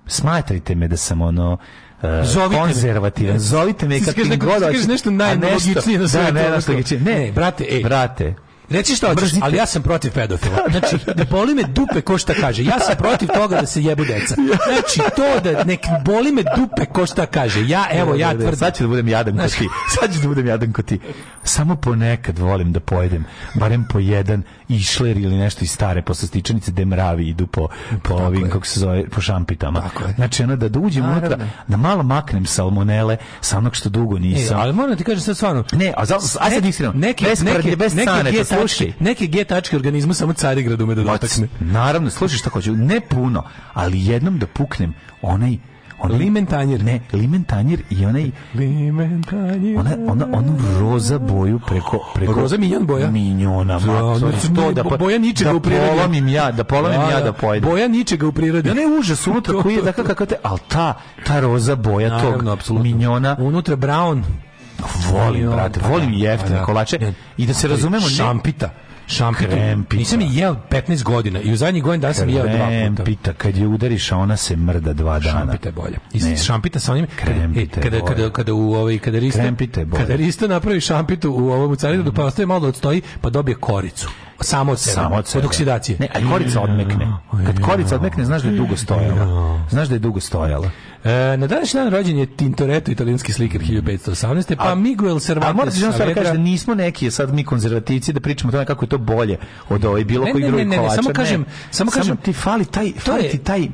S6: smatrajte me da sam ono e,
S7: Zovite me.
S6: konzervativan. Zovite me
S7: Ti
S6: kad
S7: kažeš
S6: ti
S7: neko-
S6: god
S7: ti kažeš
S6: hoćete.
S7: nešto
S6: A
S7: najnelogičnije na
S6: da,
S7: svetu, ono što-
S6: najlogičnije. Ne,
S7: Ne, brate, ej.
S6: Brate.
S7: Reci šta hoćeš,
S6: Mrzite.
S7: ali ja sam protiv pedofila. Znači, da boli me dupe ko šta kaže. Ja sam protiv toga da se jebu deca. Znači, to da nek boli me dupe ko šta kaže. Ja, evo, ja
S6: Ne, ne, ne,
S7: tvrdim.
S6: Sad ću da budem jadan ko
S7: Znaš-
S6: ti. Sad ću da budem jadan ko ti. Samo ponekad volim da pojedem, barem po jedan išler ili nešto iz stare poslastičanice gde mravi idu po, po ovim, kako se zove, po šampitama.
S7: Tako je.
S6: Znači, ono da, da uđem unutra, da malo maknem salmonele sa onog što dugo
S7: E,
S6: nisam.
S7: ali moram ti kažem sad stvarno.
S6: Ne, a za, a sad iskreno,
S7: Neke,
S6: bez
S7: neke,
S6: prdnje, bez
S7: neke
S6: caneta,
S7: G tačke-
S6: slušaj.
S7: Neke G tačke organizmu samo Carigrad ume da
S6: Oc,
S7: dotakne.
S6: Naravno, slušaj šta hoću, ne puno, ali jednom da puknem onaj, onaj
S7: Limen tanjir.
S6: Ne, limen tanjir i onaj
S7: Limentanje.
S6: ona ona onu roza boju preko preko
S7: Roza minjon boja?
S6: minjona
S7: Da,
S6: ma,
S7: ono su
S6: to
S7: mi-
S6: da po-
S7: boja ničega
S6: da
S7: u prirodi.
S6: polomim ja da polomim ja da pojedem
S7: Boja ničega u prirodi.
S6: Ja ne užas unutra koji je dakle, da kako te al ta ta roza boja
S7: Naravno,
S6: tog
S7: apsolutno.
S6: minjona
S7: Unutra brown.
S6: volim
S7: Minjon,
S6: brate
S7: pa
S6: volim
S7: da,
S6: jeftine
S7: pa da.
S6: kolače
S7: Ne,
S6: i da se
S7: ali
S6: razumemo ne
S7: Šampita. Šampita.
S6: Krempita.
S7: Nisam je jeo 15 godina i u zadnjih godina dana sam jeo dva puta.
S6: pita kad je udariš a ona se mrda dva dana
S7: Šampita je bolje. I
S6: Ne.
S7: šampita sa onim e,
S6: Krempita je
S7: kada,
S6: bolje.
S7: kada, kada u ovaj kada Risto
S6: Krempita je bolje.
S7: kada Risto napravi šampitu u ovom u carinu pa ostaje malo da odstoji pa dobije koricu. Samo od sebe.
S6: samo od sebe.
S7: Od oksidacije.
S6: Ne, a korica odmekne. Kad korica odmekne, znaš da je dugo stojala. Znaš da je dugo stojala.
S7: E, na današnji dan rođen je Tintoretto, italijanski slikar 1518. Pa
S6: Mm. A-
S7: Miguel
S6: A
S7: Cervantes.
S6: morate samo da
S7: Saavedra-
S6: kažeš da nismo neki sad mi konzervativci da pričamo o tome kako je to bolje od ovaj bilo
S7: Ne,
S6: koji
S7: ne,
S6: drugi
S7: ne, ne, ne,
S6: kolača.
S7: samo kažem- samo kažem-
S6: ti fali taj, fali
S7: je-
S6: ti taj,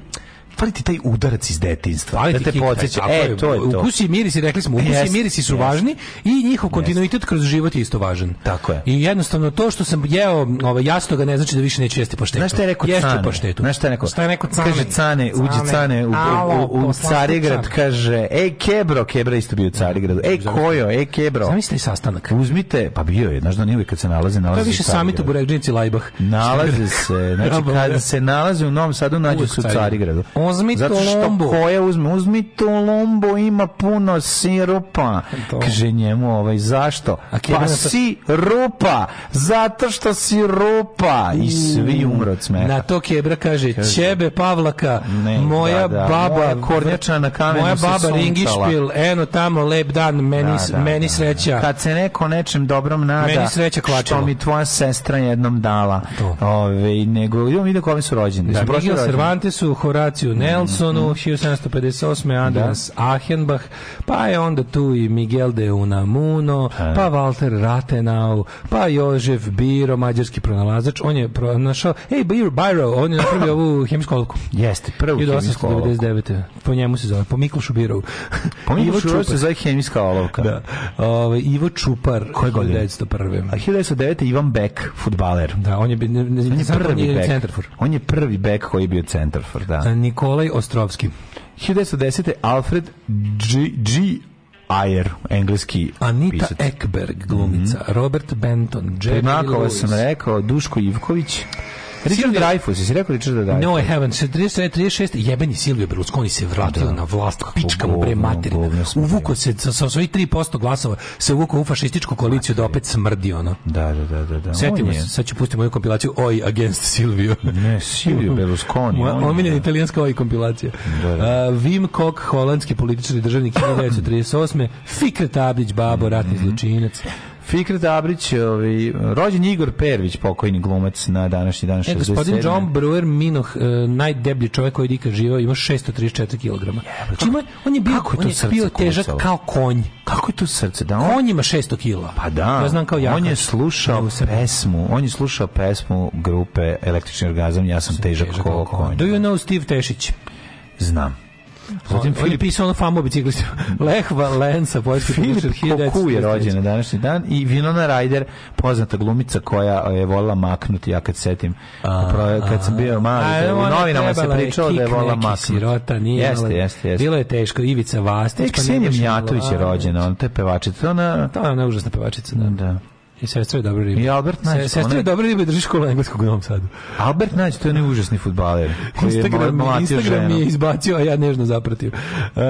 S6: fali ti taj udarac iz detinjstva.
S7: Fali
S6: da
S7: ti
S6: te
S7: kick,
S6: podsjeća.
S7: tako
S6: E, to je to.
S7: Ukusi i mirisi, rekli smo, ukusi
S6: Jest,
S7: i mirisi su
S6: jest.
S7: važni i njihov kontinuitet kroz život je isto važan.
S6: Tako je.
S7: I jednostavno to što sam jeo, ovaj jasno ga ne znači da više neću jesti paštetu.
S6: Znaš šta je rekao
S7: Ješću
S6: Cane?
S7: paštetu.
S6: Znaš šta je rekao?
S7: Šta je rekao Cane?
S6: Kaže Cane, uđi Cane u, u,
S7: Alo,
S6: u, u
S7: poslastičar.
S6: Carigrad, kaže, ej Kebro, Kebra isto bio u Carigradu, ej Kojo, ej Kebro.
S7: Zamisli taj sastanak.
S6: Uzmite, pa bio je, znaš da nije uvijek kad se nalaze,
S7: To
S6: nalaze
S7: je više
S6: u Carigradu.
S7: samit u Burekđinici i Lajbah.
S6: Nalaze se, znači
S7: Dobro, da.
S6: kad se nalaze u Novom Sadu, nađu
S7: Uvek
S6: se u
S7: u Carigradu.
S6: Carigradu.
S7: Uzmi
S6: Zato što
S7: Tolombo.
S6: koja uzme, uzmi Tolombo, ima puno sirupa.
S7: To.
S6: Kaže njemu ovaj, zašto?
S7: A
S6: Pa
S7: Kebra-
S6: sirupa, zato što sirupa. I svi umru od smeha.
S7: Na to Kebra kaže, ćebe Pavlaka,
S6: Ne, da,
S7: moja
S6: da,
S7: baba,
S6: moja kornjača na kamenu
S7: moja
S6: se
S7: baba
S6: suncala.
S7: Ringišpil, eno tamo, lep dan, meni,
S6: Da, da,
S7: meni
S6: da, da.
S7: sreća.
S6: Kad se neko nečem dobrom nada,
S7: Meni sreća kvačilo.
S6: što mi tvoja sestra jednom dala.
S7: To.
S6: Ove, nego, idemo vidjeti kome su rođeni.
S7: Da,
S6: Su prošle
S7: Miguel
S6: rođene?
S7: Cervantesu, Horaciju Nelsonu, 1758. Andras Achenbach, pa je onda tu i Miguel de Unamuno, pa Walter Rathenau, pa Jožef Biro, mađarski pronalazač, on je pronašao, ej, Biro, Biro, on je napravio ovu hemijsku olovku.
S6: Jeste, prvu hemijsku olovku.
S7: 1899. Po njemu se zove, po Miklošu Birovu.
S6: Pa mi
S7: Ivo
S6: još uvijek se
S7: Čupar.
S6: zove hemijska olovka.
S7: Da. Ovaj, Ivo Čupar,
S6: Koje godine?
S7: 1901.
S6: A 1909. Ivan Beck, futbaler.
S7: Da, on je, bi- ne, ne,
S6: On je prvi
S7: ne,
S6: bek.
S7: centarfor.
S6: On je prvi bek koji je bio centarfor, da.
S7: Nikolaj Ostrovski.
S6: 1910. Alfred G. G. Ayer, engleski
S7: Anita
S6: pisac. Mhm. Pa
S7: Ekberg, glumica, Robert Benton, Jerry
S6: Primakova
S7: Lewis,
S6: sam rekao, Duško Ivković, Richard Dreyfus, jesi rekao Richard Dreyfus?
S7: No, I haven't. 36, 36, jebeni Silvio Berlusconi se vratio na vlast, pička mu bre
S6: govno,
S7: materina.
S6: govno smo
S7: Uvuko se sa, sa svojih 3% glasova, se uvuko u fašističku koaliciju da opet smrdi ono.
S6: Da, da, da, da. da.
S7: Setimo
S6: On je-
S7: se, sad ću pustiti moju kompilaciju Oj against Silvio.
S6: Ne, Silvio Berlusconi.
S7: Moja
S6: on je-
S7: omiljena italijanska oj kompilacija.
S6: Da, da.
S7: A, Wim Kok, holandski političar i državnik 1938. Fikret Abdić, babo, ratni
S6: Mhm.
S7: zločinac.
S6: Fikret Abrić, ovaj, rođen je Igor Pervić, pokojni glumac na današnji dan 67.
S7: E, gospodin John Brewer Minoh, e, najdeblji čovjek koji je ikad živao, ima 634 kg. Znači, ima- on je bio,
S6: kako je
S7: on
S6: to
S7: je
S6: srce
S7: bio težak
S6: kucalo?
S7: kao konj.
S6: Kako je to srce? Da, on,
S7: Konj ima 600 kila.
S6: pa da,
S7: Ja znam kao jakač.
S6: on je slušao
S7: Evo se-
S6: pesmu, on je slušao pesmu grupe Električni orgazam, ja sam težak,
S7: težak
S6: ko
S7: kao
S6: konj.
S7: Do you know Steve Tešić?
S6: Znam.
S7: On,
S6: Zatim
S7: on je
S6: Filip,
S7: pisao ono famu o biciklistima. Leh Valensa, poljski
S6: Filip Koku je rođen na današnji dan i Vinona Ryder, poznata glumica koja je volila maknuti, ja kad setim, pro- kad sam bio mali, da, u novinama se pričalo da je volila maknuti.
S7: Sirota, nije
S6: jeste,
S7: imala-
S6: jeste, jeste.
S7: Bilo je teško. Ivica Vastić. pa
S6: E, Ksenija
S7: Nebojša
S6: Mijatović je
S7: Milanović.
S6: rođena, ona to je pevačica, ona...
S7: To je ona užasna pevačica, da.
S6: Da.
S7: I sestra je dobra riba.
S6: I Albert Nađ,
S7: Se, sestra
S6: ona-
S7: je dobra riba i drži školu engleskog u Novom Sadu.
S6: Albert Nađ, to je onaj užasni futbaler koji je
S7: Instagram,
S6: mla- mlatio
S7: Instagram
S6: ženu.
S7: mi je izbacio, a ja nežno zapratio. Uh,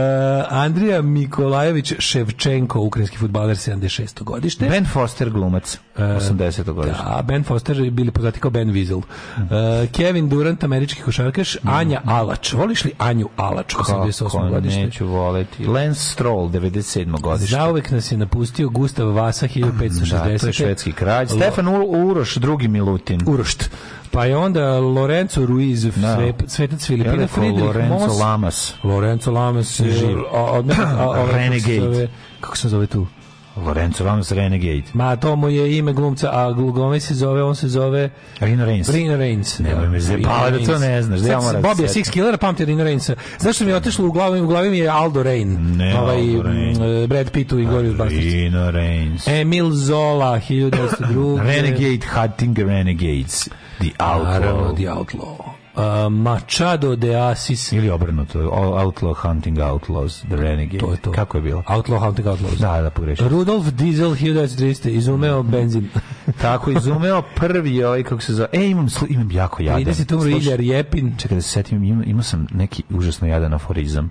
S7: Andrija Mikolajević Ševčenko, ukrajinski futbaler 76. godište.
S6: Ben Foster glumac, 80. godišnje.
S7: E, Da, Ben Foster je bili poznati kao Ben Weasel. Uh, Kevin Durant, američki košarkaš. Anja Alač. Voliš li Anju Alač,
S6: Mm. Kako
S7: 88. godište?
S6: neću voleti. Lance Stroll, 97. godište.
S7: Zauvek nas je napustio Gustav Vasa, 1560.
S6: Da, to je švedski kralj. Stefan U- Uroš, drugi Milutin.
S7: Urošt. Pa je onda Lorenzo Ruiz,
S6: Da.
S7: sve- svetac
S6: Ja
S7: Filipina,
S6: rekao
S7: Friedrich
S6: Lorenzo
S7: Moss.
S6: Lamas.
S7: Lorenzo Lamas je
S6: Živ.
S7: a- a- a- a- a-
S6: Renegade.
S7: kako se zove- Kako se zove tu?
S6: Lorenzo Lamas Renegade.
S7: Ma, to mu je ime glumca, a glumaj se zove, on se zove...
S6: Rino Reigns.
S7: Rino Reigns.
S6: Nemoj me zajebavati da to ne znaš, da ja moram
S7: Bob
S6: se
S7: je
S6: setim.
S7: Six Killer, pamti Rino Reigns. Zašto mi je otišlo u glavi? U glavi mi je Aldo Rain.
S6: Ne,
S7: ovaj,
S6: Aldo Rain.
S7: m, e, Brad Pitt u Inglourious Basterds.
S6: Rino Reigns.
S7: Emil Zola, 1902.
S6: Renegade Hunting Renegades. The
S7: Naravno,
S6: Outlaw.
S7: The Outlaw. Uh, Machado de Assis.
S6: Ili obrnuto. All Outlaw Hunting Outlaws. The Renegade.
S7: To je to.
S6: Kako je bilo?
S7: Outlaw Hunting Outlaws.
S6: Da, da, pogrešio.
S7: Rudolf Diesel 1930. Izumeo
S6: Mm.
S7: benzin.
S6: Pa Tako izumeo prvi ovaj kako se zove. E imam sli- imam jako jadan.
S7: 30. umro
S6: Slušaj,
S7: Ilja Rjepin.
S6: Čekaj da se setim, imao imao sam neki užasno jadan aforizam.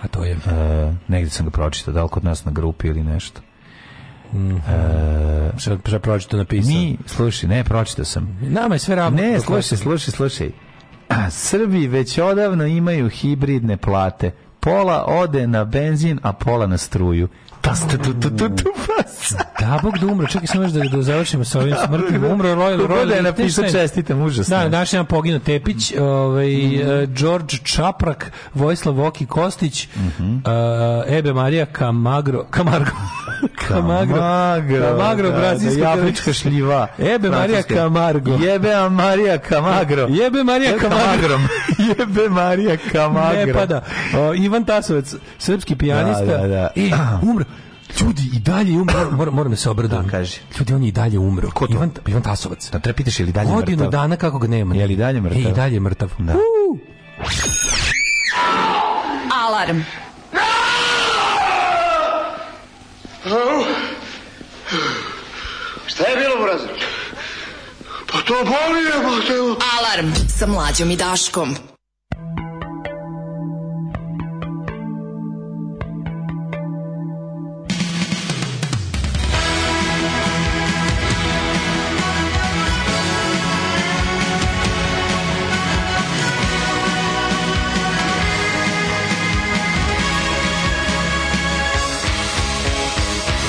S7: A to je...
S6: E, negdje sam ga pročitao, da li kod nas na grupi ili nešto.
S7: Šta šta pročito napisao?
S6: Mi, slušaj, ne, pročitao sam.
S7: Nama je sve ravno.
S6: Ne,
S7: Dok
S6: slušaj, slušaj, slušaj. A, Srbi već odavno imaju hibridne plate. Pola ode na benzin, a pola na struju. Tas, tu, tu, tu, tu, tu, pas.
S7: Da, Bog da umre. Čekaj, samo još da, da završimo sa ovim smrtnim. Umro je Royal,
S6: Ko god
S7: Royal
S6: da je napisao
S7: Lichtenstein.
S6: čestitam, užasno.
S7: Da,
S6: je.
S7: naš jedan pogino Tepić,
S6: Mhm.
S7: ovaj, eh, George Čaprak, Vojislav Voki Kostić,
S6: Mhm.
S7: eh, Ebe Marija Kamagro, Kamargo, Kamagro, Kamagro,
S6: da,
S7: brazilska
S6: da,
S7: televizija.
S6: jablička šljiva.
S7: Jebe Marija
S6: Francuska.
S7: Camargo.
S6: Jebe Marija Kamagro.
S7: Jebe Marija Kamagro.
S6: Kamagrom. Jebe Marija Kamagro.
S7: Ne pada. O, Ivan Tasovac, srpski pijanista.
S6: Da, da, da.
S7: E, umro. Ljudi, i dalje je umro. Moram, moram da se obradujem.
S6: Da, kaži.
S7: Ljudi, on je i dalje umro.
S6: Ko to?
S7: Ivan, Ivan Tasovac.
S6: Da trepitaš ili dalje
S7: Godinu
S6: mrtav?
S7: dana kako ga nema.
S6: Je li dalje mrtav?
S7: E, i dalje je mrtav.
S6: Da.
S7: Uuu.
S5: Alarm.
S10: Šta je bilo, Burazer? Pa to boli, pa, jebote.
S5: Alarm sa mlađom i Daškom.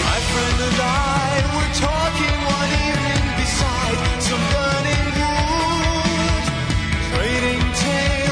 S1: My friend and I were talking one evening beside some burning wood, trading tales.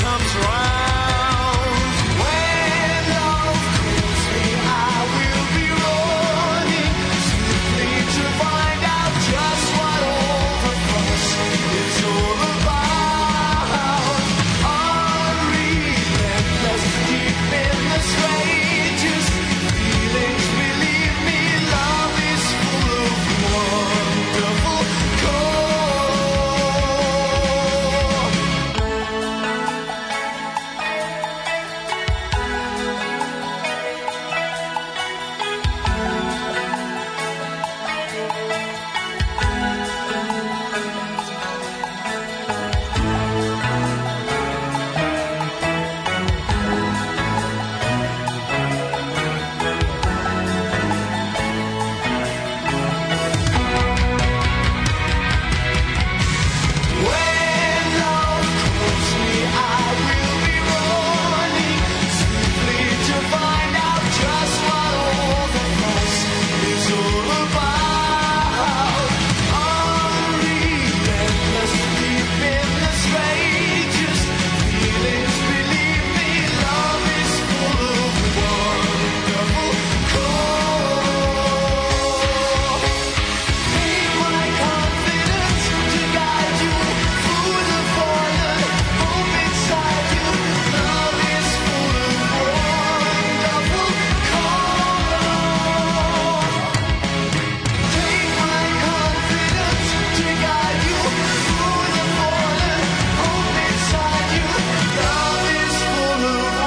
S1: comes round. When love calls me, I will be running. Simply to find out just what all the fuss is all about. Unrelentless, deep in the strangest feelings believe me, love is full of wonderful color. When love calls me, I will be running simply to find out just what all the fuss is all about. Unrelentless, deep in the strangest feelings, believe me, love is full of wonderful core. Need my confidence to guide you through the fire. Hope inside you, love is full of wonderful color. Take my confidence to guide you through the fire. Hope inside you, love is full of wonderful color.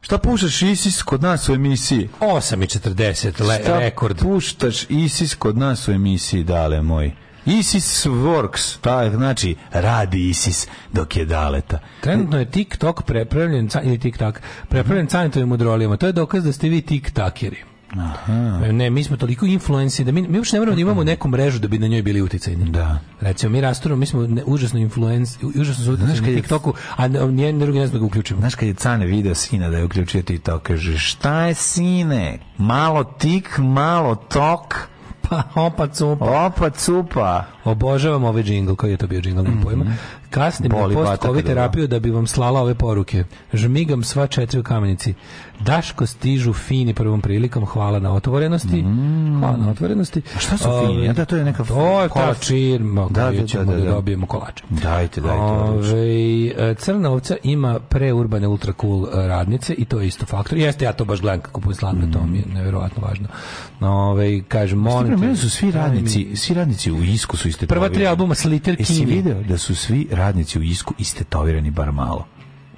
S6: Šta pušaš ISIS kod nas u emisiji?
S7: 8.40, le,
S6: Šta
S7: rekord.
S6: puštaš ISIS kod nas u emisiji, dale moj? ISIS works, ta, znači radi ISIS dok je daleta.
S7: Trenutno je TikTok prepravljen, ca- ili TikTok, prepravljen canitovim mudrolijama. To je dokaz da ste vi TikTakeri. E, Ne, mi smo toliko influenci da mi, mi uopšte ne moramo da imamo neku mrežu da bi na njoj bili uticajni. Da. Recimo, mi rasturamo, mi smo ne, užasno influenci, užasno su uticajni
S6: kad
S7: na
S6: je-
S7: TikToku, a nije drugi ne znam da ga uključimo.
S6: Znaš kad je Cane video sina da je uključio TikTok, kaže šta je sine? Malo tik, malo tok.
S7: Pa, opa cupa.
S6: Opa cupa.
S7: Obožavam ovaj džingl, koji je to bio džingl, nemam pojma. Kasnim
S6: Mhm. Boli
S7: na
S6: bata kad
S7: post-covid
S6: dobro.
S7: terapiju da bi vam slala ove poruke. Žmigam sva četiri u kamenici. Daško stižu fini prvom prilikom, hvala na otvorenosti. Hvala na otvorenosti. A
S6: šta su fini? Mhm. A da, to je neka
S7: To je ta
S6: kolač.
S7: firma
S6: Da,
S7: koju
S6: da,
S7: ćemo
S6: da,
S7: da,
S6: da, da.
S7: dobijemo kolače.
S6: Dajte, dajte. odlično.
S7: Ove, e, crna ovca ima preurbane ultra cool e, radnice i to je isto faktor. Jeste, ja to baš gledam kako kupujem slatko, to mi je nevjerovatno važno. Ove, kažem,
S6: Ti
S7: molim
S6: prema
S7: te,
S6: su svi
S7: daj mi-
S6: radnici, svi radnici u Isku su istetovirani.
S7: Prva tri albuma s Liter
S6: Jesi
S7: Kimi.
S6: video da su svi radnici u Isku istetovirani bar malo?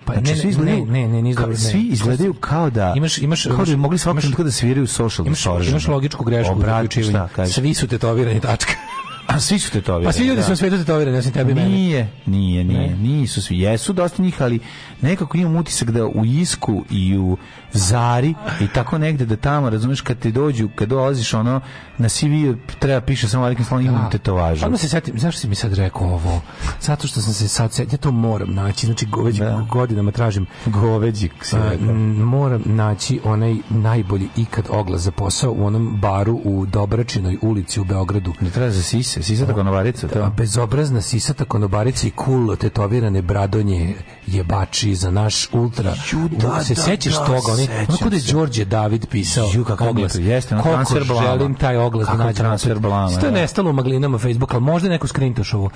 S7: Pa
S6: Znači,
S7: ne,
S6: svi
S7: ne,
S6: izgledaju,
S7: ne, ne, ne,
S6: kao-
S7: ne.
S6: svi izgledaju kao da
S7: Imaš- imaš-
S6: kao da bi
S7: imaš-
S6: mogli svakog
S7: imaš-
S6: trenutka da sviraju social ono.
S7: Imaš, imaš logičku grešku u zaključivanju. Svi su tetovirani, tačka.
S6: a svi su tetovirani.
S7: Pa svi ljudi
S6: da.
S7: su na svetu tetovirani, osim tebi i mene.
S6: Nije, nije, nije, nisu svi. Jesu dosta njih, ali nekako imam utisak da u Isku i u Zari i tako negde da tamo, razumeš, kad ti dođu, kad dolaziš ono, na CV treba piše samo velikim slavom imam tetovažu.
S7: Odmah Pa se setim, zašto si mi sad rekao ovo? Zato što sam se sad setio, ja to moram naći, znači go- već godinama tražim.
S6: Goveđi si
S7: A,
S6: rekao.
S7: m, moram naći onaj najbolji ikad oglas za posao u onom baru u Dobračinoj ulici u Beogradu.
S6: Ne treba za sise, sise tako novarica,
S7: A
S6: to.
S7: bezobrazna sisata konobarica i kulo tetovirane bradonje jebači za naš ultra.
S6: Ju, da,
S7: se
S6: da,
S7: sećaš
S6: da,
S7: toga? Oni,
S6: sećam
S7: ono kod je
S6: se.
S7: Đorđe David pisao
S6: Ju, kakav
S7: oglas.
S6: mi je to, jeste, ono,
S7: Koliko
S6: transfer blama.
S7: želim taj oglas da
S6: Kakav
S7: nađem.
S6: transfer
S7: opet.
S6: blama,
S7: Isto je
S6: da.
S7: nestalo u maglinama Facebooka, ali možda je neko skrintošovo.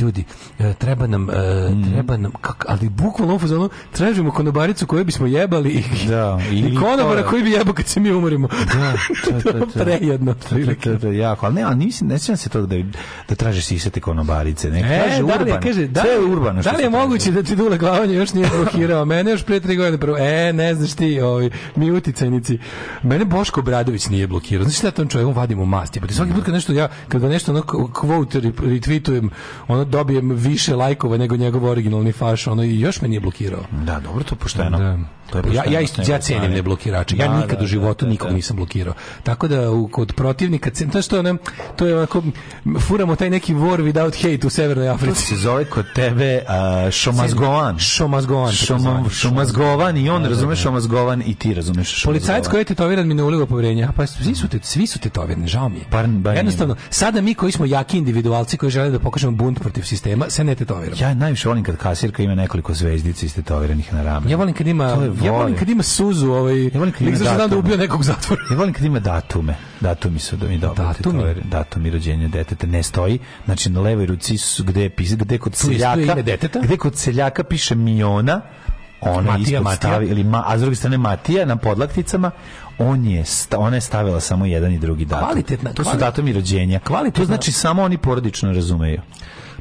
S7: Ljudi, e, treba nam, e,
S6: Mm.
S7: treba nam, kak- ali bukvalno u fazonu, tražimo konobaricu koju bismo jebali i,
S6: Da,
S7: i,
S6: i-
S7: konobara koji bi jebao kad se mi umorimo.
S6: Da, to, to, to.
S7: Prejedno.
S6: To, to, to, jako, ali ne, ali mislim, ne sjećam se toga da je da traže sisate konobarice. Ne?
S7: E,
S6: kaže,
S7: da li je,
S6: urbano.
S7: kaže, da li,
S6: Sve je urbano. što
S7: Da li
S6: se
S7: je
S6: traži.
S7: moguće da ti Dule Glavanje još nije blokirao? Mene još pre tri godine prvo. E, ne znaš ti, ovi, mi uticajnici. Mene Boško Bradović nije blokirao. Znaš šta ja tom čovjeku vadim u masti? Pa ti svaki put kad nešto ja, kad ga nešto ono quote re- retweetujem, ono dobijem više lajkova nego njegov originalni faš, ono i još me nije blokirao.
S6: Da, dobro, to je pošteno.
S7: Da.
S6: To je
S7: ja,
S6: pošteno
S7: ja,
S6: s
S7: isto,
S6: njegove
S7: ja cijenim
S6: strane.
S7: neblokirače. Ja
S6: Da,
S7: nikad
S6: da,
S7: u životu
S6: da, da,
S7: nikog
S6: da.
S7: nisam blokirao. Tako da u, kod protivnika, cen- to je što je ono- to je onako, m, furamo taj neki war without hate u Severnoj
S6: To
S7: Africi.
S6: se zove kod tebe a, šomazgovan.
S7: Šomazgovan. tako
S6: Šoma,
S7: zvani.
S6: šomazgovan i on razume šomazgovan i ti razumeš šomazgovan.
S7: Policajac koji je tetoviran mi ne uliva poverenja. Pa svi su, te, svi su tetovirani, žao mi je.
S6: bar
S7: Jednostavno, sada mi koji smo jaki individualci koji žele da pokažemo bunt protiv sistema, se ne tetoviramo.
S6: Ja najviše volim kad kasirka ima nekoliko zvezdica istetoviranih na ramenu.
S7: Ja volim kad ima,
S6: To je
S7: ja volim
S6: volim.
S7: kad ima suzu, ovaj, ja volim
S6: kad ima
S7: znam da
S6: datume.
S7: ubio nekog u zatvoru.
S6: Ja volim kad ima datume. Datumi su da mi dobro.
S7: Datumi?
S6: tetovere- Datumi rođenja deteta ne stoji. Znači na levoj ruci su gde je pis, gde kod
S7: Tu je- tu je
S6: seljaka,
S7: ime deteta?
S6: gde kod seljaka piše Miona, ona
S7: Matija,
S6: ispod
S7: Matija.
S6: stavi ili ma, a s druge strane Matija na podlakticama, on je sta, ona je stavila samo jedan i drugi datum.
S7: Kvalitetna-
S6: to su
S7: kvali-
S6: datumi rođenja.
S7: kvalitetna-
S6: To znači samo oni porodično razumeju.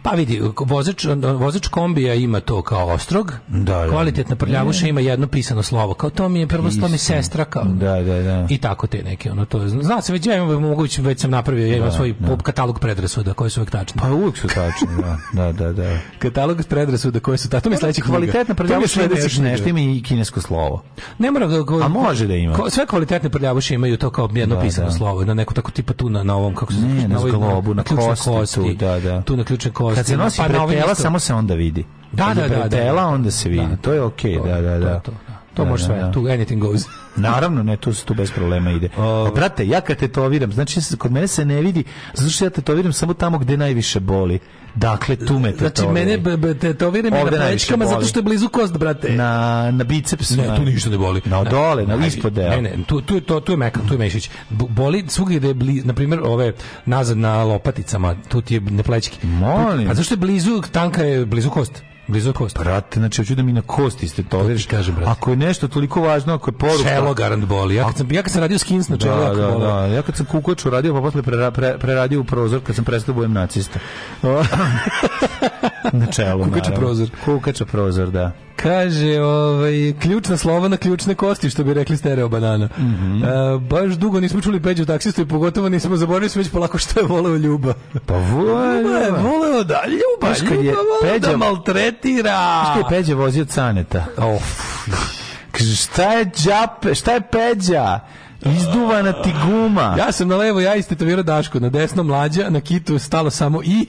S7: Pa vidi, vozač, vozač kombija ima to kao ostrog,
S6: da.
S7: kvalitetna prljavuša ima jedno pisano slovo, kao to mi je prvo to mi je sestra, kao,
S6: Da, da, da.
S7: i tako te neke, ono to, je- zna se, već ja imam moguće, već sam napravio, ja imam svoj pop katalog predrasuda koji su uvek tačni.
S6: Pa uvijek su tačni, da. Da, da, da.
S7: Katalog predrasuda koji su tačni, to mi je sledeća knjiga.
S6: Kvalitetna
S7: To mi je
S6: prljavuša
S7: sledeća
S6: ima
S7: knjiga.
S6: nešto, ima i kinesko slovo.
S7: Ne mora ga- ga-
S6: A može da ima.
S7: ko- sve kvalitetne prljavaše imaju to kao jedno
S6: Da,
S7: pisano
S6: da.
S7: slovo, na neko tako tipa tu na, na ovom kako se
S6: Ne, na
S7: ovoj-
S6: zglobu, na
S7: ključnoj
S6: kosti tu,
S7: kosti,
S6: da, da.
S7: Tu na ključnoj kosti.
S6: Kad se
S7: na-
S6: nosi
S7: pa na ovim
S6: bretela,
S7: isto-
S6: samo se onda vidi.
S7: Da,
S6: Kad je
S7: da, da, da.
S6: Bretela, onda se vidi.
S7: Da.
S6: To je okej,
S7: To-
S6: da, da,
S7: to-
S6: da.
S7: to- To
S6: Da,
S7: može
S6: da,
S7: sve,
S6: da.
S7: tu anything goes.
S6: Naravno, ne, tu, tu bez problema ide. O, brate, ja kad tetoviram, znači se- kod mene se ne vidi, zato što ja tetoviram samo tamo gde najviše boli. Dakle, tu me tetoviram.
S7: Znači, mene b- b- tetovira me na
S6: Ovde najviše
S7: plećkama zato
S6: boli.
S7: što je blizu kost, brate.
S6: Na, na bicepsu.
S7: Ne,
S6: na-
S7: tu ništa ne boli.
S6: Na
S7: Ne,
S6: dole, na
S7: ne,
S6: ispod dela.
S7: Ne, ne, tu, tu, je to, tu je mekan, tu je mešić. B- Boli svugdje gde je, bli, na primjer, ove, nazad na lopaticama, tu ti je na plećki.
S6: Molim.
S7: Pa zašto je blizu, tanka je blizu kost? Blizu je kost.
S6: Brate, znači, hoću da mi na kosti ste to,
S7: ti kažem, brate.
S6: Ako je nešto toliko važno, ako je poruka...
S7: Čelo garant boli. Ja kad sam, ja kad sam radio skins na čelo,
S6: Da,
S7: jako
S6: da,
S7: boli.
S6: da. Ja kad sam kukoč uradio, pa posle prera- pre- preradio u prozor kad sam prestao da budem nacista. na čelu,
S7: Kukača
S6: naravno.
S7: prozor.
S6: Kukača prozor, da.
S7: Kaže, ovaj, ključna slova na ključne kosti, što bi rekli stereo banana.
S6: Mhm.
S7: E, baš dugo nismo čuli peđu taksistu i pogotovo nismo zaboravili smo već polako što je voleo ljuba.
S6: Pa voleo.
S7: Ljuba je voleo da, ljuba,
S6: Znaš kad
S7: ljuba
S6: je
S7: voleo da
S6: Peđa-
S7: maltretira.
S6: Što je Peđa vozio caneta?
S7: Of.
S6: Kaže, šta je džape, šta je Peđa? Izduvana ti guma.
S7: Ja sam na levo, ja istetovirao Daško, na desno mlađa, na kitu je stalo samo i...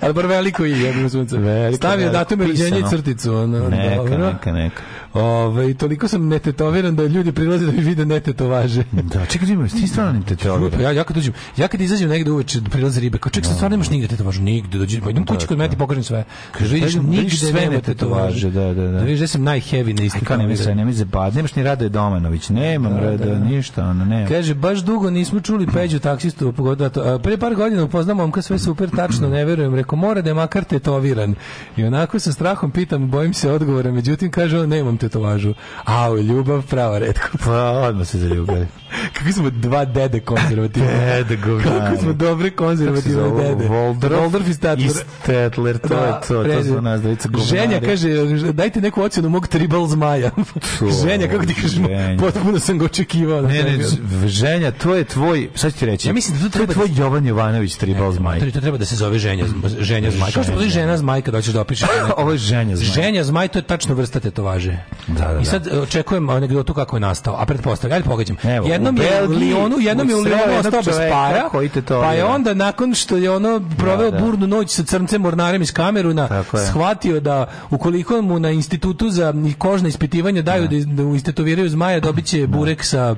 S7: Ali bar veliko i, jebim sunce.
S6: Veliko,
S7: Stavio
S6: veliko,
S7: datum rođenja i
S6: pisano.
S7: crticu. Ono,
S6: Neka,
S7: dobro.
S6: neka, neka.
S7: Ove, i toliko sam netetoviran da ljudi prilaze da mi vide netetovaže.
S6: Da, čekaj, Dimo, ti stvarno ne
S7: Pa
S6: tetovira.
S7: ja, ja kad dođem, ja kad izađem negde uveče da prilaze ribe, kao čekaj, sad stvarno nemaš nigde tetovažu, nigde dođi, pa idem kući kod mene ti pokažem sve. Kaže, vidiš,
S6: da vidiš
S7: nigde
S6: sve
S7: nema
S6: netetovaže,
S7: tetovaže,
S6: da, da, da.
S7: vidiš da sam najheavy na isti
S6: Aj, kao nemoj se, nemoj se
S7: pa,
S6: bad. Nemaš ni Radoje Domanović. Nemam Radoje, ništa, ono, nema.
S7: Kaže, baš dugo nismo čuli Peđu taksistu, pogotovo to. A, Pre par godina upoznam momka, sve super, tačno, ne verujem. Reko, mora da je makar tetoviran. I onako sa strahom pitam, bojim se odgovora, međutim, kaže, on, nemam tetovažu. Au, ljubav, prava redko.
S6: Pa, odmah se zaljubili.
S7: Kako smo dva dede konzervativne.
S6: Dede, govnari.
S7: Kako smo dobre konzervativne
S6: Kako se zove?
S7: dede.
S6: Voldorf
S7: Voldorf i Statler.
S6: i Statler, to je to, to
S7: preziv.
S6: su nas dvojica govnari.
S7: Ženja kaže, dajte neku ocjenu mog tribal zmaja.
S6: To,
S7: Ženja, kako ti kažeš,
S6: Ženja.
S7: potpuno sam ga očekivao.
S6: Ne, ne, z- ženja, to je tvoj, sad ću ti reći.
S7: Ja mislim da to
S6: je
S7: treba
S6: tvoj Jovan Jovanović Tribal Zmaj.
S7: To, to treba da se zove ženja, zm- ženja zmaj. Kao što postoji žena zmaj kad hoćeš da opišeš.
S6: Ovo je ženja Zmaj.
S7: Ženja zmaj, to je tačno vrsta tetovaže.
S6: Da, da, da.
S7: I sad e, očekujem anegdotu kako je nastao, a pretpostavljam, ajde pogađam.
S6: Evo,
S7: jednom
S6: u
S7: je u
S6: Belgiji
S7: Lionu, jednom je u
S6: sreo
S7: Lionu
S6: jednog
S7: ostao bez
S6: čoveka
S7: para,
S6: koji tetovira.
S7: pa je onda nakon što je ono proveo
S6: Da, da.
S7: burnu noć sa crncem mornarem iz Kameruna,
S6: Tako je.
S7: shvatio da ukoliko mu na institutu za kožna ispitivanja daju da, iz- da mu istetoviraju zmaja, dobit će burek sa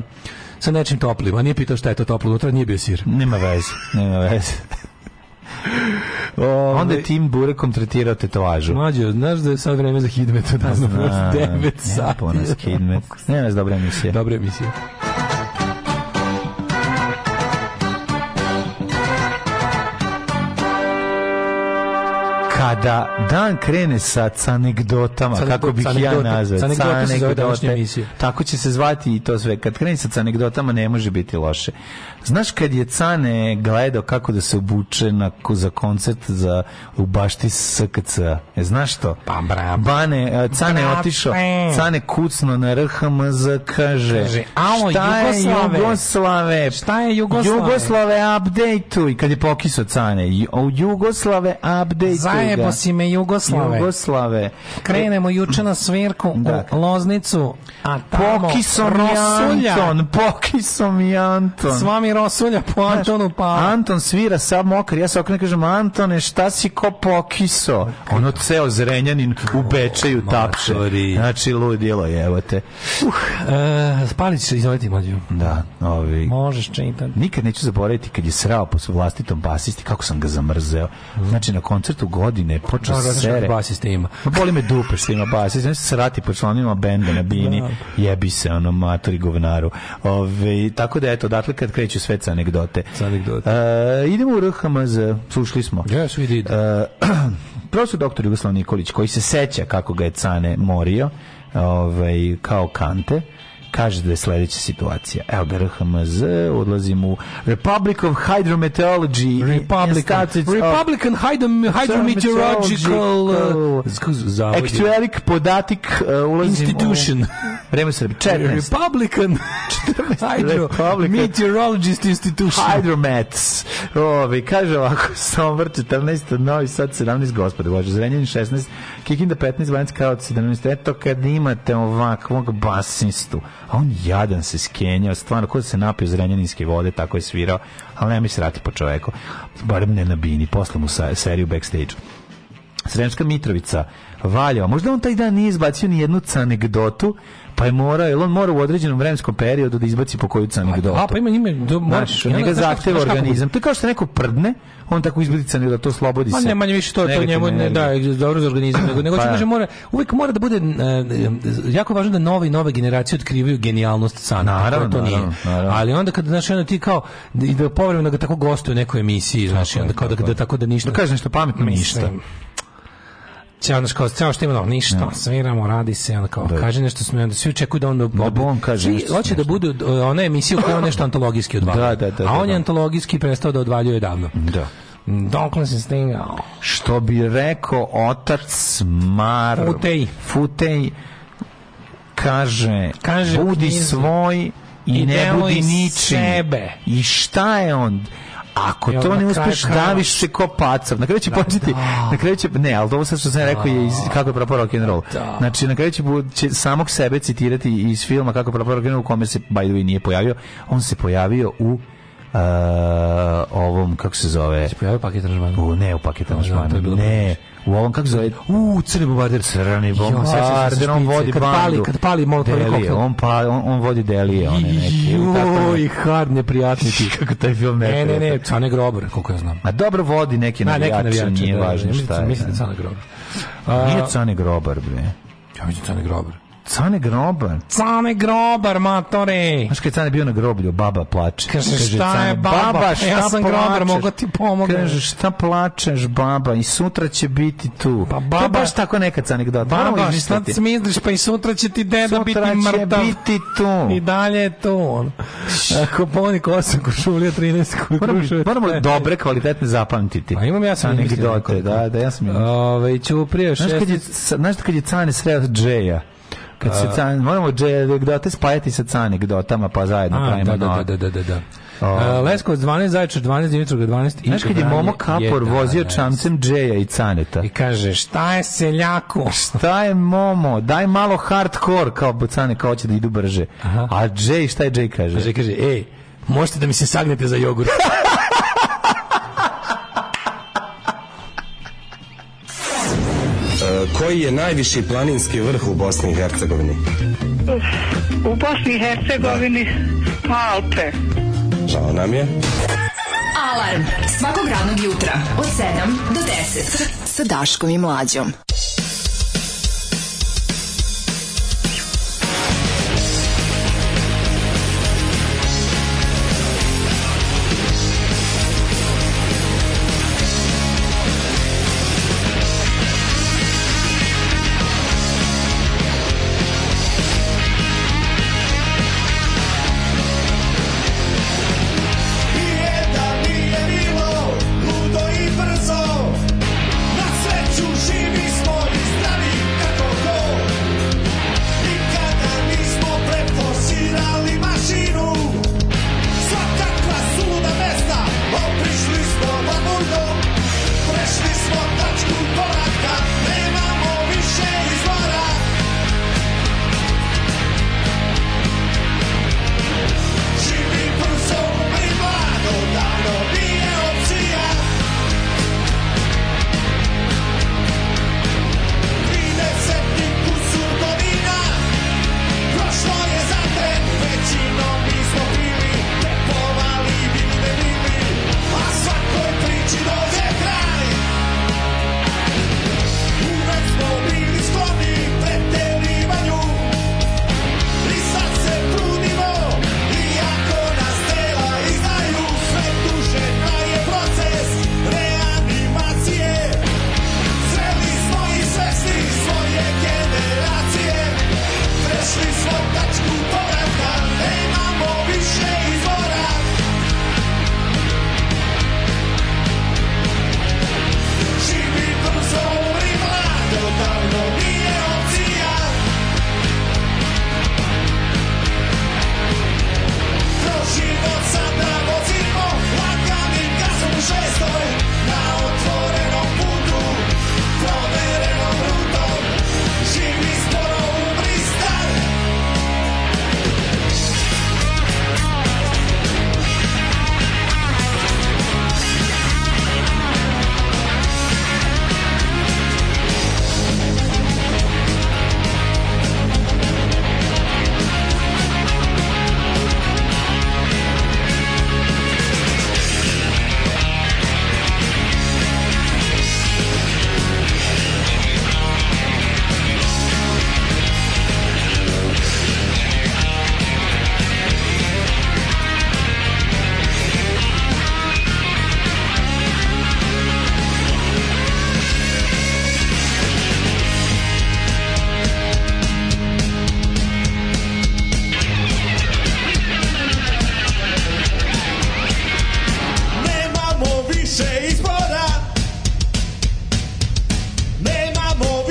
S7: sa nečim toplim, a nije pitao šta je to toplo, unutra nije bio sir.
S6: Nema veze, nema veze. Onda je Tim Burekom tretirao tetovažu.
S7: Mlađo, znaš da je sad vreme za Hidmet od nas
S6: A,
S7: 9
S6: Nema
S7: sati.
S6: po nas Kidmet. Nema nas dobra emisija.
S7: Dobra emisija.
S6: Kako kada dan krene sa anegdotama,
S7: Canegdo-
S6: kako bih ih ja
S7: canegdote.
S6: nazvao,
S7: Canegdote se zove današnja
S6: canegdote,
S7: emisija.
S6: tako će se zvati i to sve. Kad krene sa anegdotama ne može biti loše. Znaš kad je Cane gledao kako da se obuče na, za koncert za, u bašti SKC? E, znaš to? Pa bravo. Bane, e, Cane je
S7: Bravo.
S6: otišao, Cane kucno na RHMZ, kaže,
S7: Kaže, "Alo,
S6: šta
S7: Jugoslave,
S6: je Jugoslave? Šta je
S7: Jugoslave?"
S6: Jugoslave, update-uj, kad je pokiso Cane. Ju- o, Jugoslave, update-uj ga.
S7: Zajebo si me Jugoslave.
S6: Jugoslave.
S7: Krenemo juče na svirku u Loznicu, a tamo
S6: Pokiso mi
S7: Rosulja.
S6: Anton, pokiso mi Anton.
S7: S vami Rosulja po
S6: Znaš,
S7: Antonu, pa...
S6: Anton svira sav mokar, ja se okrenem i kažem Antone, šta si ko pokiso? Ono ceo zrenjanin u Bečeju tapše. Znači, ludilo je, evo te.
S7: E, Spalić, izvolite mlađu.
S6: Da, ovi...
S7: Možeš čitati.
S6: Nikad neću zaboraviti kad je srao po vlastitom basisti, kako sam ga zamrzeo. Znači, na koncertu godine je počeo
S7: Dobro, znaš
S6: sere.
S7: kako basiste ima.
S6: Ma boli me dupe što ima basist. Znači, srati po članima benda na bini. Jebi se, ono, maturi govnaru. Ove, tako da, eto, odatle kad kreću sve sa anegdote. Sa anegdote. idemo u RHMZ, slušali smo.
S7: Yes, we
S6: E,
S7: did.
S6: Profesor doktor Jugoslav Nikolić, koji se seća kako ga je Cane morio, ovaj, kao kante, kaže da je sledeća situacija. Evo ga RHMZ, odlazim u Republic of Hydrometeorology
S7: Republican, Republican Hydro- Hydrometeorological uh, zavod je.
S6: Actualic podatik uh, ulazim
S7: Institution.
S6: u... Vreme Srbi, 14.
S7: Republican Hydro Meteorologist Institution.
S6: Hydromets. Ovi, kaže ovako, Sombor 14, Novi Sad 17, gospode, Bože, Zrenjanin 16, Kikinda 15, Banjska Kralovac 17. Eto kad imate ovakvog basistu, a on jadan se skenjao, stvarno, ko da se napio zrenjaninske vode, tako je svirao, ali nema mi se rati po čoveku, barem ne na bini, posle mu sa, seriju backstage. Sremska Mitrovica, Valjevo. Možda on taj dan nije izbacio ni jednu anegdotu, pa je morao, jer on mora u određenom vremenskom periodu da izbaci po koju anegdotu.
S7: A, pa ima njime, do,
S6: Znaš,
S7: i onda-
S6: njega
S7: znaš kako-
S6: zahteva
S7: znaš kako-
S6: organizam. To je kao što neko prdne, on tako izbrica da to slobodi
S7: Pa
S6: se.
S7: ne manje više to, to
S6: Negativne
S7: njemu ne
S6: energije.
S7: daje dobro za organizam, nego, nego
S6: Pa
S7: će
S6: da.
S7: kaže mora, uvijek mora da bude, e, e, jako je važno da nove i nove generacije otkrivaju genijalnost sana.
S6: Naravno,
S7: to nije.
S6: naravno, naravno.
S7: Ali onda kad, znaš, onda ti kao, i da povremeno ga tako gostuje u nekoj emisiji, znaš, i onda kao da, da tako da ništa.
S6: Da kaže nešto pametno, ništa.
S7: Ćao, znaš, kao, ćao, što ima novo, ništa, sviramo, radi se, onda kao, kaže nešto smo, i onda svi očekuju da on...
S6: Da pa on kaže
S7: Svi
S6: nešto
S7: hoće da budu, e, ona emisija u kojoj on nešto antologijski odvaljuje.
S6: Da, da, da,
S7: A on
S6: da,
S7: je
S6: da.
S7: antologijski prestao da odvaljuje davno.
S6: Da.
S7: Dokle se stigao?
S6: Što bi rekao otac Mar...
S7: Futej.
S6: Futej kaže,
S7: Kaže u
S6: budi
S7: knjizi,
S6: svoj i,
S7: "I
S6: ne
S7: deluj
S6: budi ničim.
S7: sebe."
S6: I šta je on? Ako
S7: I
S6: to
S7: onda
S6: ne
S7: na kraju
S6: uspeš,
S7: krajeva-
S6: daviš se ko pacav. Na kraju će početi, na kraju će, ne, ali ovo sad što sam rekao je iz, kako je propao rock'n'roll. Znači, na kraju će, bu- će samog sebe citirati iz filma kako je propao rock'n'roll u kome se, by the way, nije pojavio. On se pojavio u e, ovom, kako se zove?
S7: Pojavio paket aranžmana.
S6: U, ne, u paket
S7: znam, to
S6: aranžmana.
S7: je bilo
S6: Ne, u ovom, kako zove?
S7: U, crni bombarder.
S6: Crni
S7: Jo, sećam se
S6: bombarder, on
S7: špice,
S6: vodi
S7: kad
S6: bandu.
S7: pali- kad pali Molotov i
S6: Delije,
S7: koktel.
S6: On, pa, on, on vodi delije, one neke. i tako
S7: Joj,
S6: ne-
S7: hard neprijatniki.
S6: Kako taj film ne
S7: Ne, ne, ne,
S6: preta.
S7: Cane Grobar, koliko ja znam.
S6: A dobro vodi neki
S7: Na, neki
S6: navijači,
S7: navijači,
S6: nije
S7: da, da,
S6: važno
S7: mislim-
S6: šta je.
S7: Mislim da je
S6: da.
S7: Cane Grobar.
S6: Nije Cane Grobar, bre.
S7: Ja mislim Cane Grobar.
S6: Cane Grobar?
S7: Cane Grobar, matore!
S6: Znaš kad je Cane bio na groblju, baba plače.
S7: Kaže, šta je
S6: Cane,
S7: baba? Pa Ja sam grobar,
S6: plačeš?"
S7: mogu ti pomognem.
S6: Kaže, šta plačeš, baba? I sutra će biti tu.
S7: Pa
S6: To je
S7: baba-
S6: baš tako nekad anegdota.
S7: Baba,
S6: Moramo
S7: šta
S6: izmisliti.
S7: smisliš, pa i sutra će ti deda biti
S6: Sutra će
S7: mrtav.
S6: biti tu.
S7: I dalje je to, ono. Ako ponik 8, košulija 13,
S6: Moramo,
S7: košulija...
S6: moramo dobre, kvalitetne zapamtiti.
S7: Pa imam ja sam izmislio
S6: anegdote,
S7: nekoliko.
S6: da, da, ja sam imam.
S7: Ove, Ćuprija,
S6: Znaš kad je,
S7: 16...
S6: znaš kad je Cane sreo Džeja? Kad se Cane, moramo Džeja anegdote spajati sa Cane anegdotama, pa zajedno
S7: A,
S6: pravimo
S7: da, da,
S6: novo.
S7: da, da, da, da.
S6: Ovaj.
S7: Uh, Leskovac 12, Zaječar 12, Dimitrov 12 i
S6: Znaš kad je
S7: Vranje
S6: Momo Kapor
S7: 11.
S6: vozio čamcem Džeja i Caneta?
S7: I kaže, šta je seljaku?
S6: Šta je Momo? Daj malo hardcore, kao Cane, kao će da idu brže. A Džej, šta je Džej kaže?
S7: Kaže, "E, kaže, ej, možete da mi se sagnete za jogurt.
S12: E, Koji je najviši planinski vrh u Bosni i Hercegovini?
S13: U Bosni i Hercegovini Alpe.
S12: Žao nam je.
S5: Alarm svakog radnog jutra od 7 do 10 sa Daškom i Mlađom.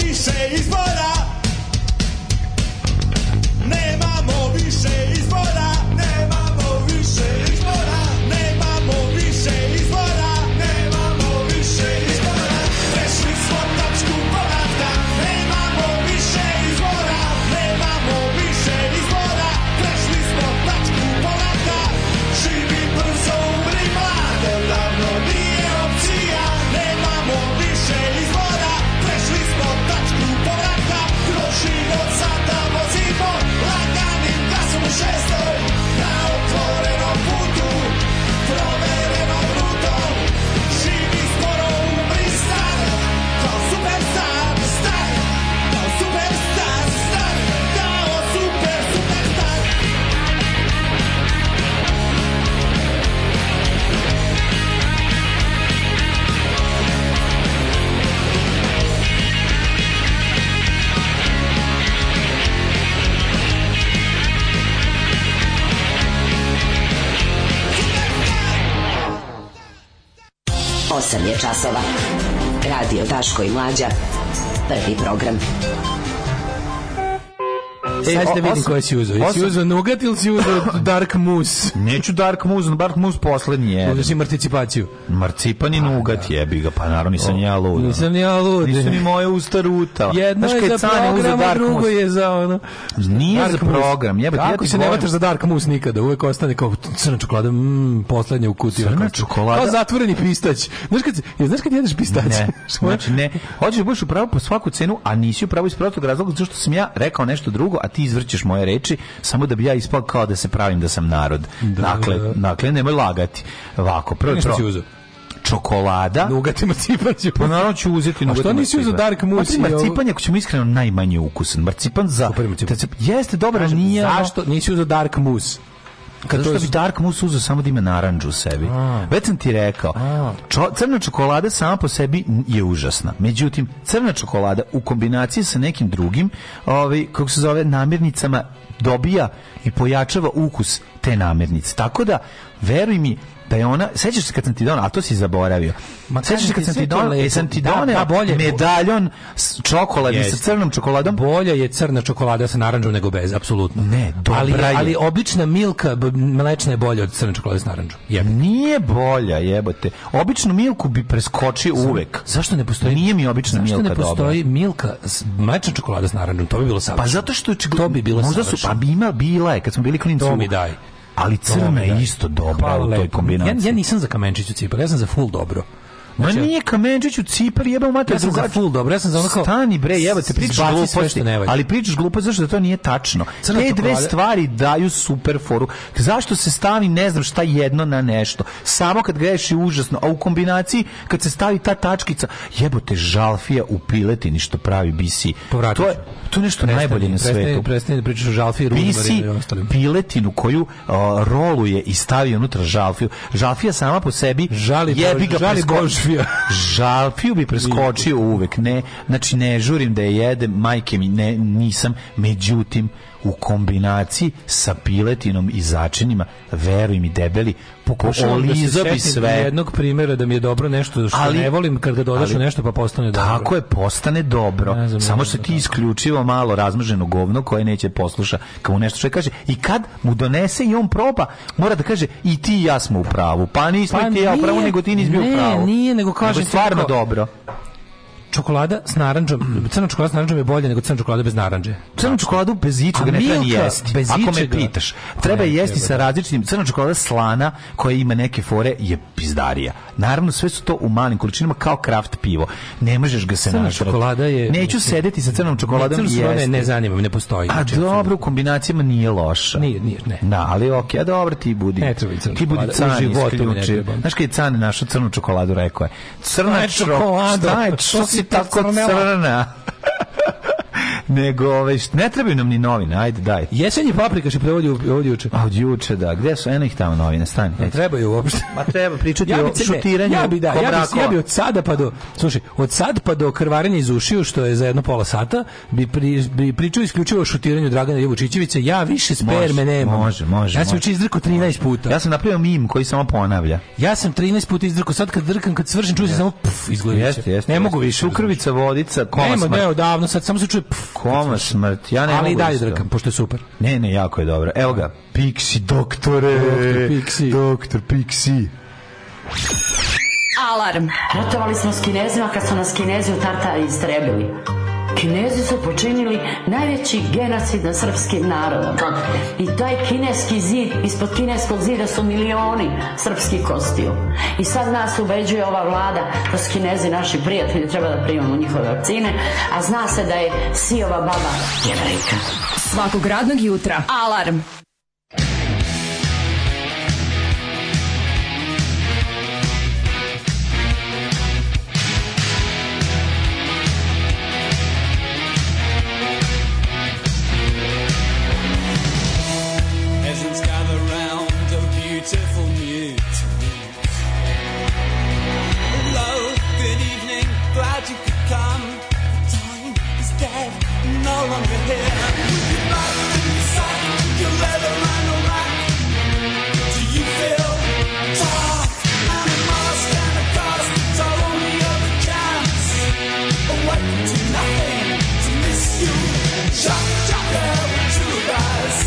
S9: više izbora Nemamo više izbora Nemamo više izbora Nemamo više izbora Nemamo više izbora Prešli smo tačku poraza Nemamo više izbora Nemamo više izbora Prešli smo tačku poraza Živi brzo umri mlado Davno nije opcija Nemamo više izbora Prešli smo tačku poraza Kroz život sada vozimo Laganim gasom šestoj Na otvorenom putu Proverenom rutom Živi skoro umri staro Kao superstar star Kao superstar star Kao super superstar
S5: Osam je časova. Radio Daško i Mlađa. Prvi program.
S6: E,
S7: Sad ste vidim
S6: osam-
S7: koje si uzeo. Jesi
S6: osam-
S7: uzeo Nugat ili si uzeo Dark Moose?
S6: Neću Dark Moose, Dark Moose poslednji je.
S7: Uzeo si marticipaciju.
S6: Marcipan i nugat jebi ga, pa naravno nisam ni ja lud. ono.
S7: Nisam ni ja lud.
S6: Nisu ni moje usta ruta.
S7: Jedno
S6: Znaš, kad
S7: je za
S6: Cane uzeo
S7: program, a
S6: Dark
S7: drugo
S6: Moose.
S7: je za ono.
S6: Nije za program, jebote, ja
S7: Kako
S6: ti
S7: se ne
S6: govorim.
S7: vataš za Dark Moose nikada? Uvek ostane kao crna čokolada, mm, poslednja u kutiju.
S6: Crna
S7: Kao-
S6: čokolada?
S7: Kao zatvoreni pistać. Znaš kad, se- je, znaš kad jedeš pistać?
S6: Ne, znači ne. Hoćeš da budeš u pravu po svaku cenu, a nisi u pravu iz prostog razloga zato što sam ja rekao nešto drugo, a ti izvrćeš moje reči, samo da bi ja ispao kao da se pravim da sam narod. dakle, dakle, nemoj lagati. Ovako, prvo
S7: Nešto
S6: pro-
S7: si uzeo?
S6: čokolada.
S7: Nugat i marcipan ću.
S6: Pa naravno ću uzeti
S7: A
S6: nugat
S7: što
S6: i
S7: nisi uzeo
S6: marcipan.
S7: Dark
S6: Pa
S7: Moose? i
S6: ti
S7: ovo?
S6: marcipan, je, ako ćemo iskreno, najmanje ukusan. Marcipan za... Jeste, dobro, ali nije... ono-
S7: Zašto nisi uzeo Dark Moose?
S6: Kad
S7: to
S6: Zato
S7: je-
S6: što bi Dark Moose uzeo samo da ima naranđu u sebi. Već sam ti rekao, čo- crna čokolada sama po sebi n- je užasna. Međutim, crna čokolada u kombinaciji sa nekim drugim, ovaj, kako se zove, namirnicama, dobija i pojačava ukus te namirnice. Tako da, veruj mi, da je ona, sećaš se kad sam ti donao, a to si zaboravio.
S7: Ma
S6: sećaš
S7: kažem
S6: se
S7: ti,
S6: kad sam
S7: sve
S6: ti
S7: to
S6: donao,
S7: lepo.
S6: jesam ti
S7: Da,
S6: doneo
S7: da, bolje-
S6: medaljon s čokoladni sa
S7: Jeste.
S6: crnom čokoladom?
S7: Bolja je crna čokolada sa narandžom nego bez, apsolutno. Ne,
S6: dobra
S7: ali,
S6: je.
S7: ali obična milka b- mlečna je bolja od crne čokolade s narandžom.
S6: Nije bolja, jebote. Običnu milku bi preskočio uvek.
S7: Zašto ne postoji?
S6: Nije mi obična
S7: Zašto
S6: milka
S7: ne postoji milka, s- mlečna čokolada s narandžom? To bi bilo
S6: dobra. Pa
S7: savršeno.
S6: zato što je
S7: To bi bilo
S6: Možda su,
S7: savršeno.
S6: pa bi ima, bila je, kad smo bili klinci.
S7: To mi daj.
S6: Ali
S7: To
S6: crna
S7: mi
S6: je
S7: daj.
S6: isto dobra
S7: Hvala
S6: u toj
S7: lepo.
S6: kombinaciji.
S7: Ja, ja nisam za kamenčiću cipar, ja sam za full dobro.
S6: Ma nije kamenčiću cipar, jebam mater,
S7: Ja sam za
S6: drugačije.
S7: full dobro, ja sam za ono kao-
S6: Stani bre, jebate, pričaš
S7: Zbaci sve
S6: gluposti.
S7: što ne valja.
S6: Ali pričaš gluposti zašto da to nije tačno.
S7: Crna
S6: Te dve
S7: čokolada-
S6: stvari daju super foru. Zašto se stavi ne znam šta jedno na nešto? Samo kad greš je užasno, a u kombinaciji kad se stavi ta tačkica, jebote, žalfija u piletini što pravi BC.
S7: Povratit ću.
S6: To je to je nešto
S7: Prestani,
S6: najbolje na
S7: prestani-
S6: svetu.
S7: prestani da pričaš o žalfi, ružu,
S6: Pisi
S7: marinu i ono ostalim.
S6: piletinu koju a, roluje i stavi unutra žalfiju. Žalfija sama po sebi
S7: Žali
S6: jebi ga
S7: Bož- žali
S6: presko-
S7: Božfija.
S6: žalfiju bi preskočio uvek. Ne, znači ne žurim da je jedem, majke mi ne, nisam. Međutim, u kombinaciji sa piletinom i začinima, veruj mi debeli,
S7: Pokušavam da se
S6: olizao bi
S7: setim
S6: sve.
S7: jednog primjera da mi je dobro nešto što
S6: Ali-
S7: ne volim kad ga dodaš
S6: ali-
S7: u nešto pa postane dobro.
S6: Tako je, postane dobro.
S7: Ne znam,
S6: Samo
S7: ne
S6: što ti isključivo malo razmrženo govno koje neće posluša kad mu nešto čovjek kaže. I kad mu donese i on proba, mora da kaže i ti i ja smo u pravu. Pa nismo i ti i ja u pravu,
S7: nije-
S6: nego ti nisi bio u
S7: ne,
S6: pravu.
S7: nije, nego kažem
S6: je
S7: ti
S6: stvarno
S7: kao-
S6: dobro.
S7: čokolada s
S6: Mm.
S7: narandžom, crna čokolada s narandžom je bolja nego crna čokolada bez narandže.
S6: Crnu čokoladu bez ičega
S7: A
S6: ne treba ni
S7: Milka
S6: jesti.
S7: bez
S6: Ako me
S7: ičega?
S6: pitaš, treba
S7: Ne,
S6: je jesti
S7: treba
S6: sa različitim. Crna čokolada slana koja ima neke fore je pizdarija. Naravno sve su to u malim količinama kao kraft pivo. Ne možeš ga se
S7: Crna
S6: natrati.
S7: čokolada je-
S6: Neću sedeti sa crnom čokoladom
S7: Ne,
S6: i
S7: crna čokolada
S6: jesti.
S7: ne, ne zanima me, ne postoji.
S6: A
S7: Znači,
S6: Pa dobro, u kombinacijama nije loša.
S7: Nije, nije, ne.
S6: Da, ali okej, a dobro ti budi.
S7: Ne treba mi crna
S6: Ti budi
S7: čokolada, u
S6: can
S7: životu mi ne
S6: isključi.
S7: treba.
S6: Znaš kad je can našu crnu čokoladu rekao je. Crna
S7: Šta je
S6: čokolada,
S7: čokolada?
S6: šta je, što
S7: Što
S6: si
S7: si
S6: tako
S7: pocrnela?
S6: crna? nego ovaj, ne trebaju nam ni novine, ajde, daj.
S7: Jesenji paprika se prevodi od juče.
S6: A od juče, da. Gde su? Eno ih tamo novine, stani.
S7: Ne trebaju uopšte.
S6: Ma treba pričati
S7: ja
S6: o
S7: bi, cene-
S6: šutiranju
S7: ja bi, da, ja bi,
S6: Komrakova.
S7: ja bi od sada pa do slušaj, od sad pa do krvarenja iz ušiju što je za jedno pola sata bi, pri, bi pričao isključivo o šutiranju Dragana Jevučićevića ja više sperme
S6: Može,
S7: nemam
S6: može, može,
S7: ja sam
S6: može.
S7: juče izdrko 13 puta
S6: Ja sam napravio mim koji samo ponavlja.
S7: ja sam 13 puta izdrko sad kad drkam kad svršim čuje se samo pf izgleda
S6: Jeste, jeste.
S7: ne mogu više
S6: Krvica, vodica, koma
S7: Nema,
S6: smrt.
S7: ne, odavno, sad samo se čuje pf,
S6: Koma smrt. Ja ne
S7: ali i
S6: mogu
S7: dalje
S6: isto.
S7: drkam, pošto je super.
S6: Ne, ne, jako je dobro. Evo ga. Pixi, doktore.
S7: Doktor
S6: Pixi. Doktor Pixi.
S5: Alarm. Ratovali smo s kinezima kad su nas kinezi u Tartari istrebili. Kinezi su počinili najveći genocid na srpskim narodom. I taj kineski zid, ispod kineskog zida su milioni srpskih kostiju. I sad nas ubeđuje ova vlada da su kinezi naši prijatelji, treba da primamo njihove vakcine, a zna se da je Sijova baba jevrejka.
S14: Svakog radnog jutra. Alarm.
S9: Peasants gather round a beautiful new town. Hello, good evening, glad you could come. The time is dead, no longer here. With your back to the sun, your leather and a rack. Do you feel tough? And a mask and a cast, it's our only other chance. Awaken to nothing, to miss you. Shut, shut there, two of us.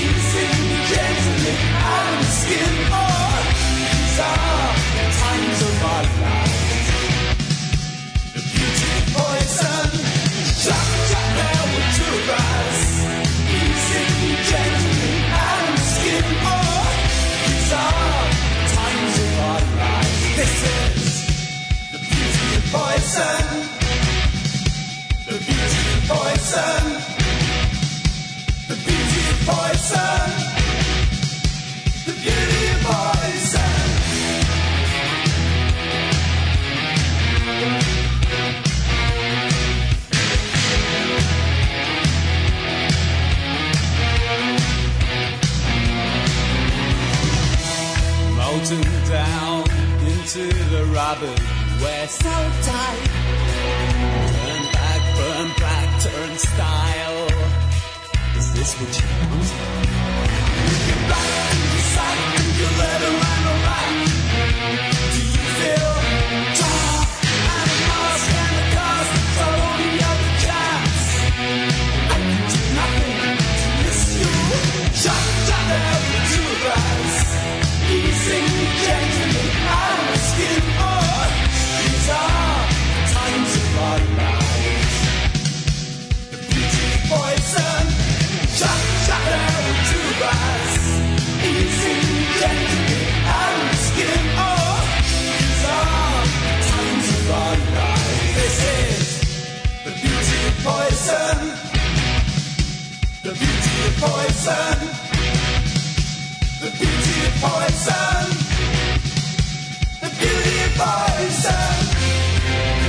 S9: Easy, gently, out of the skin. Oh, these are the times of our lives. The beauty, the poison. Shock, shock, there were two of us. Easy, gently, out of the skin. Oh, these are the times of our lives. This is the beauty, the poison. The beauty, the poison. The beauty of poison. The beauty of poison. Molten down into the rubber We're so tight. Burn back, burn back, turnstile. Is this what you want? You're back in the sight and you let around a rack. Do you feel dark? And a mask and a cast, it's our only other chance. I can do nothing to miss you. Shut, shut out the two of us. Easing gently out of the skin. Oh, these are the times of our lives. The beauty of poison. Shut, shut out the two of us. Easing gently out of the skin. Oh, these are the times of our lives. This is the beauty of poison. The beauty of poison. The beauty of poison. The beauty of poison.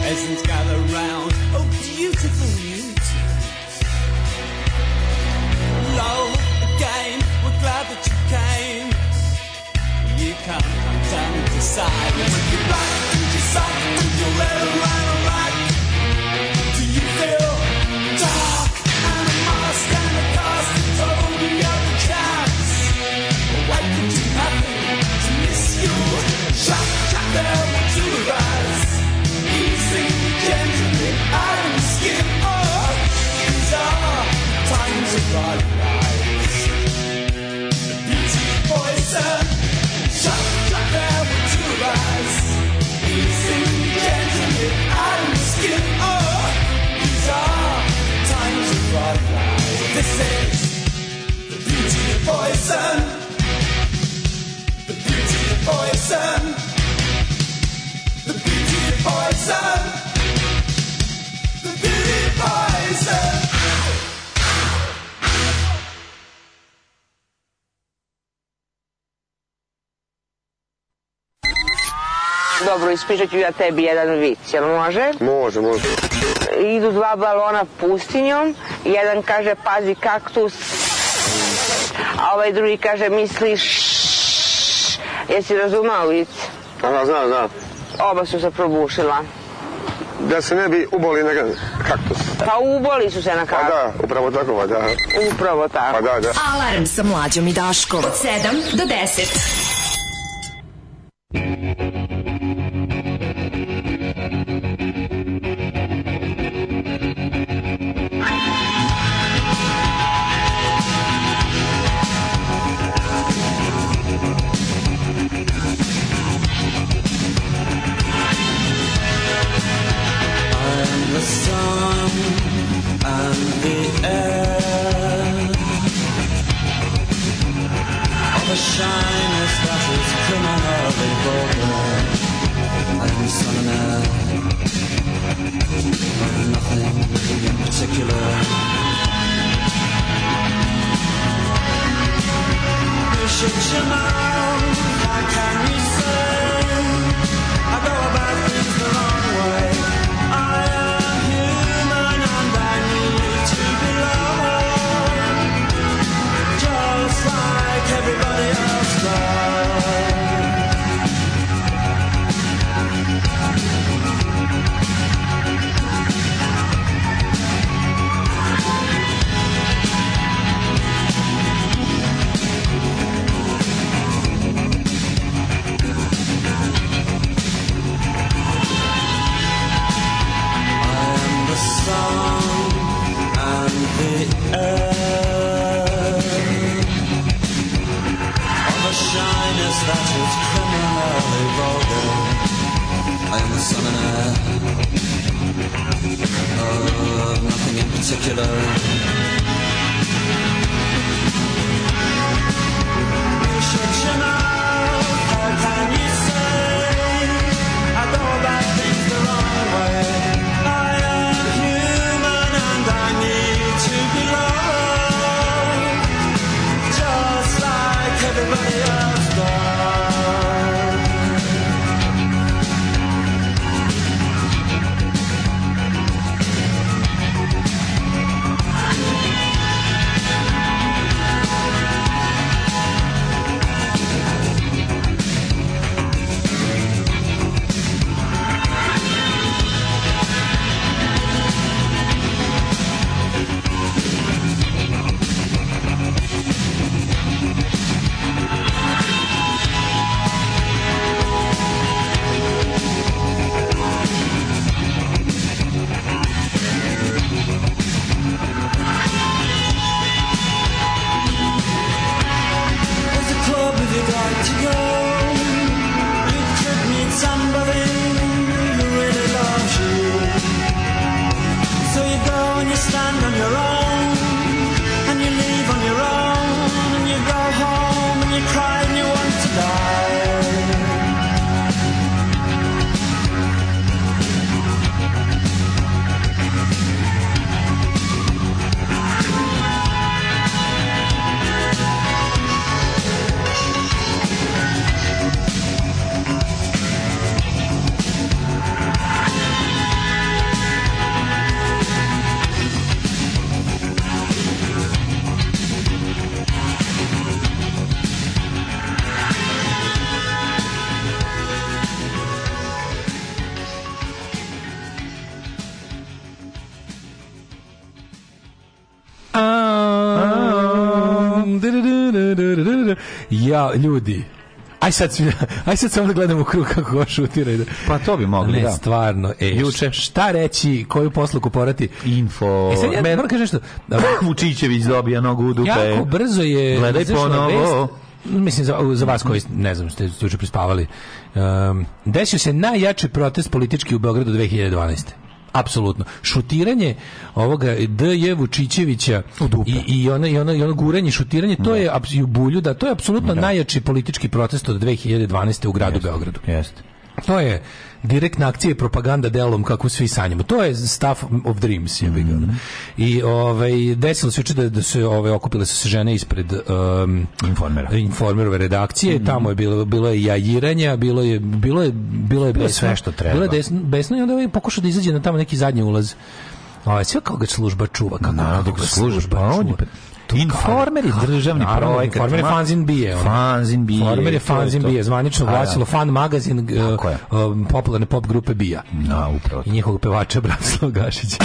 S9: Peasants gather round. Oh, do poison. The beauty poison. The beauty poison.
S15: Dobro, ispišat ću ja tebi jedan vic, jel može?
S4: Može, može.
S15: Idu dva balona pustinjom, jedan kaže pazi kaktus, a ovaj drugi kaže misliš Jesi razumao vic?
S4: Ona zna, zna.
S15: Oba su se probušila.
S4: Da se ne bi uboli neka kaktus.
S15: Pa uboli su se
S4: Pa
S15: na kaktus.
S4: da, upravo tako, pa da.
S15: Upravo tako.
S4: Pa da, da.
S5: Alarm sa mlađom i Daškom od 7 do 10.
S1: I'm the sun, I'm the air Of a shyness that is criminally vulgar I'm sun and air Of nothing in particular You shut your mouth, how can you say I go about things the wrong way. I am human and I need to belong, just like everybody else does. I am the sun and the earth of a shyness that is criminally vulgar. I am the sun and air of nothing in particular. You shut your mouth, how can you say? I go about things the wrong way. I am human and I need to be loved, just like everybody else does. There's a club if you'd like to go. You could meet somebody who really loves you. So you go and you stand on your own, and you leave on your own, and you go home and you cry and you want to die.
S7: Ja, ljudi. Aj sad, svi- aj sad samo da gledamo u krug kako ga šutira.
S6: Pa to bi mogli,
S7: ne,
S6: da.
S7: stvarno. E, Juče. Šta reći, koju posluku porati?
S6: Info.
S7: E sad ja
S6: Men-
S7: moram kažem nešto.
S6: Vučićević dobija nogu u dupe.
S7: Jako brzo je
S6: Gledaj
S7: izašla
S6: ponovo.
S7: vest. Mislim, za, za vas koji, ne znam, ste juče Ehm, prespavali. Um, desio se najjači protest politički u Beogradu 2012. apsolutno. Šutiranje ovoga D.J. Vučićevića i, i, ono, i, ono, i ono guranje, šutiranje, to je aps- i u bulju, da, to je apsolutno najjači politički protest od 2012. u gradu Beogradu.
S6: Jeste.
S7: To je direktna akcija i propaganda delom kako svi sanjamo. To je stuff of dreams je
S6: Mhm.
S7: I ovaj desilo se juče da, da su ovaj okupile su se žene ispred um,
S6: informera. Mhm.
S7: Informerove redakcije, tamo je bilo bilo je jajiranja, bilo je bilo je bilo je
S6: Bilo je
S7: besno.
S6: sve što treba.
S7: Bilo je desno, besno i onda je pokušao da izađe na tamo neki zadnji ulaz. Ovaj sve kako ga služba čuva, kako, kako
S6: dok
S7: ga
S6: služba,
S7: služba
S6: pa on je
S7: čuva.
S6: pa-
S7: To
S6: Informer je
S7: kao-
S6: državni
S7: Naravno,
S6: projekat.
S7: Informer je
S6: Ma-
S7: fanzin bije. ono.
S6: Fanzin bije,
S7: Informer je
S6: to je
S7: fanzin
S6: to.
S7: bije, zvanično
S6: A, da.
S7: glasilo fan magazin g- um, popularne pop grupe Bija.
S6: Na, upravo.
S7: I njihovog pevača Bratislava Gašića.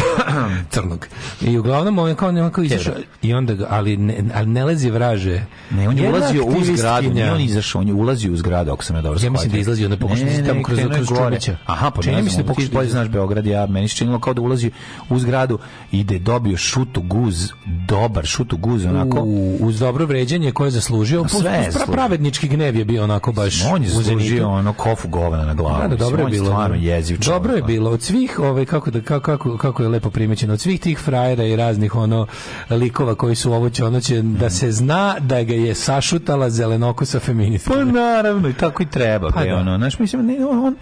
S7: Crnog. I uglavnom on je kao nekako izašao. I onda ga, ali ne, ali ne lezi vraže.
S6: Ne, on je
S7: Jedna
S6: ulazio u zgradu,
S7: aktivistkinja-
S6: nije on izašao, on je ulazio u zgradu, ako sam ja dobro
S7: Ja mislim
S6: shvatio.
S7: da izlazi, onda pokušao
S6: Ne,
S7: da
S6: ne,
S7: tamo kroz-
S6: krenuo je
S7: kroz
S6: gore.
S7: Čumića.
S6: Aha, pa
S7: Čini
S6: ne
S7: mi se
S6: znam,
S7: da pokušao
S6: ti bolje
S7: da-
S6: znaš Beograd, ja, meni se činilo kao da ulazi u zgradu i da je dobio šutu guz, dobar šutu guz, onako.
S7: U, uz dobro vređanje koje je zaslužio,
S6: A sve
S7: pra-
S6: je zaslužio.
S7: pravednički gnev je bio onako baš
S6: on je
S7: u zenitu.
S6: zaslužio ono kofu govna na glavu. Pa,
S7: Da, da,
S6: mislim,
S7: dobro je
S6: on
S7: bilo.
S6: Stvarno jeziv čovjek. pa. ono.
S7: Dobro je bilo od svih, ovaj kako da kako kako kako je lepo primećeno od svih tih frajera i raznih ono likova koji su ovo će ono će
S6: Mhm.
S7: da se zna da ga je sašutala zelenokosa feministka.
S6: Pa naravno, i tako i treba.
S7: Pa
S6: Pa,
S7: da.
S6: ono, znaš, mislim, ne, on, on,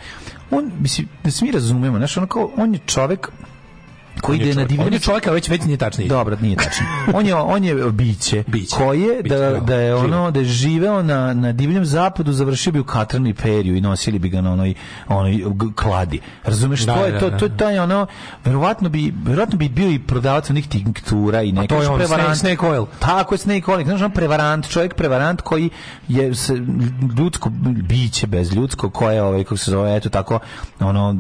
S6: on, mislim, da se mi razumemo, znaš, ono kao, on je čovek koji
S7: On je
S6: ide na
S7: čovjek-
S6: divljinu.
S7: on je čovjek, a već- već nije tačnije.
S6: Dobro, nije tačno. On je, on je biće, koje da,
S7: bravo.
S6: da je ono, da je živeo na, na divljem zapadu, završio bi u katrani periju i nosili bi ga na onoj, onoj g- kladi. Razumeš,
S7: Da,
S6: to je
S7: da,
S6: to,
S7: da,
S6: to,
S7: da.
S6: to je ono, verovatno bi, verovatno bi bio i prodavac onih tinktura i
S7: to
S6: neka
S7: je ono,
S6: prevarant.
S7: snake- snake oil.
S6: Tako Pa je snake oil. Znaš, on prevarant, čovjek prevarant koji je se, ljudsko biće bez ljudsko koje ovaj kako se zove eto tako ono
S7: A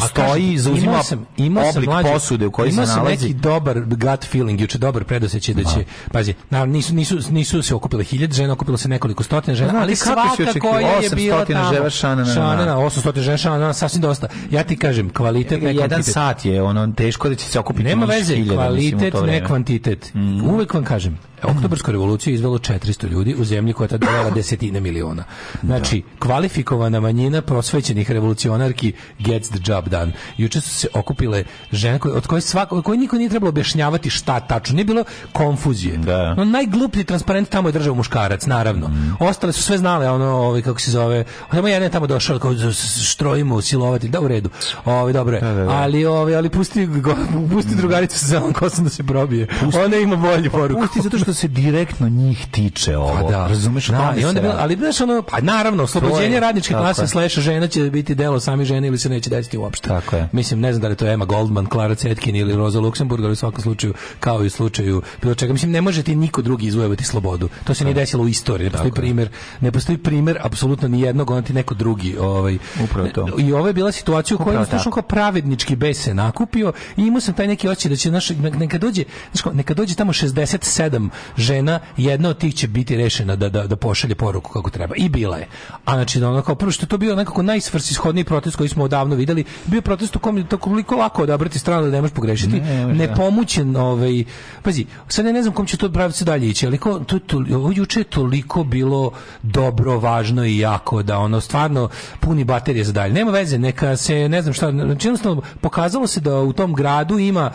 S6: postoji
S7: Pa kažem,
S6: zauzima
S7: imao sam- imao sam
S6: oblik
S7: mlađe-
S6: posude u kojoj se
S7: imao sam
S6: nalazi.
S7: neki dobar gut feeling, juče dobar predosećaj da će, pazi, naravno nisu, nisu, nisu se okupile hiljade žena, okupilo se nekoliko stotina žena,
S6: Znam
S7: ali
S6: ti kako si
S7: svaka
S6: očekivao,
S7: koja je bila
S6: 800
S7: tamo.
S6: žena, šana, na, na, na.
S7: Šanana, 800 žena, šanana, sasvim dosta. Ja ti kažem, kvalitet ne
S6: jedan
S7: kvantitet.
S6: sat je ono teško da će se okupiti
S7: Nema
S6: njih
S7: veze,
S6: hiljada, mislim, u
S7: kvalitet,
S6: to Mhm.
S7: ne
S6: vreme.
S7: kvantitet. Uvek vam kažem, oktobarsku revoluciju je izvelo 400 ljudi u zemlji koja je tad dala desetine miliona. Znači, kvalifikovana manjina prosvećenih revolucionarki gets the job done. Juče su se okupile žene koje, od koje, svako, koje niko nije trebalo objašnjavati šta tačno. Nije bilo konfuzije. No, najgluplji transparent tamo je držao muškarac, naravno. Ostale su sve znale, ono, ovaj, kako se zove, samo jedan je tamo došao, kao s- s- štrojimo, silovati, da u redu. Ovaj, dobro je. Ali, ovaj, ali pusti, go, pusti drugaricu sa zelenom kosom da se probije. Ona ima bolju poruku.
S6: Pusti zato što se direktno njih tiče ovo.
S7: Pa da.
S6: Razumeš o
S7: Da,
S6: tome
S7: i onda
S6: se
S7: je bilo-
S6: radi.
S7: ali znaš ono, pa naravno,
S6: To
S7: oslobođenje
S6: je,
S7: radničke
S6: tako
S7: klase
S6: je.
S7: slash žena će biti delo sami žene ili se neće desiti uopšte.
S6: Tako je.
S7: Mislim, ne znam da li je to Emma Goldman, Clara Cetkin ili Rosa Luxemburg, ali u svakom slučaju, kao i u slučaju bilo čega. Mislim, ne može ti niko drugi izvojevati slobodu. To se nije desilo u istoriji. Ne postoji primjer, ne postoji primjer apsolutno ni jednog, onda ti neko drugi. Ovaj,
S6: Upravo to.
S7: I ovo je bila situacija u kojoj
S6: Upravo
S7: je slušao
S6: tako.
S7: kao pravednički bes se nakupio i imao sam taj neki oči da će naš, neka dođe, znaš kao, neka dođe tamo 67 žena, jedna od tih će biti rešena da, da, da pošalje poruku kako treba. I bila je. A znači, da ono kao, prvo što je to bio nekako najsvrsishodniji protest koji smo odavno videli, bio je protest u kom je to koliko lako odabrati stranu da ne možeš pogrešiti,
S6: Ne, ne možeš, da.
S7: nepomućen, ovaj, pazi, sad ja ne znam kom će to praviti dalje ići, ali ko, to, je toli- ovo juče je toliko bilo dobro, važno i jako, da ono stvarno puni baterije za dalje. Nema veze, neka se, ne znam šta, znači jednostavno pokazalo se da u tom gradu ima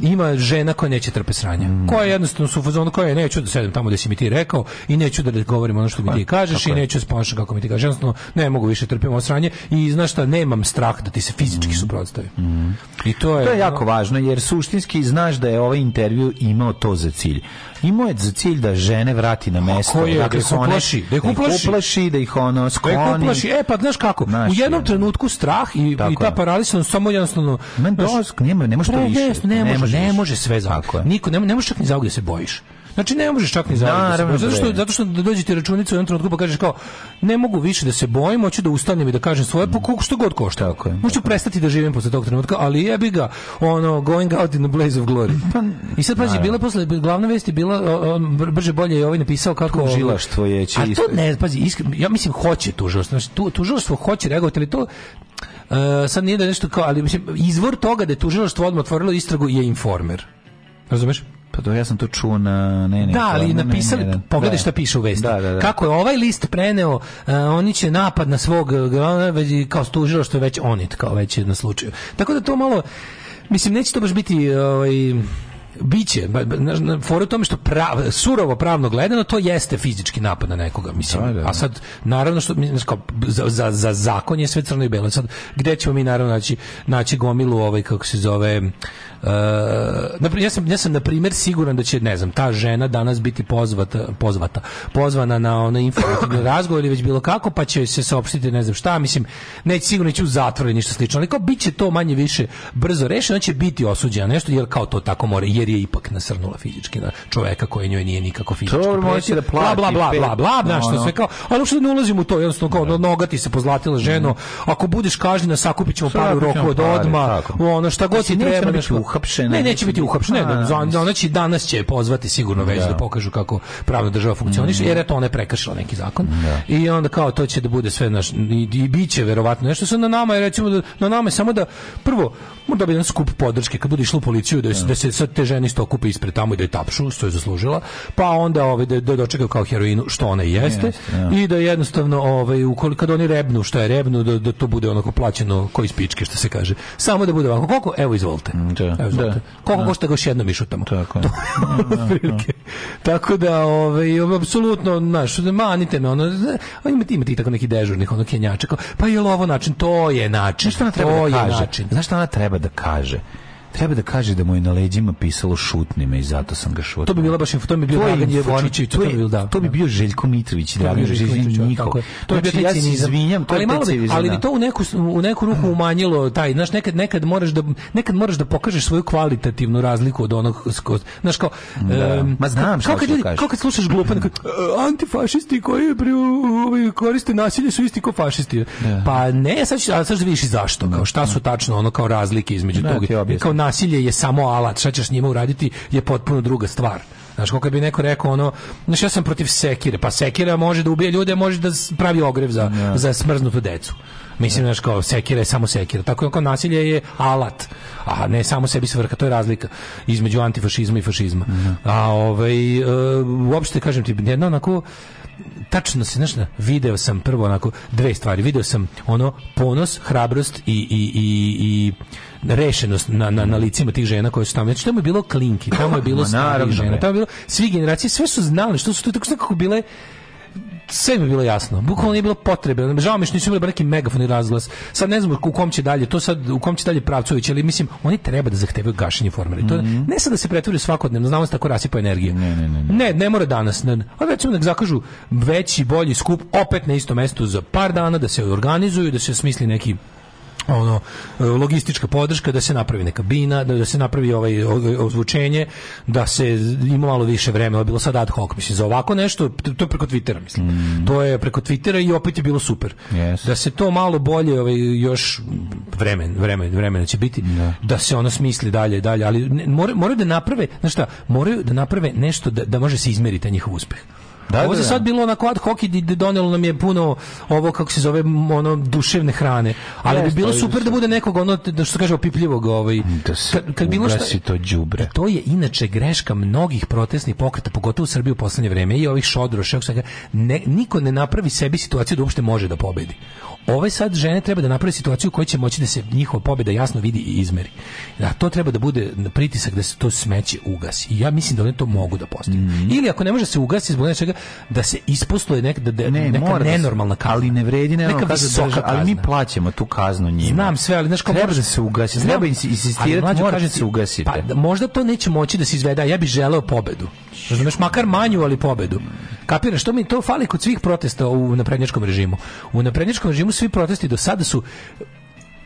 S7: ima žena koja neće trpe sranja.
S6: Mm.
S7: Koja jednostavno su u fazonu koja je, neću da sedem tamo gde si mi ti rekao i neću da govorim ono što mi
S6: Pa,
S7: ti kažeš i neću da se ponašam kako mi ti kažeš. Jednostavno ne mogu više trpim ovo sranje i znaš šta, nemam strah da ti se fizički suprotstavim. I
S6: Mm.
S7: to je,
S6: To je
S7: ono-
S6: jako važno, jer suštinski znaš da je ovaj intervju imao to za cilj. Imao je za cilj da žene vrati na mesto.
S7: koje,
S6: odakle
S7: da ih
S6: su one-
S7: uplaši, da ih uplaši.
S6: da ih ono skloni.
S7: Kako plaši? E, pa znaš kako,
S6: Znaš,
S7: u jednom
S6: je.
S7: trenutku strah i,
S6: Tako
S7: i ta
S6: je.
S7: paralizanost samo jednostavno...
S6: Man,
S7: znaš,
S6: dosk, nema, ne može to više.
S7: predes- Ne, može, ne, može,
S6: više.
S7: sve za
S6: Tako je.
S7: Niko, ne, ne možeš čak ni zauvijek da se bojiš. Znači, ne možeš čak ni zauvijek da se
S6: Naravno,
S7: bojiš. Zato što,
S6: bre.
S7: zato što da dođe ti računica u jednom trenutku pa kažeš kao, ne mogu više da se bojim, hoću da ustanem i da kažem svoje, pa koliko što god košta. Tako Možda ću prestati da živim posle tog trenutka, ali jebi ga, ono, going out in a blaze of glory.
S6: Pa,
S7: I sad, pazi, bila je posle, glavna vest je bila, o, o, br- brže bolje je ovaj napisao kako...
S6: Tužilaštvo je će
S7: A to
S6: isto-
S7: ne, pazi, iskreno, ja mislim hoće tužilaštvo. Znači, tu, tužilaštvo hoće reagovati, ali to e, sad nije da je nešto kao, ali mislim, izvor toga da je tužilaštvo odmah otvorilo istragu je informer. Razumeš?
S6: Pa to ja sam to čuo na... Ne, ne,
S7: Da,
S6: to-
S7: ali
S6: ne, ne,
S7: napisali,
S6: ne, ne.
S7: pogledaj
S6: Da.
S7: šta piše u vesti.
S6: Da, da, da.
S7: Kako je ovaj list preneo, e, oni će napad e, na svog, e, glavnog, već i kao stužilo što je već onit, kao već je na slučaju. Tako da to malo, Mislim, neće to baš biti... Ovaj, biće, ba- ba- znaš, na- fora je u tome što prav, surovo pravno gledano to jeste fizički napad na nekoga, mislim. A sad, naravno što, mislim, znaš, kao, za, za, za zakon je sve crno i belo. Sad, gde ćemo mi naravno naći, naći gomilu ovaj, kako se zove, Uh, ja, sam, ja sam na primjer siguran da će, ne znam, ta žena danas biti pozvata, pozvata pozvana na onaj informativni razgovor ili već bilo kako, pa će se saopštiti ne znam šta, mislim, neće sigurno ići u zatvor ili ništa slično, ali kao bit će to manje više brzo rešeno, on će biti osuđena nešto, jer kao to tako mora, jer je ipak nasrnula fizički na čoveka koji njoj nije nikako fizički
S6: Dobro,
S7: pretio.
S6: moći da
S7: bla,
S6: plati
S7: bla, bla,
S6: pet.
S7: bla, bla, znaš,
S6: Ono.
S7: to sve kao, ali uopšte ne ulazim u to, jednostavno kao, noga ti se pozlatila ženo, ako budeš kažnjena, sakupit ćemo
S6: Mhm. Sakupit
S7: pare u roku
S6: ćemo
S7: od
S6: pare,
S7: odma,
S6: tako.
S7: ono, šta god
S6: Mislim,
S7: ti
S6: neće
S7: treba.
S6: ona biti
S7: znaš, kao-
S6: uhapšena,
S7: Ne,
S6: neće
S7: neće biti
S6: biti-
S7: uhapšena,
S6: A,
S7: ne, za- za- ona će danas će je pozvati sigurno već
S6: Da.
S7: da pokažu kako pravna država funkcioniše, jer eto ona je prekršila neki zakon. I onda kao to će da bude sve naš i, i biće verovatno nešto se na nama je recimo da, na nama je samo da prvo mora da bi jedan skup podrške kad bude išlo u policiju da, se- da se sad te žene isto okupe ispred tamo i da je tapšu što je zaslužila, pa onda ovaj da, da dočekaju kao heroinu što ona i jeste
S6: Jeste, da.
S7: i da jednostavno ovaj ukoliko kad oni rebnu što je rebnu da, da to bude onako plaćeno koji spičke što se kaže. Samo da bude ovako koliko evo izvolite. Evo, izvolite. Koliko košta ga još jednom išutamo? Tako Otprilike. Tako da, ovaj, apsolutno, znaš, manite me, ono, zna- a ima, ima ti tako neki dežurnih, ono, kenjača, kao, pa je li ovo način? To je način. Znaš
S6: Šta ona
S7: to
S6: treba da
S7: je
S6: kaže?
S7: način.
S6: Znaš šta ona treba da kaže? Treba da kaže da mu je na leđima pisalo šutni me i zato sam ga šutio.
S7: To bi bila baš info, to bi bio
S6: To je
S7: Dragan
S6: inform-
S7: Jevočićević,
S6: to
S7: to
S6: je-
S7: bi bilo da.
S6: to bi bio Željko Mitrović i
S7: To bi
S6: Dragan
S7: bio Željko
S6: Željković,
S7: Mitrović,
S6: niko.
S7: tako je. To je bio
S6: Znači,
S7: taj
S6: ja se
S7: cinizam.
S6: izvinjam, to je
S7: ali
S6: taj
S7: malo bi,
S6: cinizam,
S7: ali
S6: da.
S7: bi to u neku u neku ruku umanjilo taj, znaš, nekad nekad moraš da nekad moraš da pokažeš svoju kvalitativnu razliku od onog sko, znaš kao
S6: Da.
S7: em,
S6: Ma znam šta
S7: kao kad
S6: hoćeš da
S7: ljudi-
S6: kažeš.
S7: kao kad slušaš glupe neko, "E, antifašisti koji pri, ovaj, koriste nasilje su isti kao fašisti. Pa ne, sad ću- a sad ću da vidiš i zašto, kao šta su tačno ono kao razlike između
S6: Da,
S7: toga.
S6: ti objasnim.
S7: Kao nasilje je samo alat, šta ćeš s njima uraditi je potpuno druga stvar. Znaš, kako bi neko rekao ono, znaš, ja sam protiv sekire, pa sekira može da ubije ljude, može da s- pravi ogrev za, za smrznutu decu. Mislim, znaš, kao sekira je samo sekira. Tako je, kao nasilje je alat, a ne samo sebi svrha, to je razlika između antifašizma i fašizma. A ovaj, e, uopšte, kažem ti, jedno onako, tačno se, znaš, na- video sam prvo onako dve stvari. Video sam ono ponos, hrabrost i, i, i, i rešenost na, na, na licima tih žena koje su tamo. Znači, tamo je bilo klinki, tamo je bilo
S6: Ma, naravno,
S7: starih žena,
S6: bre.
S7: tamo je bilo svi generacije, sve su znali što su tu, tako su nekako bile sve mi je bilo jasno. Bukvalno nije bilo potrebe. Žao mi je što nisu imali bar neki megafon i razglas. Sad ne znam u kom će dalje, to sad u kom će dalje pravcu ići, ali mislim oni treba da zahtevaju gašenje formere. To ne sad da se pretvori u svakodnevno, znamo da se tako rasipa energija. Mhm. Ne, ne, ne. Ne, mora danas. Ne, ne. A recimo nek zakažu veći, bolji skup opet na istom mestu za par dana da se organizuju, da se smisli neki ono e, logistička podrška da se napravi neka bina, da, da se napravi ovaj ovaj ozvučenje, da se ima malo više vremena, ovo je bilo sad ad hoc, mislim za ovako nešto, to to je preko Twittera, mislim. To je preko Twittera i opet je bilo super.
S6: Yes.
S7: Da se to malo bolje ovaj još vremen, vremen, vremena će biti da, se ono smisli dalje i dalje, ali ne- more- moraju da naprave, znaš šta, moraju da naprave nešto da, da može se izmeriti taj njihov uspeh.
S6: Da,
S7: Ovo
S6: da,
S7: za
S6: da.
S7: sad bilo onako ad hoc i d- donelo nam je puno ovo kako se zove m, ono duševne hrane. Ali bi
S6: Jeste,
S7: bilo
S6: ali
S7: super da bude nekog ono te- da što kaže opipljivog ovaj kad, kad bilo šta
S6: Ugasi to đubre.
S7: to je inače greška mnogih protestnih pokreta, pogotovo u Srbiji u poslednje vreme i ovih šodro, šek, svega. ne, niko ne napravi sebi situaciju da uopšte može da pobedi. Ove sad žene treba da napravi situaciju u kojoj će moći da se njihova pobeda jasno vidi i izmeri. A to treba da bude pritisak da se to smeće ugasi. I ja mislim da one to mogu da postignu.
S6: Mhm.
S7: Ili ako ne može da se ugasi zbog nečega, da se isposluje nek, da, da,
S6: Ne,
S7: neka
S6: mora da se-
S7: nenormalna kazna.
S6: Ali ne vredi nenormalna
S7: neka
S6: kazna
S7: visoka
S6: država, ali mi
S7: kazna.
S6: plaćamo tu kaznu njima.
S7: Znam sve, ali znaš kao
S6: Treba
S7: moraš-
S6: da se ugasi,
S7: Znam,
S6: treba ins- insistirati,
S7: ali mlađo,
S6: morate
S7: kažem
S6: se e.
S7: ti,
S6: ugasite.
S7: Pa, da, možda to neće moći da se izvede, a ja bih želeo pobedu. Razumeš, makar manju, ali pobedu. Kapiraš, to mi to fali kod svih protesta u naprednjačkom režimu. U naprednjačkom režimu svi protesti do sada su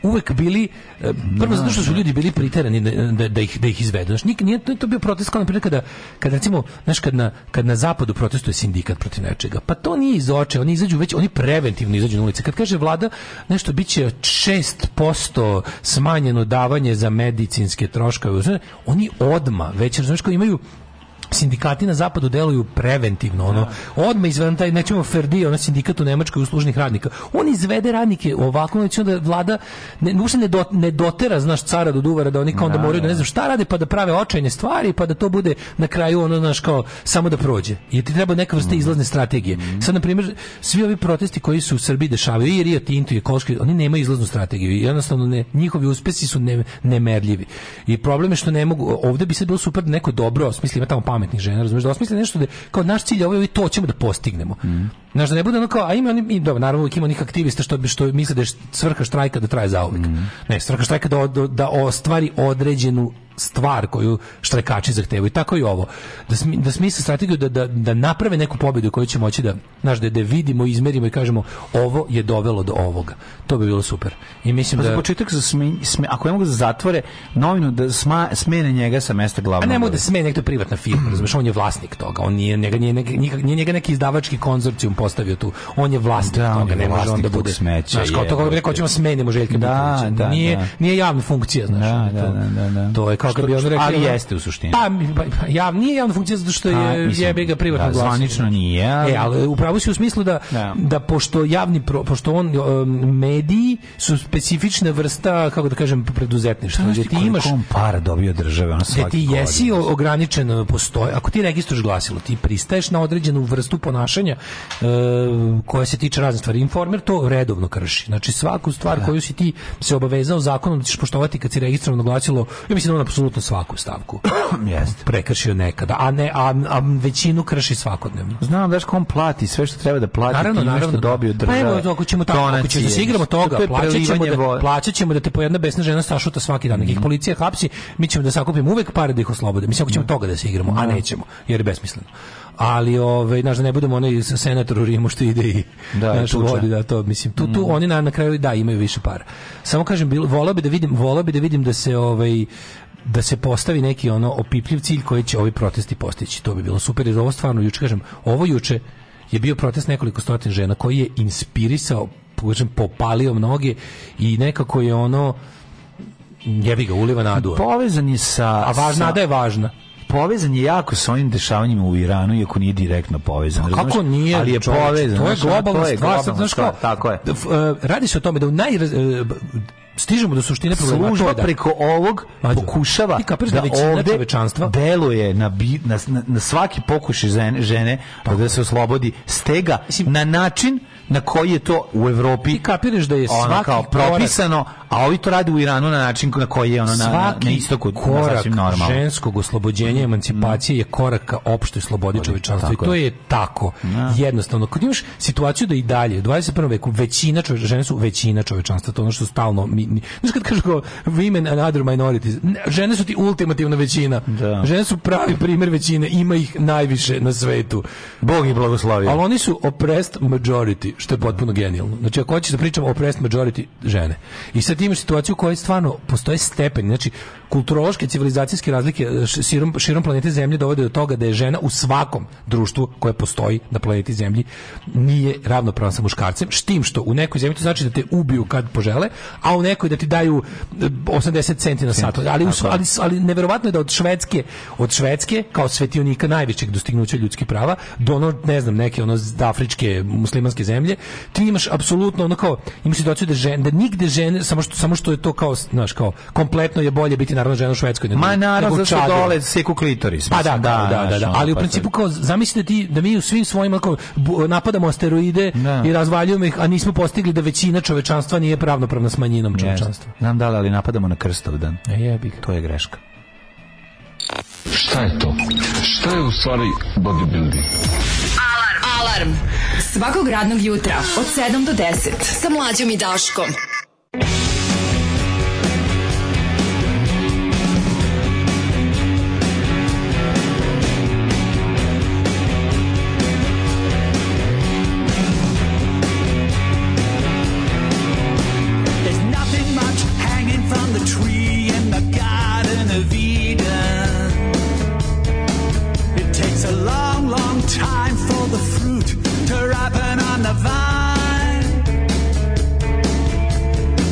S7: uvek bili e, prvo zato što su ljudi bili priterani da, da, da ih da ih izvedu. Znaš, nik- nije to, to bio protest kao na primjer kada kada recimo znaš kad na kad na zapadu protestuje sindikat protiv nečega. Pa to nije iz oče, oni izađu već oni preventivno izađu na ulice. Kad kaže vlada nešto biće 6% smanjeno davanje za medicinske troškove, znaš, oni odma već razumeš kao imaju sindikati na zapadu deluju preventivno ono odmah izveden taj nećemo Ferdi ono sindikat u Nemačkoj uslužnih radnika on izvede radnike ovako znači da vlada ne, uopšte ne, do, ne dotera znaš cara do duvara da oni kao onda
S6: Da,
S7: moraju da ne
S6: da.
S7: znam šta rade pa da prave očajne stvari pa da to bude na kraju ono znaš kao samo da prođe jer ti treba neka vrsta izlazne strategije sad na primjer svi ovi protesti koji su u Srbiji dešavaju i Rio Tinto i Ekološki oni nemaju izlaznu strategiju i jednostavno ne, njihovi uspesi su ne, nemerljivi i problem je što ne mogu ovdje bi se bilo super da neko dobro osmisli ima tamo pametnih žena razumiješ da osmisli nešto da je kao naš cilj je ovo i to ćemo da postignemo
S6: Mm.
S7: Znaš, da ne bude ono kao, a ima oni, i dobro, naravno uvijek ima onih aktivista što, bi- što misle da je svrha štrajka da traje zauvijek.
S6: Mm.
S7: Ne, svrha štrajka da, od- da ostvari određenu stvar koju štrajkači zahtevaju. Tako i ovo. Da, smi, da smisle strategiju da, da, da naprave neku pobjedu koju će moći da, znaš, da, da je vidimo, izmerimo i kažemo ovo je dovelo do ovoga. To bi bilo super. I mislim
S6: Pa
S7: da...
S6: za početak su smi- smi- ako ne mogu da zatvore novinu da sma, smene njega sa mesta
S7: A
S6: glavnog.
S7: ne mogu da sme nekto privatna firma, razumeš, on je vlasnik toga. On nije njega nije, neki- nikak- nije njega neki izdavački konzorcijum postavio tu. On je vlasnik
S6: Da, on
S7: toga,
S6: je
S7: ne može
S6: vlasnik
S7: onda
S6: tog
S7: bude.
S6: smeća,
S7: znaš, kao to kako bi
S6: jebote.
S7: rekao, ćemo smenimo Željka
S6: Da,
S7: Mitrovića.
S6: da,
S7: nije
S6: da.
S7: nije javna funkcija, znaš. ono,
S6: da,
S7: to-
S6: da, da, da.
S7: To je kao kad bi on rekao.
S6: Ali jeste u suštini.
S7: Pa, mi- pa, pa, jav, nije javna funkcija zato što
S6: A,
S7: je
S6: mislim,
S7: jebi ga privatno
S6: da,
S7: vlasnik.
S6: zvanično nije, ali-
S7: E, ali upravo si u smislu da,
S6: Da.
S7: da. pošto javni pro- pošto on um, mediji su specifična vrsta kako da kažem
S6: Pa,
S7: preduzetništva. Gde ti imaš
S6: on para dobio od države, ono
S7: da
S6: svaki
S7: ti
S6: godine.
S7: jesi o- ograničen e, postoje ako ti registruješ glasilo ti pristaješ na određenu vrstu ponašanja e, koja se tiče raznih stvari informer to redovno krši znači svaku stvar koju si ti se obavezao zakonom da ćeš poštovati kad si registrovano glasilo ja mislim da on apsolutno svaku stavku
S6: Jeste.
S7: prekršio nekada a ne a, a većinu krši svakodnevno
S6: Znam daš kom plati sve što treba da plati,
S7: Naravno,
S6: time
S7: naravno.
S6: što dobio od države.
S7: Pa evo, ako ćemo tako, ako ćemo da se
S6: donacije,
S7: igramo toga,
S6: to je
S7: plaćat ćemo,
S6: prelivanje Mhm.
S7: da,
S6: vo-
S7: plaćat ćemo da te po jedna besna žena sašuta svaki dan. Nekih policija hapsi, mi ćemo da sakupimo uvek pare da ih oslobode. Mislim,
S6: Mhm.
S7: ako ćemo toga da se igramo, a nećemo, jer je besmisleno. Ali, ovaj, znaš, da ne budemo onaj senator u Rimu što ide i
S6: Da, i
S7: znaš,
S6: tuče.
S7: vodi, da, to, mislim, tu, tu oni na, na kraju, da, imaju više para. Samo kažem, bilo, volao bi da vidim, volao bi da vidim da se, ovaj, da se postavi neki ono opipljiv cilj koji će ovi protesti postići. To bi bilo super, jer ovo stvarno, juče, kažem, ovo juče je bio protest nekoliko stotin žena koji je inspirisao, kažem, popalio mnoge i nekako je ono, jebi ga, uliva nadu.
S6: Povezan je sa...
S7: A važna
S6: sa-
S7: da je važna.
S6: povezan je jako sa onim dešavanjima u Iranu, iako nije direktno povezan.
S7: Pa kako
S6: razumeš?
S7: nije?
S6: Ali je
S7: čoveče,
S6: povezan.
S7: To je
S6: znaš, ono,
S7: globalna
S6: to je
S7: stvar. sad,
S6: globalna
S7: znaš kao,
S6: stvar, Tako je.
S7: f- e, Radi se o tome da u naj... e, b- Stižemo do suštine problema. a to je
S6: Služba
S7: da-
S6: preko ovog
S7: Mađo,
S6: pokušava
S7: ti kapiraš da
S6: da
S7: većina
S6: ovde
S7: čovečanstva-
S6: deluje na, bi- na, na- na svaki pokušaj žene, žene
S7: Pa-
S6: da se oslobodi stega na način na koji je to u Evropi
S7: Ti kapiraš da je
S6: ono
S7: svaki
S6: kao
S7: korak-
S6: propisano, a ovi to rade u Iranu na način na koji je ono na, na,
S7: svaki
S6: na istoku na
S7: korak
S6: sasvim normalno. Mm-hmm.
S7: ženskog oslobođenja emancipacije je korak ka opštoj slobodi čovečanstva i
S6: tako
S7: to
S6: je.
S7: je tako jednostavno kad imaš situaciju da i dalje u 21. veku većina čove, žene su većina čovečanstva to je ono što stalno mi, mi- znaš kad kažu kao women and other minorities ne, žene su ti ultimativna većina žene su pravi primjer većine ima ih najviše na svetu
S6: Bog ih blagoslavio.
S7: ali oni su oppressed majority, što je potpuno genijalno. Znači, ako hoćeš da pričamo oppressed majority, žene. I sad imaš situaciju u kojoj stvarno postoje stepeni. Znači, kulturološke, civilizacijske razlike e, š- širom, širom planete Zemlje dovode do toga da je žena u svakom društvu koje postoji na planeti Zemlji nije ravnopravna sa muškarcem, s tim što u nekoj zemlji to znači da te ubiju kad požele, a u nekoj da ti daju e, 80 centi na sat. Ali, u, s- ali, s- ali neverovatno je da od Švedske, od Švedske kao svetionika najvećeg dostignuća ljudskih prava do ono, ne znam, neke ono z- afričke muslimanske zemlje, ti imaš apsolutno ono kao, imaš situaciju da, žen, da nigde žene, samo što, samo što je to kao, znaš, kao, kompletno je bolje biti naravno žena u Švedskoj nego,
S6: Ma naravno,
S7: nego u
S6: zato što
S7: Čadu.
S6: dole seku klitoris.
S7: Pa da,
S6: mislim,
S7: da, da, da,
S6: znaš, ono,
S7: ali u
S6: pa
S7: principu
S6: sad-
S7: kao zamisli da ti da mi u svim svojim kao, bu- napadamo asteroide i razvaljujemo ih, a nismo postigli da većina čovečanstva nije pravnopravna s manjinom čovečanstva.
S6: Nam da li, ali napadamo na krstov dan.
S7: E, jebi ga.
S6: To je greška.
S9: Šta je to? Šta je u stvari bodybuilding?
S16: Alarm. Alarm. Svakog radnog jutra od 7 do 10 sa mlađom i Daškom.
S17: There's nothing much hanging from the tree in the Garden of Eden. It takes a long, long time for the fruit to ripen on the vine.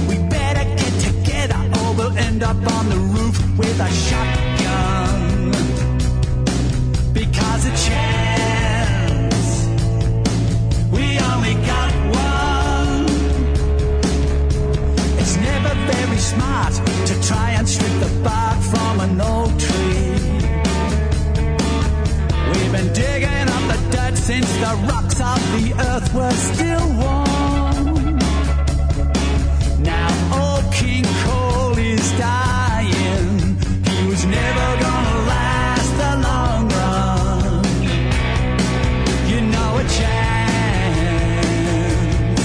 S17: We better get together or we'll end up on the roof with a shotgun.
S1: 'Cause a chance we only got one. It's never very smart to try and strip the bark from an old tree. We've been digging up the dirt since the rocks of the earth were still warm. Now old King Cole is dying. He was never gonna last the long run. You know a chance.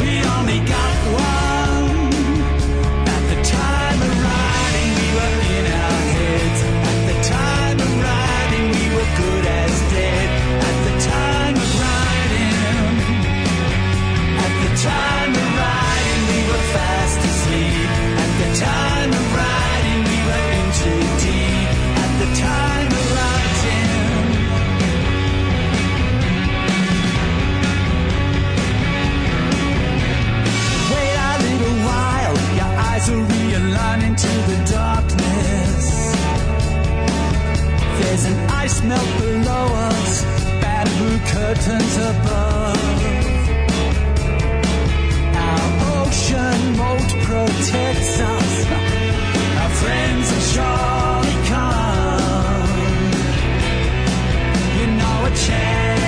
S1: We only got one. At the time of writing, we were in our heads. At the time of writing, we were good as dead. At the time of writing, at the time of writing, we were fast asleep. At the time of writing, we were in too deep. At the time of writing. Wait a little while, your eyes are realigning to the darkness. There's an ice melt below us, bamboo curtains above. Our ocean moat protects us. Our friends are surely come. You know a chance.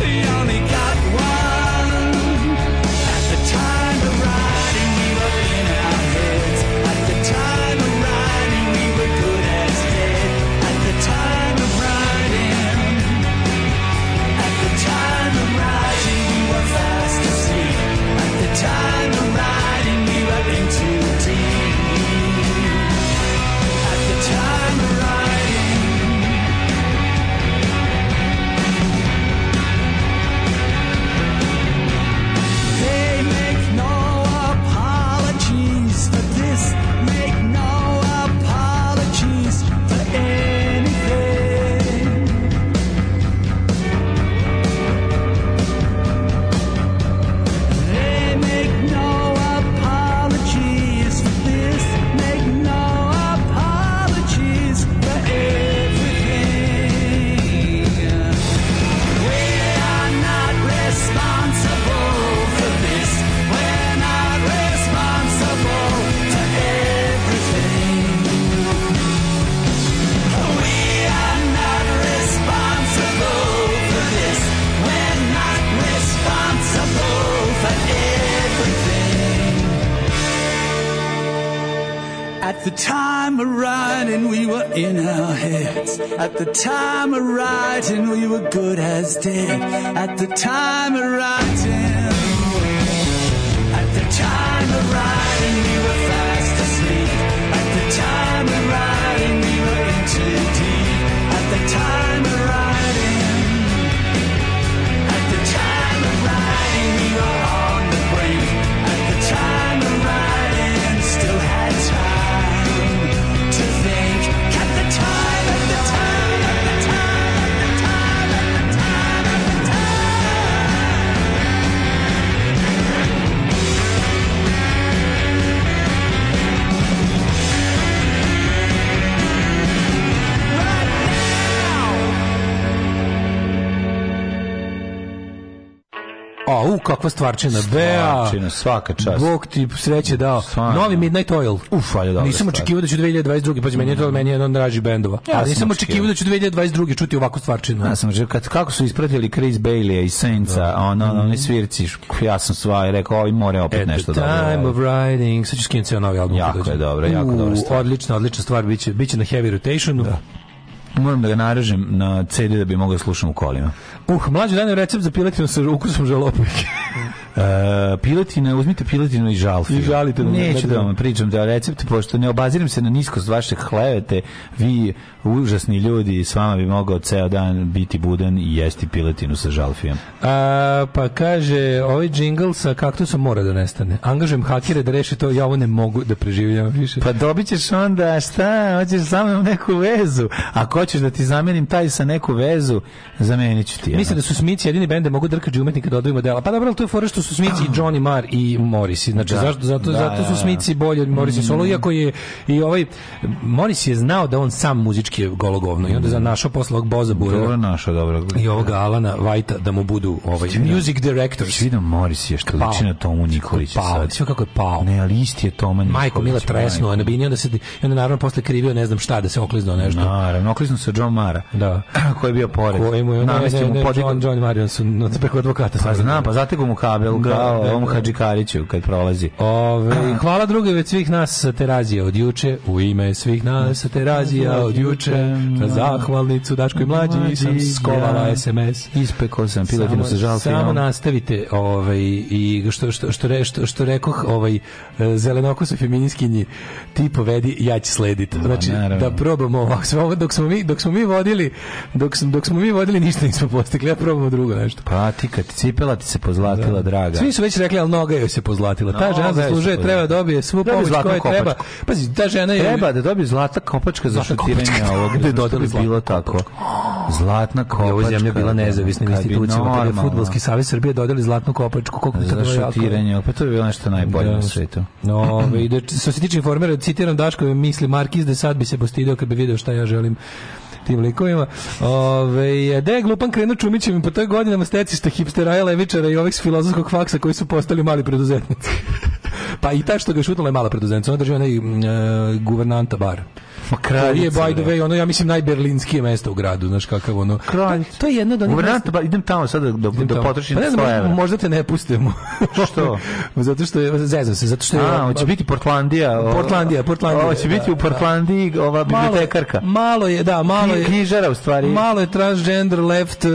S1: We only got one. At the time of writing, we were in our heads. At the time of writing, we were good as dead. At the time of writing, at the time of writing, we were fast asleep. At the time of writing, we were in too deep. At the time of writing. They make no apologies for this. Make no apologies for anything. They make no apologies for this. Make no apologies for everything. We are not responsible for this. We're not responsible for everything. We are not responsible for this. We're not responsible for everything. At the time of writing, we were in our heads. At the time of writing, we were good as dead. At the time of writing, at the time of writing, we were fast asleep. At the time of writing, we were in too deep. At the time of writing, at the time of writing, we were on the brink. At the time of writing, still had time to think. At the time, at the time, at the time, at the time, at the time, at the
S7: A, u, kakva stvarčina, bea.
S6: Stvarčina, svaka čast.
S7: Bog ti sreće dao. Novi Midnight Oil.
S6: Uf, ali dobro. Mm.
S7: Nisam očekivao da ću 2022. Pazi, meni je to meni je jedan od dražih bendova.
S6: Ja
S7: ali
S6: sam
S7: nisam
S6: očekivao.
S7: očekivao da ću 2022. čuti ovakvu stvarčinu.
S6: Ja sam rekao, kad, kako su ispratili Chris Bailey i Saintsa, a ono, ono, oni svirci, š- ja sam sva i rekao, ovi more opet
S7: At
S6: nešto
S7: the
S6: dobro.
S7: time
S6: da
S7: of writing. Sad ću skinuti ceo novi album.
S6: Jako
S7: kad dođe.
S6: je dobro, jako dobra
S7: U,
S6: stvar.
S7: Odlična, odlična stvar. Biće, biće na heavy rotationu.
S6: rade. Moram da ga narežem na CD da bi mogao da slušam u kolima.
S7: Uh, mlađi dan je recept za piletinu sa ukusom žalopnike.
S6: E, piletina, uzmite piletinu i žalfiju.
S7: I žalite da-
S6: Neću
S7: da-
S6: da vam pričam da recept, pošto ne obaziram se na niskost vaše hlevete, vi užasni ljudi, s vama bi mogao ceo dan biti budan i jesti piletinu sa žalfijom.
S7: A, pa kaže, ovaj džingl sa kaktusom mora da nestane. Angažujem hakere da reše to, ja ovo ne mogu da preživljavam više.
S6: Pa dobit ćeš onda šta, hoćeš sa mnom neku vezu. Ako hoćeš da ti zamenim taj sa neku vezu, zamenit ću ti. ono.
S7: Mislim da su Smici jedini bende mogu drkađi umetnika da odvojimo dela. Pa dobro, ali to je fora što su Smici i Johnny Marr i Morrissey. Znači,
S6: Da.
S7: zašto, zato,
S6: Da,
S7: zato
S6: da, Mm. da.
S7: su Smici bolji od Morrissey solo, iako je i ovaj... Morris je znao da on sam muzički je gologovno i onda je našao posle ovog Boza Burera.
S6: Mm. Dobro našao, dobro.
S7: I ovoga Alana Vajta da mu budu ovaj, music directors.
S6: Vidim Morris je što liči na Tomu Nikolića
S7: Pao,
S6: sad.
S7: sve kako je pao.
S6: Ne, ali isti je Toma Nikolić.
S7: Majko Mila tresnuo je na bini, onda se i onda naravno posle krivio ne znam šta da se okliznuo nešto.
S6: Naravno, okliznuo se John Mara.
S7: Da.
S6: Koji je bio pored.
S7: Koji mu je ono,
S6: Namestio mu
S7: mu
S6: podigao-
S7: John, John Marion su no, preko advokata.
S6: Pa znam, pa zategu mu kabel
S7: Da,
S6: kao
S7: da,
S6: ovom
S7: da.
S6: Hadžikariću kad prolazi.
S7: Ove, hvala druge već svih nas sa Terazija od juče, u ime svih nas sa Terazija od juče, za zahvalnicu Dačkoj mlađi sam skovala SMS.
S6: Ispekao sam piletinu sa žalfi.
S7: Samo nastavite ovaj, i što, što, što, re, što, što rekoh ovaj, zelenoko su feminiskinji ti povedi, ja ću slediti. Znači,
S6: naravno.
S7: da probamo ovo. Sve ovo Dok smo mi, dok smo mi vodili, dok, smo- dok smo mi vodili, ništa nismo postigli. Ja probamo drugo nešto.
S6: Pa ti kad cipela ti se pozlatila, draga.
S7: Svi su već rekli, ali noga joj se pozlatila. Ta žena
S6: Noga joj se
S7: zaslužuje, treba da
S6: pozlatila.
S7: dobije svu
S6: Dobije
S7: pomoć
S6: zlatnu
S7: koja treba.
S6: kopačku.
S7: Pazi, ta žena je...
S6: Treba da dobije zlata kopačka za
S7: Zlatna kopačka,
S6: šutiranje
S7: da,
S6: ovog.
S7: da je
S6: Zašto
S7: dodali
S6: bi
S7: zlatnu
S6: bilo tako. Zlatna kopačka.
S7: je ovo zemlja bila nezavisna
S6: kad bi
S7: institucija, kada je
S6: normalno-
S7: Futbolski savez Srbije dodali zlatnu kopačku, koliko bi to
S6: Za
S7: bilo jako.
S6: šutiranje, pa to je bilo nešto najbolje
S7: Da.
S6: na svetu.
S7: No, ove, i da, što se tiče informera, citiram Daškove misli, Markiz da sad bi se postidio kad bi video šta ja želim tim likovima. Ove, da je glupan krenuo Čumićevim po toj godinama stecišta hipsteraja, levičara i ovih s filozofskog faksa koji su postali mali preduzetnici. pa i ta što ga je šutnula je mala preduzetnica. Ona drži onaj e, guvernanta bar. Ma
S6: kraljica,
S7: je, by the
S6: bre.
S7: way, ono, ja mislim, najberlinskije mesto u gradu, znaš kakav ono. To, to je jedno od onih
S6: Guvernanta, ba, idem tamo sad da, da,
S7: Idem
S6: da
S7: tamo.
S6: potrošim
S7: Pa ne znam,
S6: 100 evra.
S7: Možda te ne pustimo.
S6: Što?
S7: zato što je, zezam se, zato što je... ono,
S6: A, hoće biti Portlandija. o-
S7: Portlandija, Portlandija.
S6: Ovo će biti u
S7: Da,
S6: Portlandiji ova
S7: Malo-
S6: bibliotekarka.
S7: Malo je, da, malo je...
S6: Knjižara u stvari.
S7: Malo je transgender, left, uh,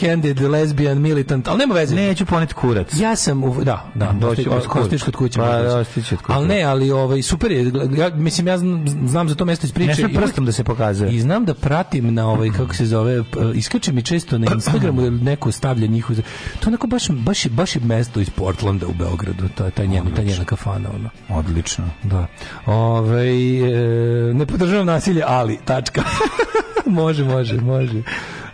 S7: handed, lesbian, militant, ali nema veze.
S6: Neću poneti kurac.
S7: Ja sam, u, da, da,
S6: Doći
S7: osti-
S6: od kuće.
S7: ostiš kod kuće.
S6: Pa,
S7: moram reći.
S6: da, ostići od kuće.
S7: Ali ne, ali ovaj, super je, ja, mislim, ja znam, znam za to mesto iz priče.
S6: Ne smije
S7: I uvek-
S6: prstom da se pokazuje.
S7: I znam da pratim na ovaj, kako se zove, p- iskače mi često na Instagramu da neko stavlja njihovu, to je onako baš, baš, je- baš je mesto iz Portlanda u Beogradu, ta, ta, njena, ta njena kafana, ono.
S6: Odlično.
S7: Da. Ove, e, ne podržavam nasilje, ali, tačka. može, može, može.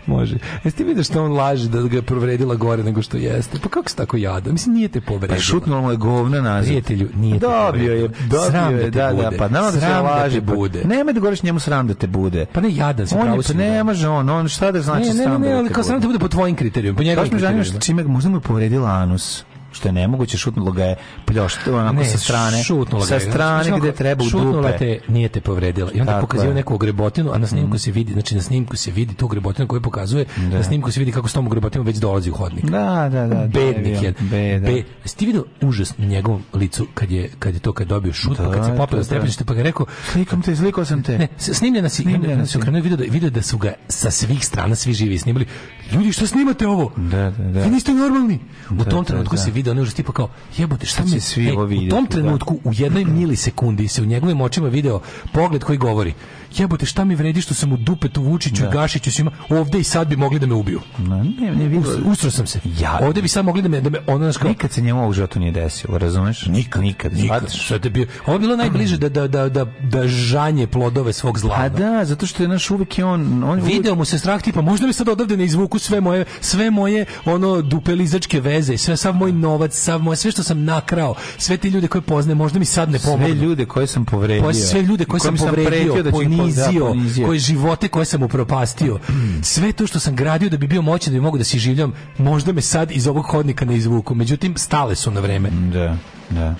S7: Može. E, Jesi ti vidio što on laže da ga je provredila gore nego što jeste? Pa kako se tako jada? Mislim, nije te povredila.
S6: Pa šutnulo mu je govna nazad.
S7: Prijatelju, nije te
S6: Dobio je,
S7: povredio.
S6: dobio
S7: Sram da
S6: je,
S7: te
S6: da,
S7: bude.
S6: da, pa nama da se
S7: Sram da te
S6: laže.
S7: bude.
S6: Pa, nemoj da govoriš njemu sram da te bude.
S7: Pa ne jadan se
S6: On
S7: pravo
S6: je, pa
S7: si.
S6: ne može on, on šta da znači
S7: ne, ne,
S6: sram
S7: ne,
S6: da
S7: ne,
S6: te
S7: ali kao
S6: bude.
S7: sram da bude po tvojim kriterijima, po njegovim
S6: Baš me zanima što
S7: kriterijima.
S6: čime, možda mu je povredila anus što je nemoguće, šutnulo ga je pljošt, onako sa strane,
S7: šutnula
S6: sa
S7: ga je. Znači,
S6: strane
S7: onako,
S6: gde treba u
S7: šutnula
S6: dupe.
S7: te, nije te povredila. I onda
S6: Tako
S7: pokazuje
S6: je. Mhm.
S7: neku ogrebotinu, a na snimku se vidi, znači na snimku se vidi tu ogrebotinu koju pokazuje, na snimku se vidi kako s tom ogrebotinu već dolazi u hodnik.
S6: Da, da, da.
S7: Bednik je.
S6: Bednik.
S7: Be, jesi ti vidio užas na njegovom licu kad je, kad je to kad je dobio šut, pa kad se
S6: Da,
S7: popeo
S6: da,
S7: na stepenište, pa ga je rekao,
S6: Slikam te, izlikao sam te.
S7: ne, s- snimljena si,
S6: Snimljena
S7: onda se
S6: si.
S7: okrenuo i video da, video da su ga sa svih strana svi živi snimali. Ljudi, što snimate ovo?
S6: Da, da, da.
S7: Vi niste normalni. U
S6: Da,
S7: tom
S6: da,
S7: trenutku
S6: da.
S7: se vidi ono užas tipa kao jebote šta
S6: Sad će
S7: me
S6: svi
S7: e,
S6: ovo
S7: U tom
S6: vidjeti,
S7: trenutku u jednoj milisekundi se u njegovim očima video pogled koji govori jebote šta mi vredi što sam u dupetu Vučiću i Gašiću svima ovde i sad bi mogli da me ubiju.
S6: Ne, ne, ne vidio.
S7: Us- Usro sam se.
S6: Ja-
S7: Ovde bi sad mogli da me da me ono znaš kao
S6: Nikad se njemu ovog životu nije desilo, razumeš? Nikad. Nikad.
S7: nikad.
S6: Shvatiš?
S7: Sad Pa, je bio, ovo je bilo najbliže da, da, da, da, da žanje plodove svog zla.
S6: A Pa da, zato što je naš uvek je on... on je uvek-
S7: Video mu se strah tipa možda li sad odavde ne izvuku sve moje sve moje ono dupelizačke veze i sve sav moj novac, sav moje sve što sam nakrao, sve ti ljude koje poznajem, možda mi sad ne
S6: sve
S7: pomognu.
S6: ljude koje sam povredio.
S7: Pa sve ljude koje sam
S6: kojim
S7: povredio,
S6: pretio da ću ih po- da,
S7: ponizio, koje živote koje sam upropastio, sve to što sam gradio da bi bio moćan, da bi mogu da si življam, možda me sad iz ovog hodnika ne izvuku. Međutim, stale su na vreme.
S6: Da, da.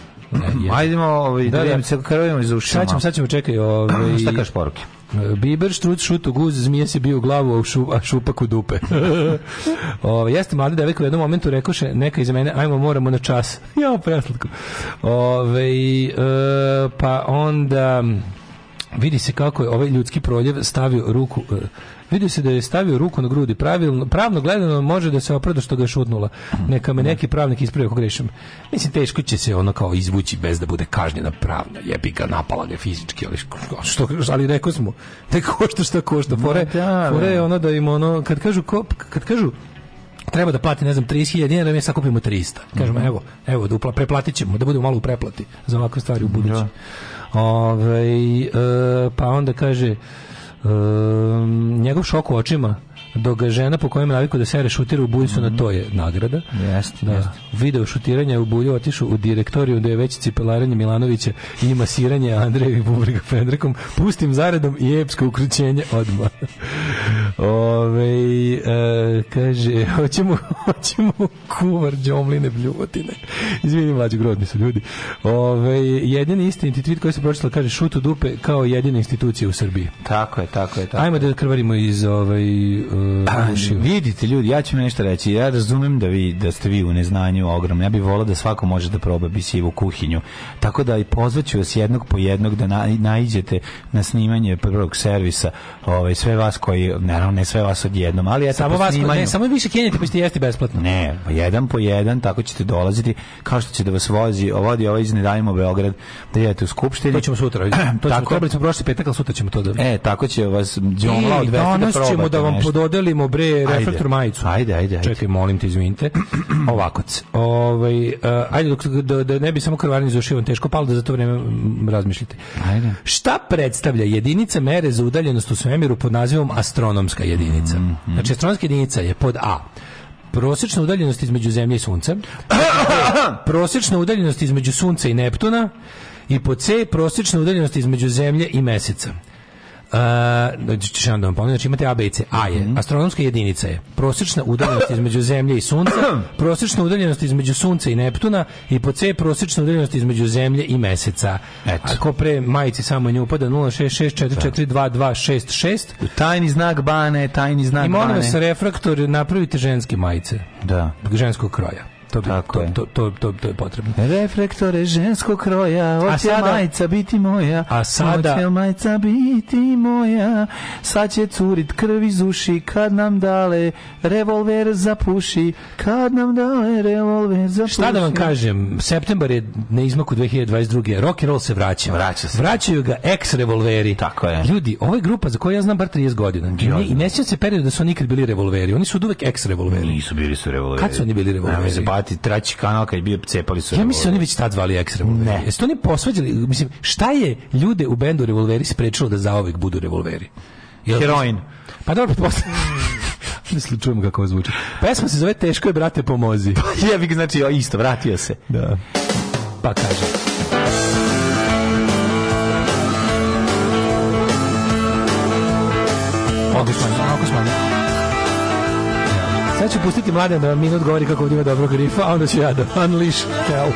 S6: Ajdemo, ovaj, E, da,
S7: Da,
S6: da,
S7: da.
S6: se krvimo iz ušima.
S7: Sad ćemo, sad ćemo, čekaj. Ovaj,
S6: Šta kažeš poruke?
S7: E, Biber, štrut, šut u guz, zmije se bio u glavu, a, šu, a šupak u dupe. Ove, jeste mladi devek u jednom momentu rekoše, neka iza mene, ajmo moramo na čas. ja, preslatko. Ove, e, pa onda vidi se kako je ovaj ljudski proljev stavio ruku e, vidi se da je stavio ruku na grudi pravilno, pravno gledano može da se opravda što ga je šutnula neka me neki pravnik ispravi ako grešim mislim teško će se ono kao izvući bez da bude kažnjena pravno jebi ga napala ga je fizički ali što, ali rekao smo da košta šta košta fore,
S6: da,
S7: fore je
S6: da.
S7: ono da im ono kad kažu ko, kad kažu treba da plati, ne znam, 30.000 dinara, mi sakupimo 300. Kažemo,
S6: Mhm.
S7: evo, evo, dupla, preplatit ćemo, da budemo malo u preplati za ovakve stvari u budući. Ovaj, e, pa onda kaže, e, njegov šok u očima, dok ga žena po kojem je naviku da sere šutira u bulju su na to je nagrada.
S6: Jeste,
S7: da.
S6: jeste.
S7: Video šutiranja u bulju otišu u direktoriju da je već cipelaranje Milanovića i masiranje Andrejevi bubrega Fendrekom. Pustim zaredom i epsko ukrućenje odmah. Ove, e, kaže, hoćemo, hoćemo kuvar džomline bljuvotine. Izvini, mlađi grozni su ljudi. Ove, jedini istiniti tweet koji se pročitala kaže šut u dupe kao jedina institucija u Srbiji.
S6: Tako je, tako je, tako.
S7: Ajmo da krvarimo iz ovaj uh,
S6: A,
S7: ušiju.
S6: vidite ljudi, ja ću vam nešto reći. Ja razumem da vi da ste vi u neznanju ogromno. Ja bih volao da svako može da proba bisivu kuhinju. Tako da i pozvaću vas jednog po jednog da na, naiđete na snimanje prvog servisa. Ovaj sve vas koji naravno ne sve vas odjednom, ali eto
S7: Samo
S6: po
S7: vas,
S6: snimanju-
S7: ne, samo više kenjate pa ćete jesti besplatno.
S6: Ne, pa jedan po jedan tako ćete dolaziti kao što će da vas vozi, vodi ovaj iz Ne davimo Beograd da idete u skupštini.
S7: To ćemo sutra. To ćemo,
S6: Tako-
S7: trebali smo prošli petak, ali sutra ćemo to da...
S6: E, tako će vas Đomla
S7: I
S6: odvesti da probate.
S7: danas ćemo da vam
S6: nešto.
S7: pododelimo bre
S6: Ajde.
S7: reflektor majicu.
S6: Ajde, ajde, ajde.
S7: Čekaj, molim te, izvinite. Ovako. Ovaj, eh, ajde, dok, da, da ne bi samo krvarni za ušivom teško palo, da za to vreme mm, razmišljite.
S6: Ajde.
S7: Šta predstavlja jedinica mere za udaljenost u svemiru pod nazivom astronomska jedinica? Znači, astronomska jedinica je pod A. Prosečna udaljenost između Zemlje i Sunca. prosečna udaljenost između Sunca i Neptuna. I pod C, prosečna udaljenost između Zemlje i Meseca. Uh, ćeš da vam ponovim, znači imate A, B i C. A je, astronomska jedinica je prosječna udaljenost između Zemlje i Sunca, prosječna udaljenost između Sunca i Neptuna i po C prosječna udaljenost između Zemlje i Meseca. Ako pre majici samo nju upada 066442266
S6: Tajni znak bane, tajni znak
S7: i molim
S6: bane.
S7: vas refraktor napravite ženske majice.
S6: Da.
S7: Ženskog kroja. To, bi, to, to, to, to, to je potrebno.
S6: Reflektore ženskog kroja,
S7: A
S6: hoće
S7: sada-
S6: majica biti moja,
S7: A sada-
S6: hoće majica biti moja, sad će curit krv iz uši, kad nam dale revolver zapuši, kad nam dale revolver zapuši.
S7: Šta da vam kažem, septembar je na izmaku 2022. Rock and roll se vraća. Vraća se. Vraćaju ga ex revolveri. Tako je. Ljudi, ovo je grupa za koju ja znam bar 30 godina. I, ne, i ne sjećam se periodu da su oni nikad bili revolveri. Oni su od uvek ex revolveri.
S6: E, Nisu bili su revolveri.
S7: Kad su oni bili revolveri?
S6: Nemoj se bati, traći kanal kad je bio cepali su
S7: Ja mislim da oni već tad zvali ex revolveri. Ne. Jeste oni posvađali, mislim, šta je ljude u bendu revolveri sprečilo da zaovek budu revolveri? Jel-
S6: Heroin.
S7: Pa dobro, pretpostavljam. Mislim, čujemo kako ovo zvuči. Pesma se zove Teško je, brate, pomozi.
S6: Ja bih, znači, o, isto, vratio se.
S7: Da. Pa kaže. Mogu smanjiti, mogu smanjiti. Sad ću pustiti mladen da vam minut govori kako ovdje ima dobrog rifa, a onda ću ja da unleash hell.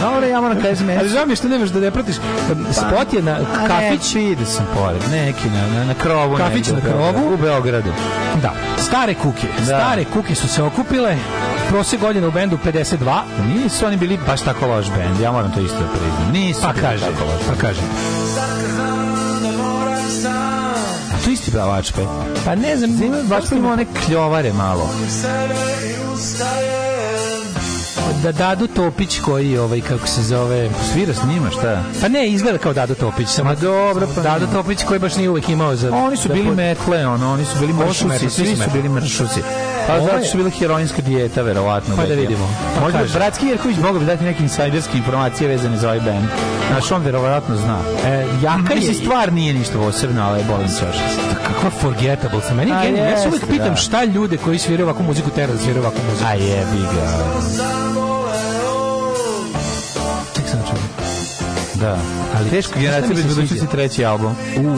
S6: Dobro, ja moram kažem
S7: Ali žao mi je što ne možeš da ne pratiš. Spot je na
S6: A
S7: kafić
S6: Ne, vidio sam pored, neki na, na, na krovu.
S7: Kafić
S6: negde
S7: na
S6: u Beogradu.
S7: krovu.
S6: U Beogradu.
S7: Da, stare kuke. Stare kuke su se okupile. Prosek godina u bendu 52.
S6: Nisu oni bili baš tako loš bend, ja moram to isto da priznam. Nisu
S7: Pa
S6: bili
S7: kaže,
S6: tako loš.
S7: pa kaže.
S6: A to isti pravač, pa?
S7: Pa ne znam,
S6: baš ima one kljovare malo.
S7: da Dadu Topić koji ovaj kako se zove
S6: svira s njima šta
S7: pa ne izgleda kao Dado Topić samo dobro pa Dado Topić koji baš nije uvek imao za
S6: Oni su
S7: za
S6: bili
S7: pod-
S6: metle, ono, oni su bili
S7: Oni su
S6: mršuci,
S7: metli,
S6: svi
S7: svi su
S6: su bili mršuci. Pa
S7: Ovo
S6: zato
S7: je-
S6: što su bila heroinska dijeta, verovatno.
S7: Pa da
S6: Betija.
S7: vidimo. Pa
S6: Možda bi
S7: kaže.
S6: Bratski Jerković mogao bi dati neke insajderske informacije vezane za ovaj band. Znaš, on verovatno zna.
S7: E, jaka
S6: Mislim,
S7: je
S6: stvar nije ništa posebno, ali bolim se još.
S7: kakva forgettable sam meni je
S6: A
S7: genijalno. ja se
S6: Pa jeste,
S7: uvek pitam
S6: da.
S7: šta ljude koji sviraju ovakvu muziku tera da sviraju ovakvu muziku
S6: A jebi ga.
S7: Ček, sad čujem.
S6: Da. Ali teško generacija
S7: mi se
S6: bez budućnosti
S7: sviđa?
S6: treći album.
S7: U,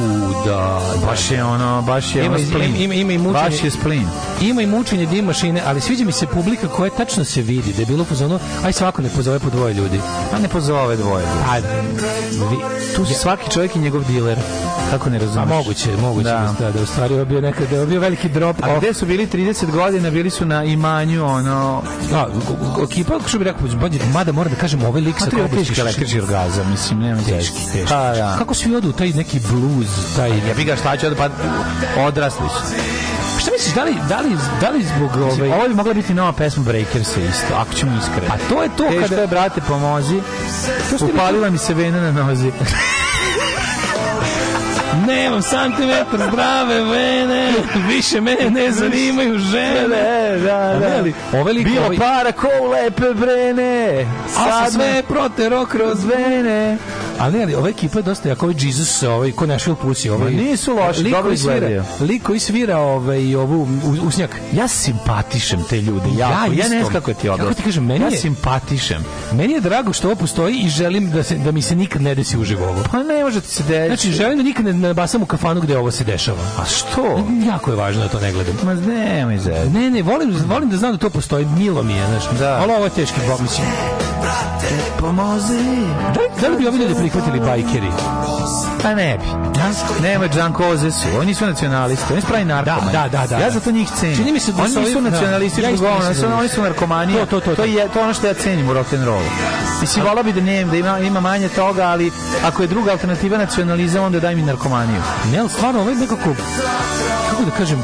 S7: da,
S6: Baš je ono, baš je
S7: Ima,
S6: ono splin.
S7: ima, ima, i mučenje.
S6: Baš je splin.
S7: Ima i mučenje dim mašine, ali sviđa mi se publika koja tačno se vidi, da je bilo pozvano, aj svako ne pozove po dvoje ljudi.
S6: A ne pozove dvoje.
S7: A, vi,
S6: Pa, Tu su svaki čovjek i njegov diler. Kako ne
S7: a
S6: razumeš?
S7: moguće, moguće da. da, da u stvari ovo je bio nekad, da je ovo bio veliki drop
S6: A gde su bili 30 godina, bili su na imanju, ono...
S7: Da, ekipa, kako bi rekao, bolje, mada moram da kažem, ovaj lik sa
S6: Kako treba
S7: Kobić-
S6: teški električni orgazam, mislim, nema teški, teški. Pa, da.
S7: Kako svi odu u taj neki blues, taj...
S6: Ja bi ga šta će, pa odrasli su.
S7: Šta misliš, da li, da li, da li zbog
S6: Mislim,
S7: ovaj...
S6: Ovo bi mogla biti nova pesma Breakers isto, ako ćemo iskreno.
S7: A to je to
S6: Teško
S7: kada...
S6: je, brate, pomozi.
S7: To ste mi-
S6: Upalila mi se vena na nozi.
S7: Nemam santimetar zdrave vene, više mene ne zanimaju žene.
S6: da,
S7: A ne, ali ovaj lik,
S6: Bilo
S7: ovaj-
S6: para ko u lepe brene.
S7: Al sam
S6: Sad me
S7: sve protero kroz
S6: kroz vene.
S7: Ali, ali ova ekipa je dosta jako, ovaj Jesus, ovaj, ko Nashville Pussy, ovaj...
S6: Ma nisu loši,
S7: lik
S6: dobro
S7: koji svira,
S6: izgledaju.
S7: lik koji svira ovaj, ovu u- usnjak.
S6: Ja simpatišem te ljude, jako. Ja ne znam kako ti je odgovor.
S7: Kako ti kažem, meni
S6: Ja
S7: je...
S6: simpatišem.
S7: Meni je drago što ovo postoji i želim da, se, da mi se nikad ne desi uživo ovo.
S6: Pa ne može ti se desiti.
S7: Znači, želim da nikad ne nabasam u kafanu gde ovo se dešava.
S6: A Pa što?
S7: Jako je važno da to ne gledam.
S6: Ma nemoj zezati.
S7: Ne, ne, volim, volim da znam da to postoji. Milo mi je, znaš. Da. Ali ovo je teški bog, mislim.
S6: Pomozi.
S7: Da li, da li bi ovi ljudi prihvatili bajkeri?
S6: Pa ne bi. A? Nema Džanko Oze su. Oni su nacionalisti. Oni su pravi narkomani.
S7: Da, da, da, da.
S6: Ja zato njih cenim.
S7: Čini mi se da
S6: oni
S7: su
S6: nisu
S7: ovi- da.
S6: nacionalisti.
S7: Ja
S6: Ja
S7: isto mislim
S6: oni, su,
S7: da
S6: oni
S7: nisu.
S6: su narkomani.
S7: To, to, to, to.
S6: to, je, to je ono što ja cenim u rock'n'rollu. Mislim, volao bi da, ne, da ima, ima manje toga, ali ako je druga alternativa nacionalizam, onda daj mi narkomaniju.
S7: Ne, ali stvarno, ovo je nekako... Kako da kažem...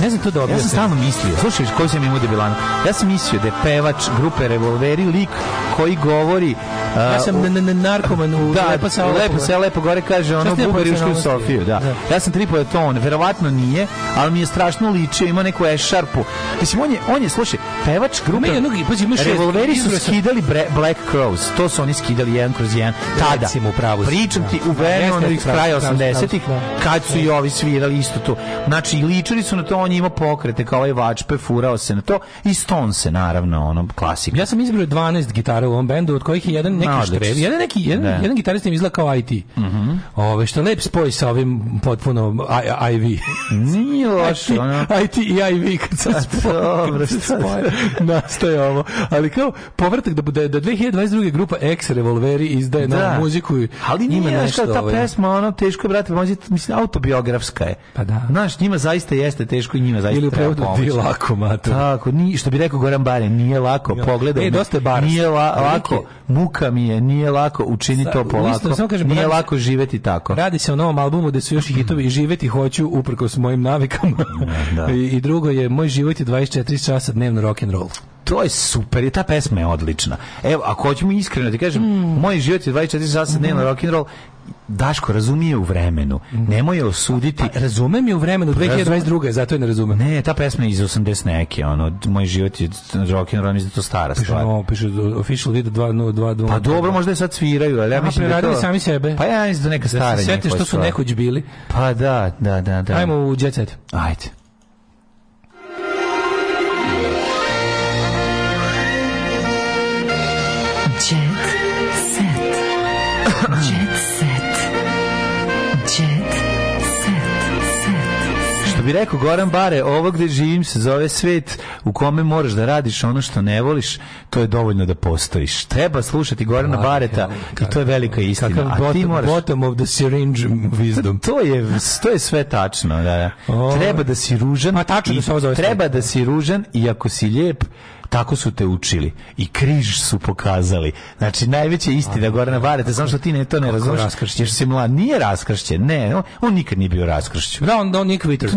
S7: Ne znam to da
S6: Ja
S7: objasnim.
S6: sam stalno mislio, Pa slušaj, koji sam imao debilanu, ja sam mislio da je pevač grupe Revolveri lik koji govori... uh, a,
S7: Ja sam
S6: o-
S7: n- n- narkoman u
S6: da,
S7: Lepa Sava.
S6: lepo se lepo gore kaže ono
S7: Šta ste
S6: bubari ušli u
S7: nacionalnosti?
S6: Sofiju da.
S7: Da.
S6: ja sam tripao da je to on verovatno nije ali mi je strašno ličio ima neku ešarpu mislim on je on je slušaj pevač grupe
S7: Ima i onog, pazi, ima šest-
S6: revolveri su
S7: izbroj sam-
S6: skidali bre, Black Crows to su oni skidali jedan kroz jedan tada
S7: Recimo, u pravu si,
S6: pričam
S7: da.
S6: ti u
S7: Da, jeste,
S6: vremenu onih
S7: u pravu si,
S6: kraja
S7: u pravu si,
S6: 80-ih
S7: u pravu si, da.
S6: kad su i ovi svirali isto to znači i ličili su na to on je imao pokrete kao ovaj vačpe furao se na to i Stonese naravno ono klasika
S7: Ja sam izbrao 12 gitara u ovom bendu, od kojih je jedan
S6: Ma,
S7: neki
S6: odlično.
S7: štrevi, jedan, neki, jedan,
S6: Da. Mhm.
S7: jedan gitarist im izgleda kao IT. Ove, što je lep spoj sa ovim potpuno I- IV.
S6: Nije loše, ono.
S7: IT i IV kad se spoje.
S6: dobro,
S7: kad se
S6: šta
S7: spoje, Nastaje ovo. Ali kao povratak da, bude- da 2022. grupa X Revolveri izdaje novu muziku. i
S6: ali
S7: ima
S6: nije znaš,
S7: nešto,
S6: kao ta
S7: ovaj.
S6: pesma ono teško je brate pomoći mislim autobiografska je
S7: Pa da.
S6: znaš njima zaista jeste teško i njima zaista
S7: Ili u
S6: treba
S7: prevodu
S6: pomoć
S7: di lako, mater.
S6: tako ni što bi rekao Goran Bare nije lako
S7: Ja.
S6: pogledaj
S7: E,
S6: me.
S7: dosta je Baras.
S6: nije la-
S7: Veliki-
S6: lako muka mi je nije lako učini
S7: Sa-
S6: to polako
S7: uistinu, samo kažem,
S6: nije
S7: radi se-
S6: lako živeti tako
S7: Radi se o novom albumu gde su još i hitovi i živeti hoću uprkos mojim navikama.
S6: Da.
S7: I, I drugo je moj život je 24 sata dnevno rock and roll.
S6: to je super i ta pesma je odlična. Evo, ako hoćemo iskreno ti kažem,
S7: Mm.
S6: moj život je 24 sata dnevno rock and roll. Daško razumije u vremenu. Nemoj je osuditi.
S7: Mm. Pa, Razumem je u vremenu 2022. zato je ne razumem.
S6: Ne, ta pesma je iz 80 neke, ono, moj život je rock and roll, mislim da je to stara
S7: Piše,
S6: stvar.
S7: no, piše official video 2.0.2.2.
S6: Pa dobro, možda je sad sviraju, ali ja
S7: A,
S6: mislim da je to...
S7: preradili sami sebe.
S6: Pa ja mislim da neka stara
S7: Da se sjete
S6: njihova
S7: što su
S6: stvar.
S7: nekoć bili.
S6: Pa da, da, da, da.
S7: Ajmo u Jet Set.
S6: Ajde.
S16: Jet set. Jet set. Jet
S6: Što bi rekao Goran Bare, ovo gde živim se zove svet u kome moraš da radiš ono što ne voliš, to je dovoljno da postojiš. Treba slušati Gorana
S7: Hvala,
S6: Bareta
S7: hvala,
S6: i to je velika istina.
S7: Kakav
S6: A ti
S7: bottom,
S6: moraš...
S7: bottom of the syringe wisdom.
S6: Pa To je, to je sve tačno, da, da.
S7: O.
S6: Treba da si ružan.
S7: Pa tačno
S6: i-
S7: da se ovo zove
S6: Treba
S7: svet.
S6: da si ružan i ako si lijep, tako su te učili. I križ su pokazali. Znači, najveća istina Gorana Bareta, samo što ti ne, to ne razumeš.
S7: raskršćen.
S6: Jer si mlad. Nije raskršćen, ne. On, on nikad nije bio raskršćen.
S7: Da, on, on nije kvitor.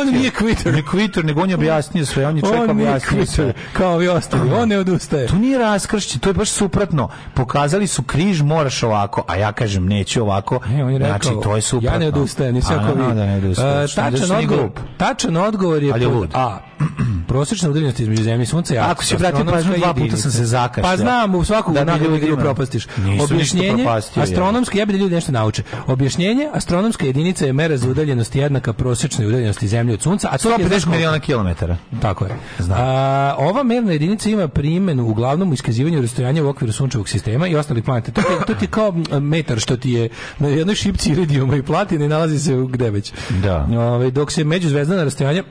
S7: On nije kvitor.
S6: Ne kvitor, nego on je objasnio sve, on je čovjek
S7: On nije
S6: objasnio sve.
S7: kvitor. Kao ovi ostali. On ne odustaje.
S6: To nije raskršće, to je baš suprotno. Pokazali su križ, moraš ovako, a ja kažem neću ovako.
S7: Ne, E, on je rekao,
S6: znači, to je suprotno.
S7: ja ne odustajem, nisam
S6: A,
S7: jako
S6: naravno da ne odustaješ, ne
S7: E, tačan,
S6: odustaješ ni
S7: odgovor,
S6: glup.
S7: tačan odgovor je
S6: Ali je
S7: pod
S6: lud.
S7: A. Prosečna udaljenost između zemlje i sunca je
S6: Ako si obratio pažnju,
S7: astronomska
S6: dva puta
S7: jedinica.
S6: sam se zakašljao.
S7: Pa znam, u svaku
S6: Da
S7: da
S6: bi
S7: nagradu
S6: ljudima-
S7: igru propastiš.
S6: Nisam ništa
S7: Objašnjenje,
S6: propastio, ja.
S7: astronomska, ja bi da ljudi nešto nauče. Objašnjenje, astronomska jedinica je mera za udaljenost jednaka prosečnoj udaljenosti zemlje od sunca, a to je
S6: 150
S7: znaš koliko?
S6: miliona kilometara.
S7: Tako je. A, ova merna jedinica ima primenu uglavnom u iskazivanju rastojanja u okviru sunčevog sistema i ostalih planeta. To, ti- to ti je kao m, metar što ti je na jednoj šipci iridijuma i platine i nalazi se u gde već.
S6: Da.
S7: Ovaj, dok se međuzvezdana rastojanja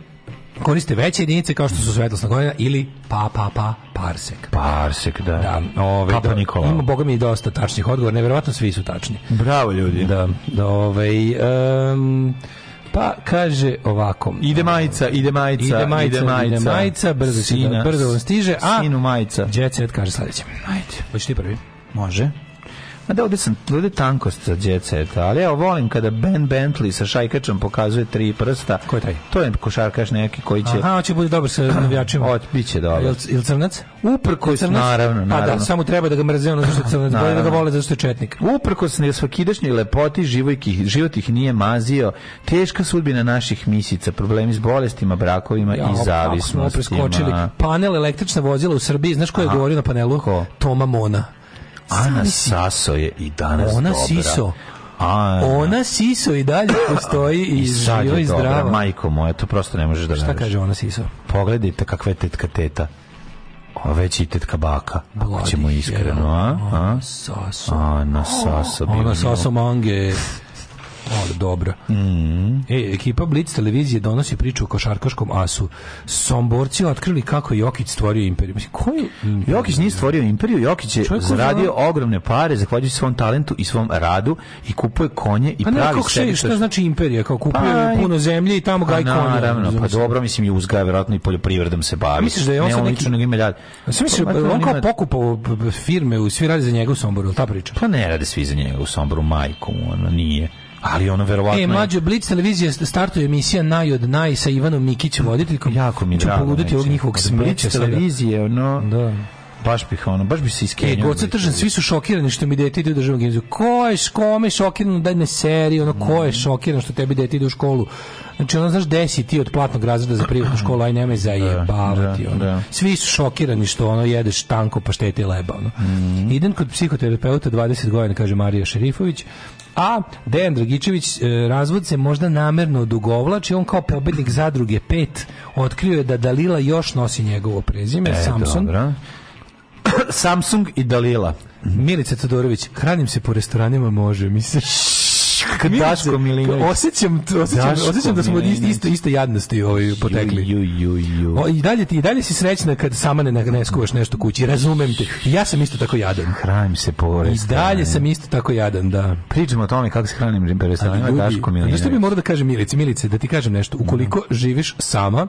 S7: koriste veće jedinice kao što su svetlosna godina ili pa pa pa parsek.
S6: Parsek, da.
S7: Da, ovaj,
S6: Papa
S7: da,
S6: Nikola.
S7: Ima boga mi i dosta tačnih odgovora, neverovatno svi su tačni.
S6: Bravo ljudi.
S7: Da, da ovaj, em, pa kaže ovako.
S6: Ide majica, ide majica,
S7: Ide majica, ide majica, brzo, se
S6: Sina,
S7: da, brzo vam stiže, a
S6: Sinu majica.
S7: Jet Set kaže sledeće. Ajde. Hoćeš ti prvi?
S6: Može. Ma da, ovdje, sam, ovdje je tankost za jet seta, ali evo volim kada Ben Bentley sa šajkačom pokazuje tri prsta.
S7: Ko je taj?
S6: To je košarkaš neki koji će...
S7: Aha, hoće bude dobar sa navijačima.
S6: Ot, bit će dobar.
S7: Jel, jel crnac?
S6: Uprkos,
S7: Crnac?
S6: naravno,
S7: Pa da,
S6: naravno.
S7: samo treba da ga mrze ono zašto je crnac, bolje da ga
S6: Naravno.
S7: vole zašto je četnik.
S6: Uprkos nesvakidašnjoj lepoti život ih, život ih nije mazio, teška sudbina naših misica, problemi s bolestima, brakovima
S7: Ja,
S6: i
S7: kako smo ovo
S6: zavisnostima.
S7: preskočili. Panel električna vozila u Srbiji, znaš ko je govorio na panelu?
S6: Ko?
S7: Toma Mona.
S6: Ana Saso je i danas
S7: Ona
S6: dobra.
S7: Siso.
S6: Ana.
S7: Ona Siso i dalje postoji i,
S6: I sad
S7: živa
S6: je
S7: i
S6: dobra,
S7: zdrava.
S6: majko moja, to prosto ne možeš da
S7: Šta
S6: veruješ.
S7: kaže ona Siso?
S6: Pogledajte kakva je tetka teta. A već i tetka baka, ako
S7: Vladi
S6: ćemo iskreno, a? a?
S7: Saso.
S6: Ana Saso. bi
S7: Ona
S6: bilo.
S7: Pa ono, Saso Mange. Ali dobro.
S6: Mhm.
S7: E, ekipa Blitz televizije donosi priču o košarkaškom asu. Somborci otkrili kako je Jokić stvorio imperiju. Mislim, ko je imperiju?
S6: Jokić nije stvorio imperiju, Jokić je
S7: Čovjek koji
S6: zaradio
S7: zna-
S6: ogromne pare zahvaljujući svom talentu i svom radu i kupuje konje i
S7: Pa ne,
S6: pravi
S7: kako
S6: sebi
S7: še,
S6: što-
S7: šta znači imperija? Kao kupio
S6: Pa,
S7: je puno zemlje i tamo
S6: Pa
S7: gaj konja. Znači,
S6: naravno, pa
S7: razumeš?
S6: dobro, mislim i uzgaja verovatno i poljoprivredom se bavi.
S7: Misliš da je on
S6: ne,
S7: sad
S6: on
S7: neki-
S6: lično nego ima dalje.
S7: Ja sam mislio,
S6: Pa, ma,
S7: on
S6: on
S7: kao
S6: ima-
S7: pokupao b- b- firme, u- svi radi za njega u Somboru, je li ta priča? E,
S6: Pa ne rade svi za njega u Somboru, majku, mu, ono nije. Ali ono verovatno...
S7: E,
S6: je-
S7: mlađo, Blitz televizija startuje emisija Naj od Naj sa Ivanom Mikićem, voditeljkom.
S6: Jako mi je
S7: Ću
S6: drago.
S7: poluditi
S6: znači.
S7: ovog njihovog
S6: Od
S7: smeća.
S6: Blitz
S7: svega.
S6: televizije, ono... Da. Baš bih, ono, baš bih se
S7: E,
S6: iskenio.
S7: god se tržan, svi su šokirani što mi dete ide u državnu gimnaziju. Ko je, š- kome je šokirano da ne seri, ono, ko
S6: Mm.
S7: je šokiran što tebi dete ide u školu? Znači, ono, znaš, desi ti od platnog razreda za privatnu školu, aj nemoj zajebavati.
S6: da,
S7: ono.
S6: da.
S7: Svi su šokirani što ono jedeš tanko paštete i leba. Ono.
S6: Mm.
S7: Idem kod psihoterapeuta 20 godina, kaže Marija Šerifović, a Dejan Dragičević, e, razvod se možda namerno odugovlači, on kao pobednik zadruge 5 otkrio je da Dalila još nosi njegovo prezime,
S6: E,
S7: Samson.
S6: dobro. Samsung i Dalila.
S7: Milica Todorović, hranim se po restoranima, može, mislim.
S6: Kad
S7: Milice,
S6: Daško Milinović.
S7: Osjećam, osjećam,
S6: Daško
S7: osjećam da smo od iste,
S6: Milinović.
S7: iste, iste jadnosti ovaj, potekli.
S6: Ju, ju, ju.
S7: O, i, dalje, ti, I dalje si srećna kad sama ne, ne skuvaš nešto kući, razumem te. I Ja sam isto tako jadan.
S6: Hranim se po
S7: I dalje
S6: restoranima.
S7: sam isto tako jadan, da.
S6: Pričamo o tome kako se hranim po restoranima,
S7: ljudi,
S6: Daško Milinović.
S7: znaš što bi morao da kažem Milici? Milice, da ti kažem nešto. Ukoliko živiš sama,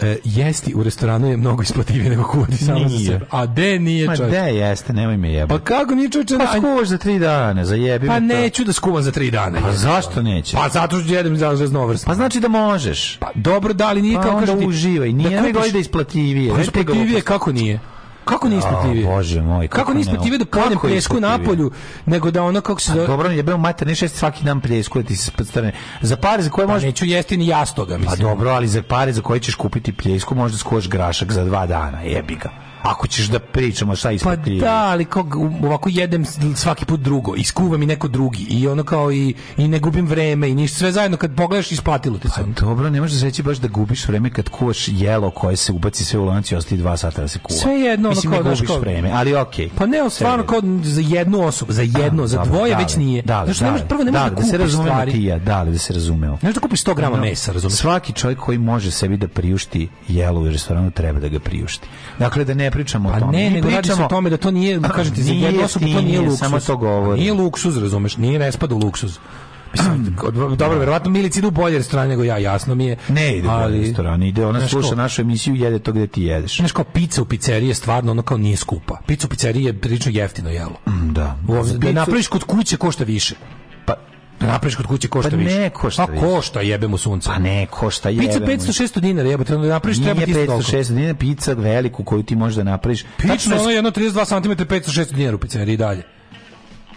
S7: e, jesti u restoranu je mnogo isplativije nego kuvati sama za
S6: Nije.
S7: sebe. A de nije
S6: Ma
S7: čovječe?
S6: de jeste, nemoj me jebati.
S7: Pa kako nije čovječe?
S6: Pa
S7: na-
S6: skuvaš za tri dana, zajebi
S7: Pa
S6: me to.
S7: neću da skuvam za tri dana.
S6: Pa zašto neće?
S7: Pa zato što jedem za zveznovrsno.
S6: Pa znači da možeš.
S7: Pa dobro, da li nije
S6: Pa
S7: kao
S6: onda
S7: kažem ti,
S6: uživaj. Nije
S7: da
S6: da
S7: kupiš-
S6: gledaj da je isplativije.
S7: Pa
S6: Znaš ti ga
S7: isplativije kako nije? Kako nije isplativije?
S6: A, Bože moj,
S7: kako,
S6: kako
S7: nije
S6: ne,
S7: isplativije da
S6: kako
S7: pojedem
S6: je
S7: pljesku na
S6: isplativije?
S7: polju, nego da ono kako se...
S6: Pa
S7: Da,
S6: dobro, jebeo mater, ne šest svaki dan pljesku da ti se strane. Za pare za koje
S7: pa
S6: možeš...
S7: neću jesti ni jastoga,
S6: Pa
S7: mislim.
S6: dobro, ali za pare za koje ćeš kupiti pljesku možda skuvaš grašak za dva dana, jebi ga. Ako ćeš da pričamo šta je
S7: Pa
S6: isplativije.
S7: da, ali kao, ovako jedem svaki put drugo, iskuvam i neko drugi i ono kao i, i ne gubim vreme i ništa, sve zajedno kad pogledaš isplatilo ti se. ono.
S6: Pa Dobro, ne možeš reći baš da gubiš vreme kad kuvaš jelo koje se ubaci sve u lanac i ostaje dva sata da se kuva.
S7: Sve jedno, ono
S6: Mislim, ne
S7: kao, znaš,
S6: gubiš
S7: kao-
S6: vreme, ali okej.
S7: Pa ne, ali stvarno kao za jednu osobu, za jedno, za
S6: Dobro,
S7: dvoje
S6: dale,
S7: već nije.
S6: dale,
S7: Znaš, ne možeš,
S6: dale,
S7: prvo ne možeš
S6: dale,
S7: da
S6: da se
S7: kupiš
S6: razumemo
S7: stvari.
S6: ti i ja, dali da se razumeo.
S7: Ne možeš da kupiš 100 grama
S6: Ono,
S7: mesa, razumiješ?
S6: Svaki čovjek koji može sebi da priušti jelo u restoranu treba da ga priušti. Dakle, da ne pričamo o
S7: Pa
S6: tome.
S7: ne,
S6: Mi
S7: nego radi se
S6: pričamo- Pa
S7: o tome da to nije, kažem ti, za
S6: Nije
S7: jednu osobu to nije
S6: jeftinije,
S7: luksuz.
S6: samo to govorim.
S7: Nije luksuz, razumeš, nije ne spada u luksuz. Mislim, od- dobro, verovatno Milici idu u bolje restorane nego ja, jasno mi je.
S6: Mm. Ne ide ali, u restoran, ide, ona
S7: Znaš
S6: sluša
S7: ko?
S6: našu emisiju i jede to gde ti jedeš.
S7: Znaš kao pizza u pizzeriji je stvarno ono kao nije skupa. Pizza u pizzeriji je prilično jeftino jelo.
S6: Da.
S7: U ovdje- Da
S6: Mm. Pizzu-
S7: napraviš kod kuće košta više.
S6: Pa,
S7: Da napraviš kod kuće košta
S6: Pa
S7: više.
S6: ne košta
S7: Pa
S6: više.
S7: košta jebe mu sunce.
S6: pa ne, košta jebe.
S7: Pizza 500-600 dinara jebote, onda napraviš
S6: Nije
S7: treba ti isto
S6: 500,
S7: toliko.
S6: 600 dinara pizza veliku koju ti možeš da napraviš.
S7: Pizza
S6: Tačno je
S7: ono jedno 32 cm 500-600 dinara u pizzeriji i dalje.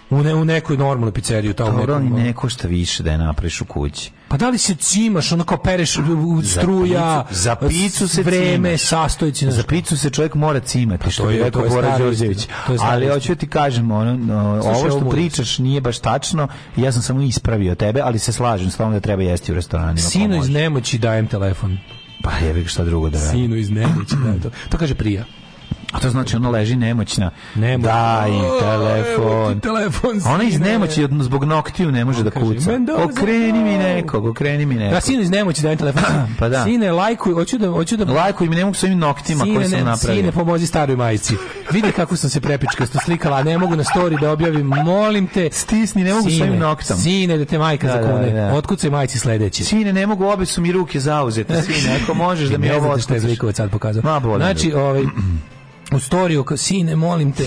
S7: U, ne, u nekoj normalnoj pizzeriji, tamo
S6: Dobro, ali
S7: nekom, ono.
S6: ne košta više da je napraviš u kući.
S7: Pa da li se cimaš, ono kao pereš u- u struja,
S6: picu- za picu se
S7: vreme,
S6: cimaš.
S7: sastojci, ne
S6: Za
S7: znam.
S6: picu se čovjek mora cimati, što
S7: Pa to
S6: bi
S7: je-
S6: rekao
S7: to je
S6: Bora
S7: stara
S6: Đorđević.
S7: istina. To je stara
S6: Ali
S7: istina.
S6: hoću ti kažem, ono, no,
S7: Slušaj,
S6: ovo
S7: ovo
S6: što
S7: moraš.
S6: pričaš nije baš tačno, ja sam samo ispravio tebe, ali se slažem s tobom da treba jesti u restoranima. ako
S7: Sinu iz
S6: može.
S7: nemoći dajem telefon.
S6: Pa jebi ga, šta drugo da radi.
S7: Sinu iz nemoći dajem to. To kaže prija.
S6: A to znači ona leži nemoćna.
S7: Nemoćna.
S6: Daj im
S7: Evo ti
S6: telefon.
S7: telefon,
S6: A Ona iz
S7: sine.
S6: nemoći od- zbog noktiju ne može da
S7: kaže,
S6: kuca.
S7: "Men dolazi
S6: Okreni mi
S7: dol."
S6: nekog, okreni mi
S7: Da,
S6: nekog.
S7: sinu iz nemoći dajem telefon.
S6: Pa da.
S7: Sine, lajkuj, hoću da... Hoću da
S6: Lajkuj mi ne mogu svojim noktima koje sam
S7: ne-
S6: napravio.
S7: sine, pomozi staroj majici. Vidi kako sam se prepičkasto slikala, a ne mogu na story da objavim. Molim te.
S6: Stisni, ne mogu
S7: sine,
S6: svojim noktom.
S7: Sine, da te majka
S6: Da, da,
S7: zakune.
S6: da.
S7: Otkucaj majici sledeći.
S6: Sine, ne mogu, obe su mi ruke zauzete. Sine, ako možeš da mi
S7: ne
S6: ovo
S7: znate šta je
S6: otkucaš.
S7: zlikovac sad pokazao.
S6: Ma, boli me
S7: znači, ovaj, u storiju, kao, sine, molim te,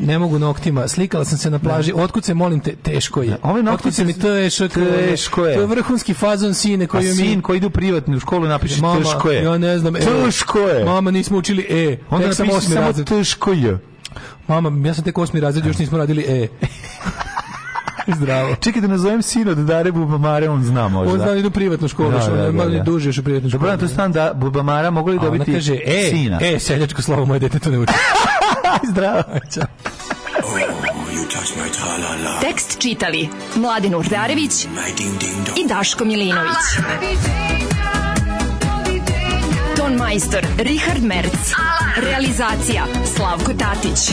S7: ne mogu noktima, slikala sam se na plaži, otkud se, molim te, teško je.
S6: Ove noktice
S7: Otkud se mi to je, što
S6: teško je.
S7: To je vrhunski fazon sine
S6: A
S7: koji mi...
S6: Pa sin koji ide u privatnu školu napiše
S7: Mama,
S6: teško je.
S7: ja ne znam, e,
S6: Teško je.
S7: Mama, nismo učili E.
S6: Onda
S7: tek sam
S6: napiše
S7: osmi
S6: samo
S7: razred.
S6: teško je.
S7: Mama, ja sam tek osmi razred, još nismo radili E. Zdravo.
S6: Čekaj da nazovem sin od Dare Bubamare, on zna možda.
S7: On zna da idu u privatnu školu,
S6: Da,
S7: što
S6: da,
S7: je
S6: da,
S7: malo
S6: da.
S7: duže još u privatnu školu.
S6: Dobro, na to stan da Bubamara mogu li
S7: A ona
S6: dobiti
S7: kaže, e,
S6: sina?
S7: e, seljačko slovo, moje dete to ne uči.
S6: zdravo.
S7: Ćao.
S18: Alarm.
S4: you touch my tra-la-la.
S5: Tekst čitali Mladin Urdarević i Daško Milinović. Ton majstor Richard Merc. Realizacija Slavko Tatić.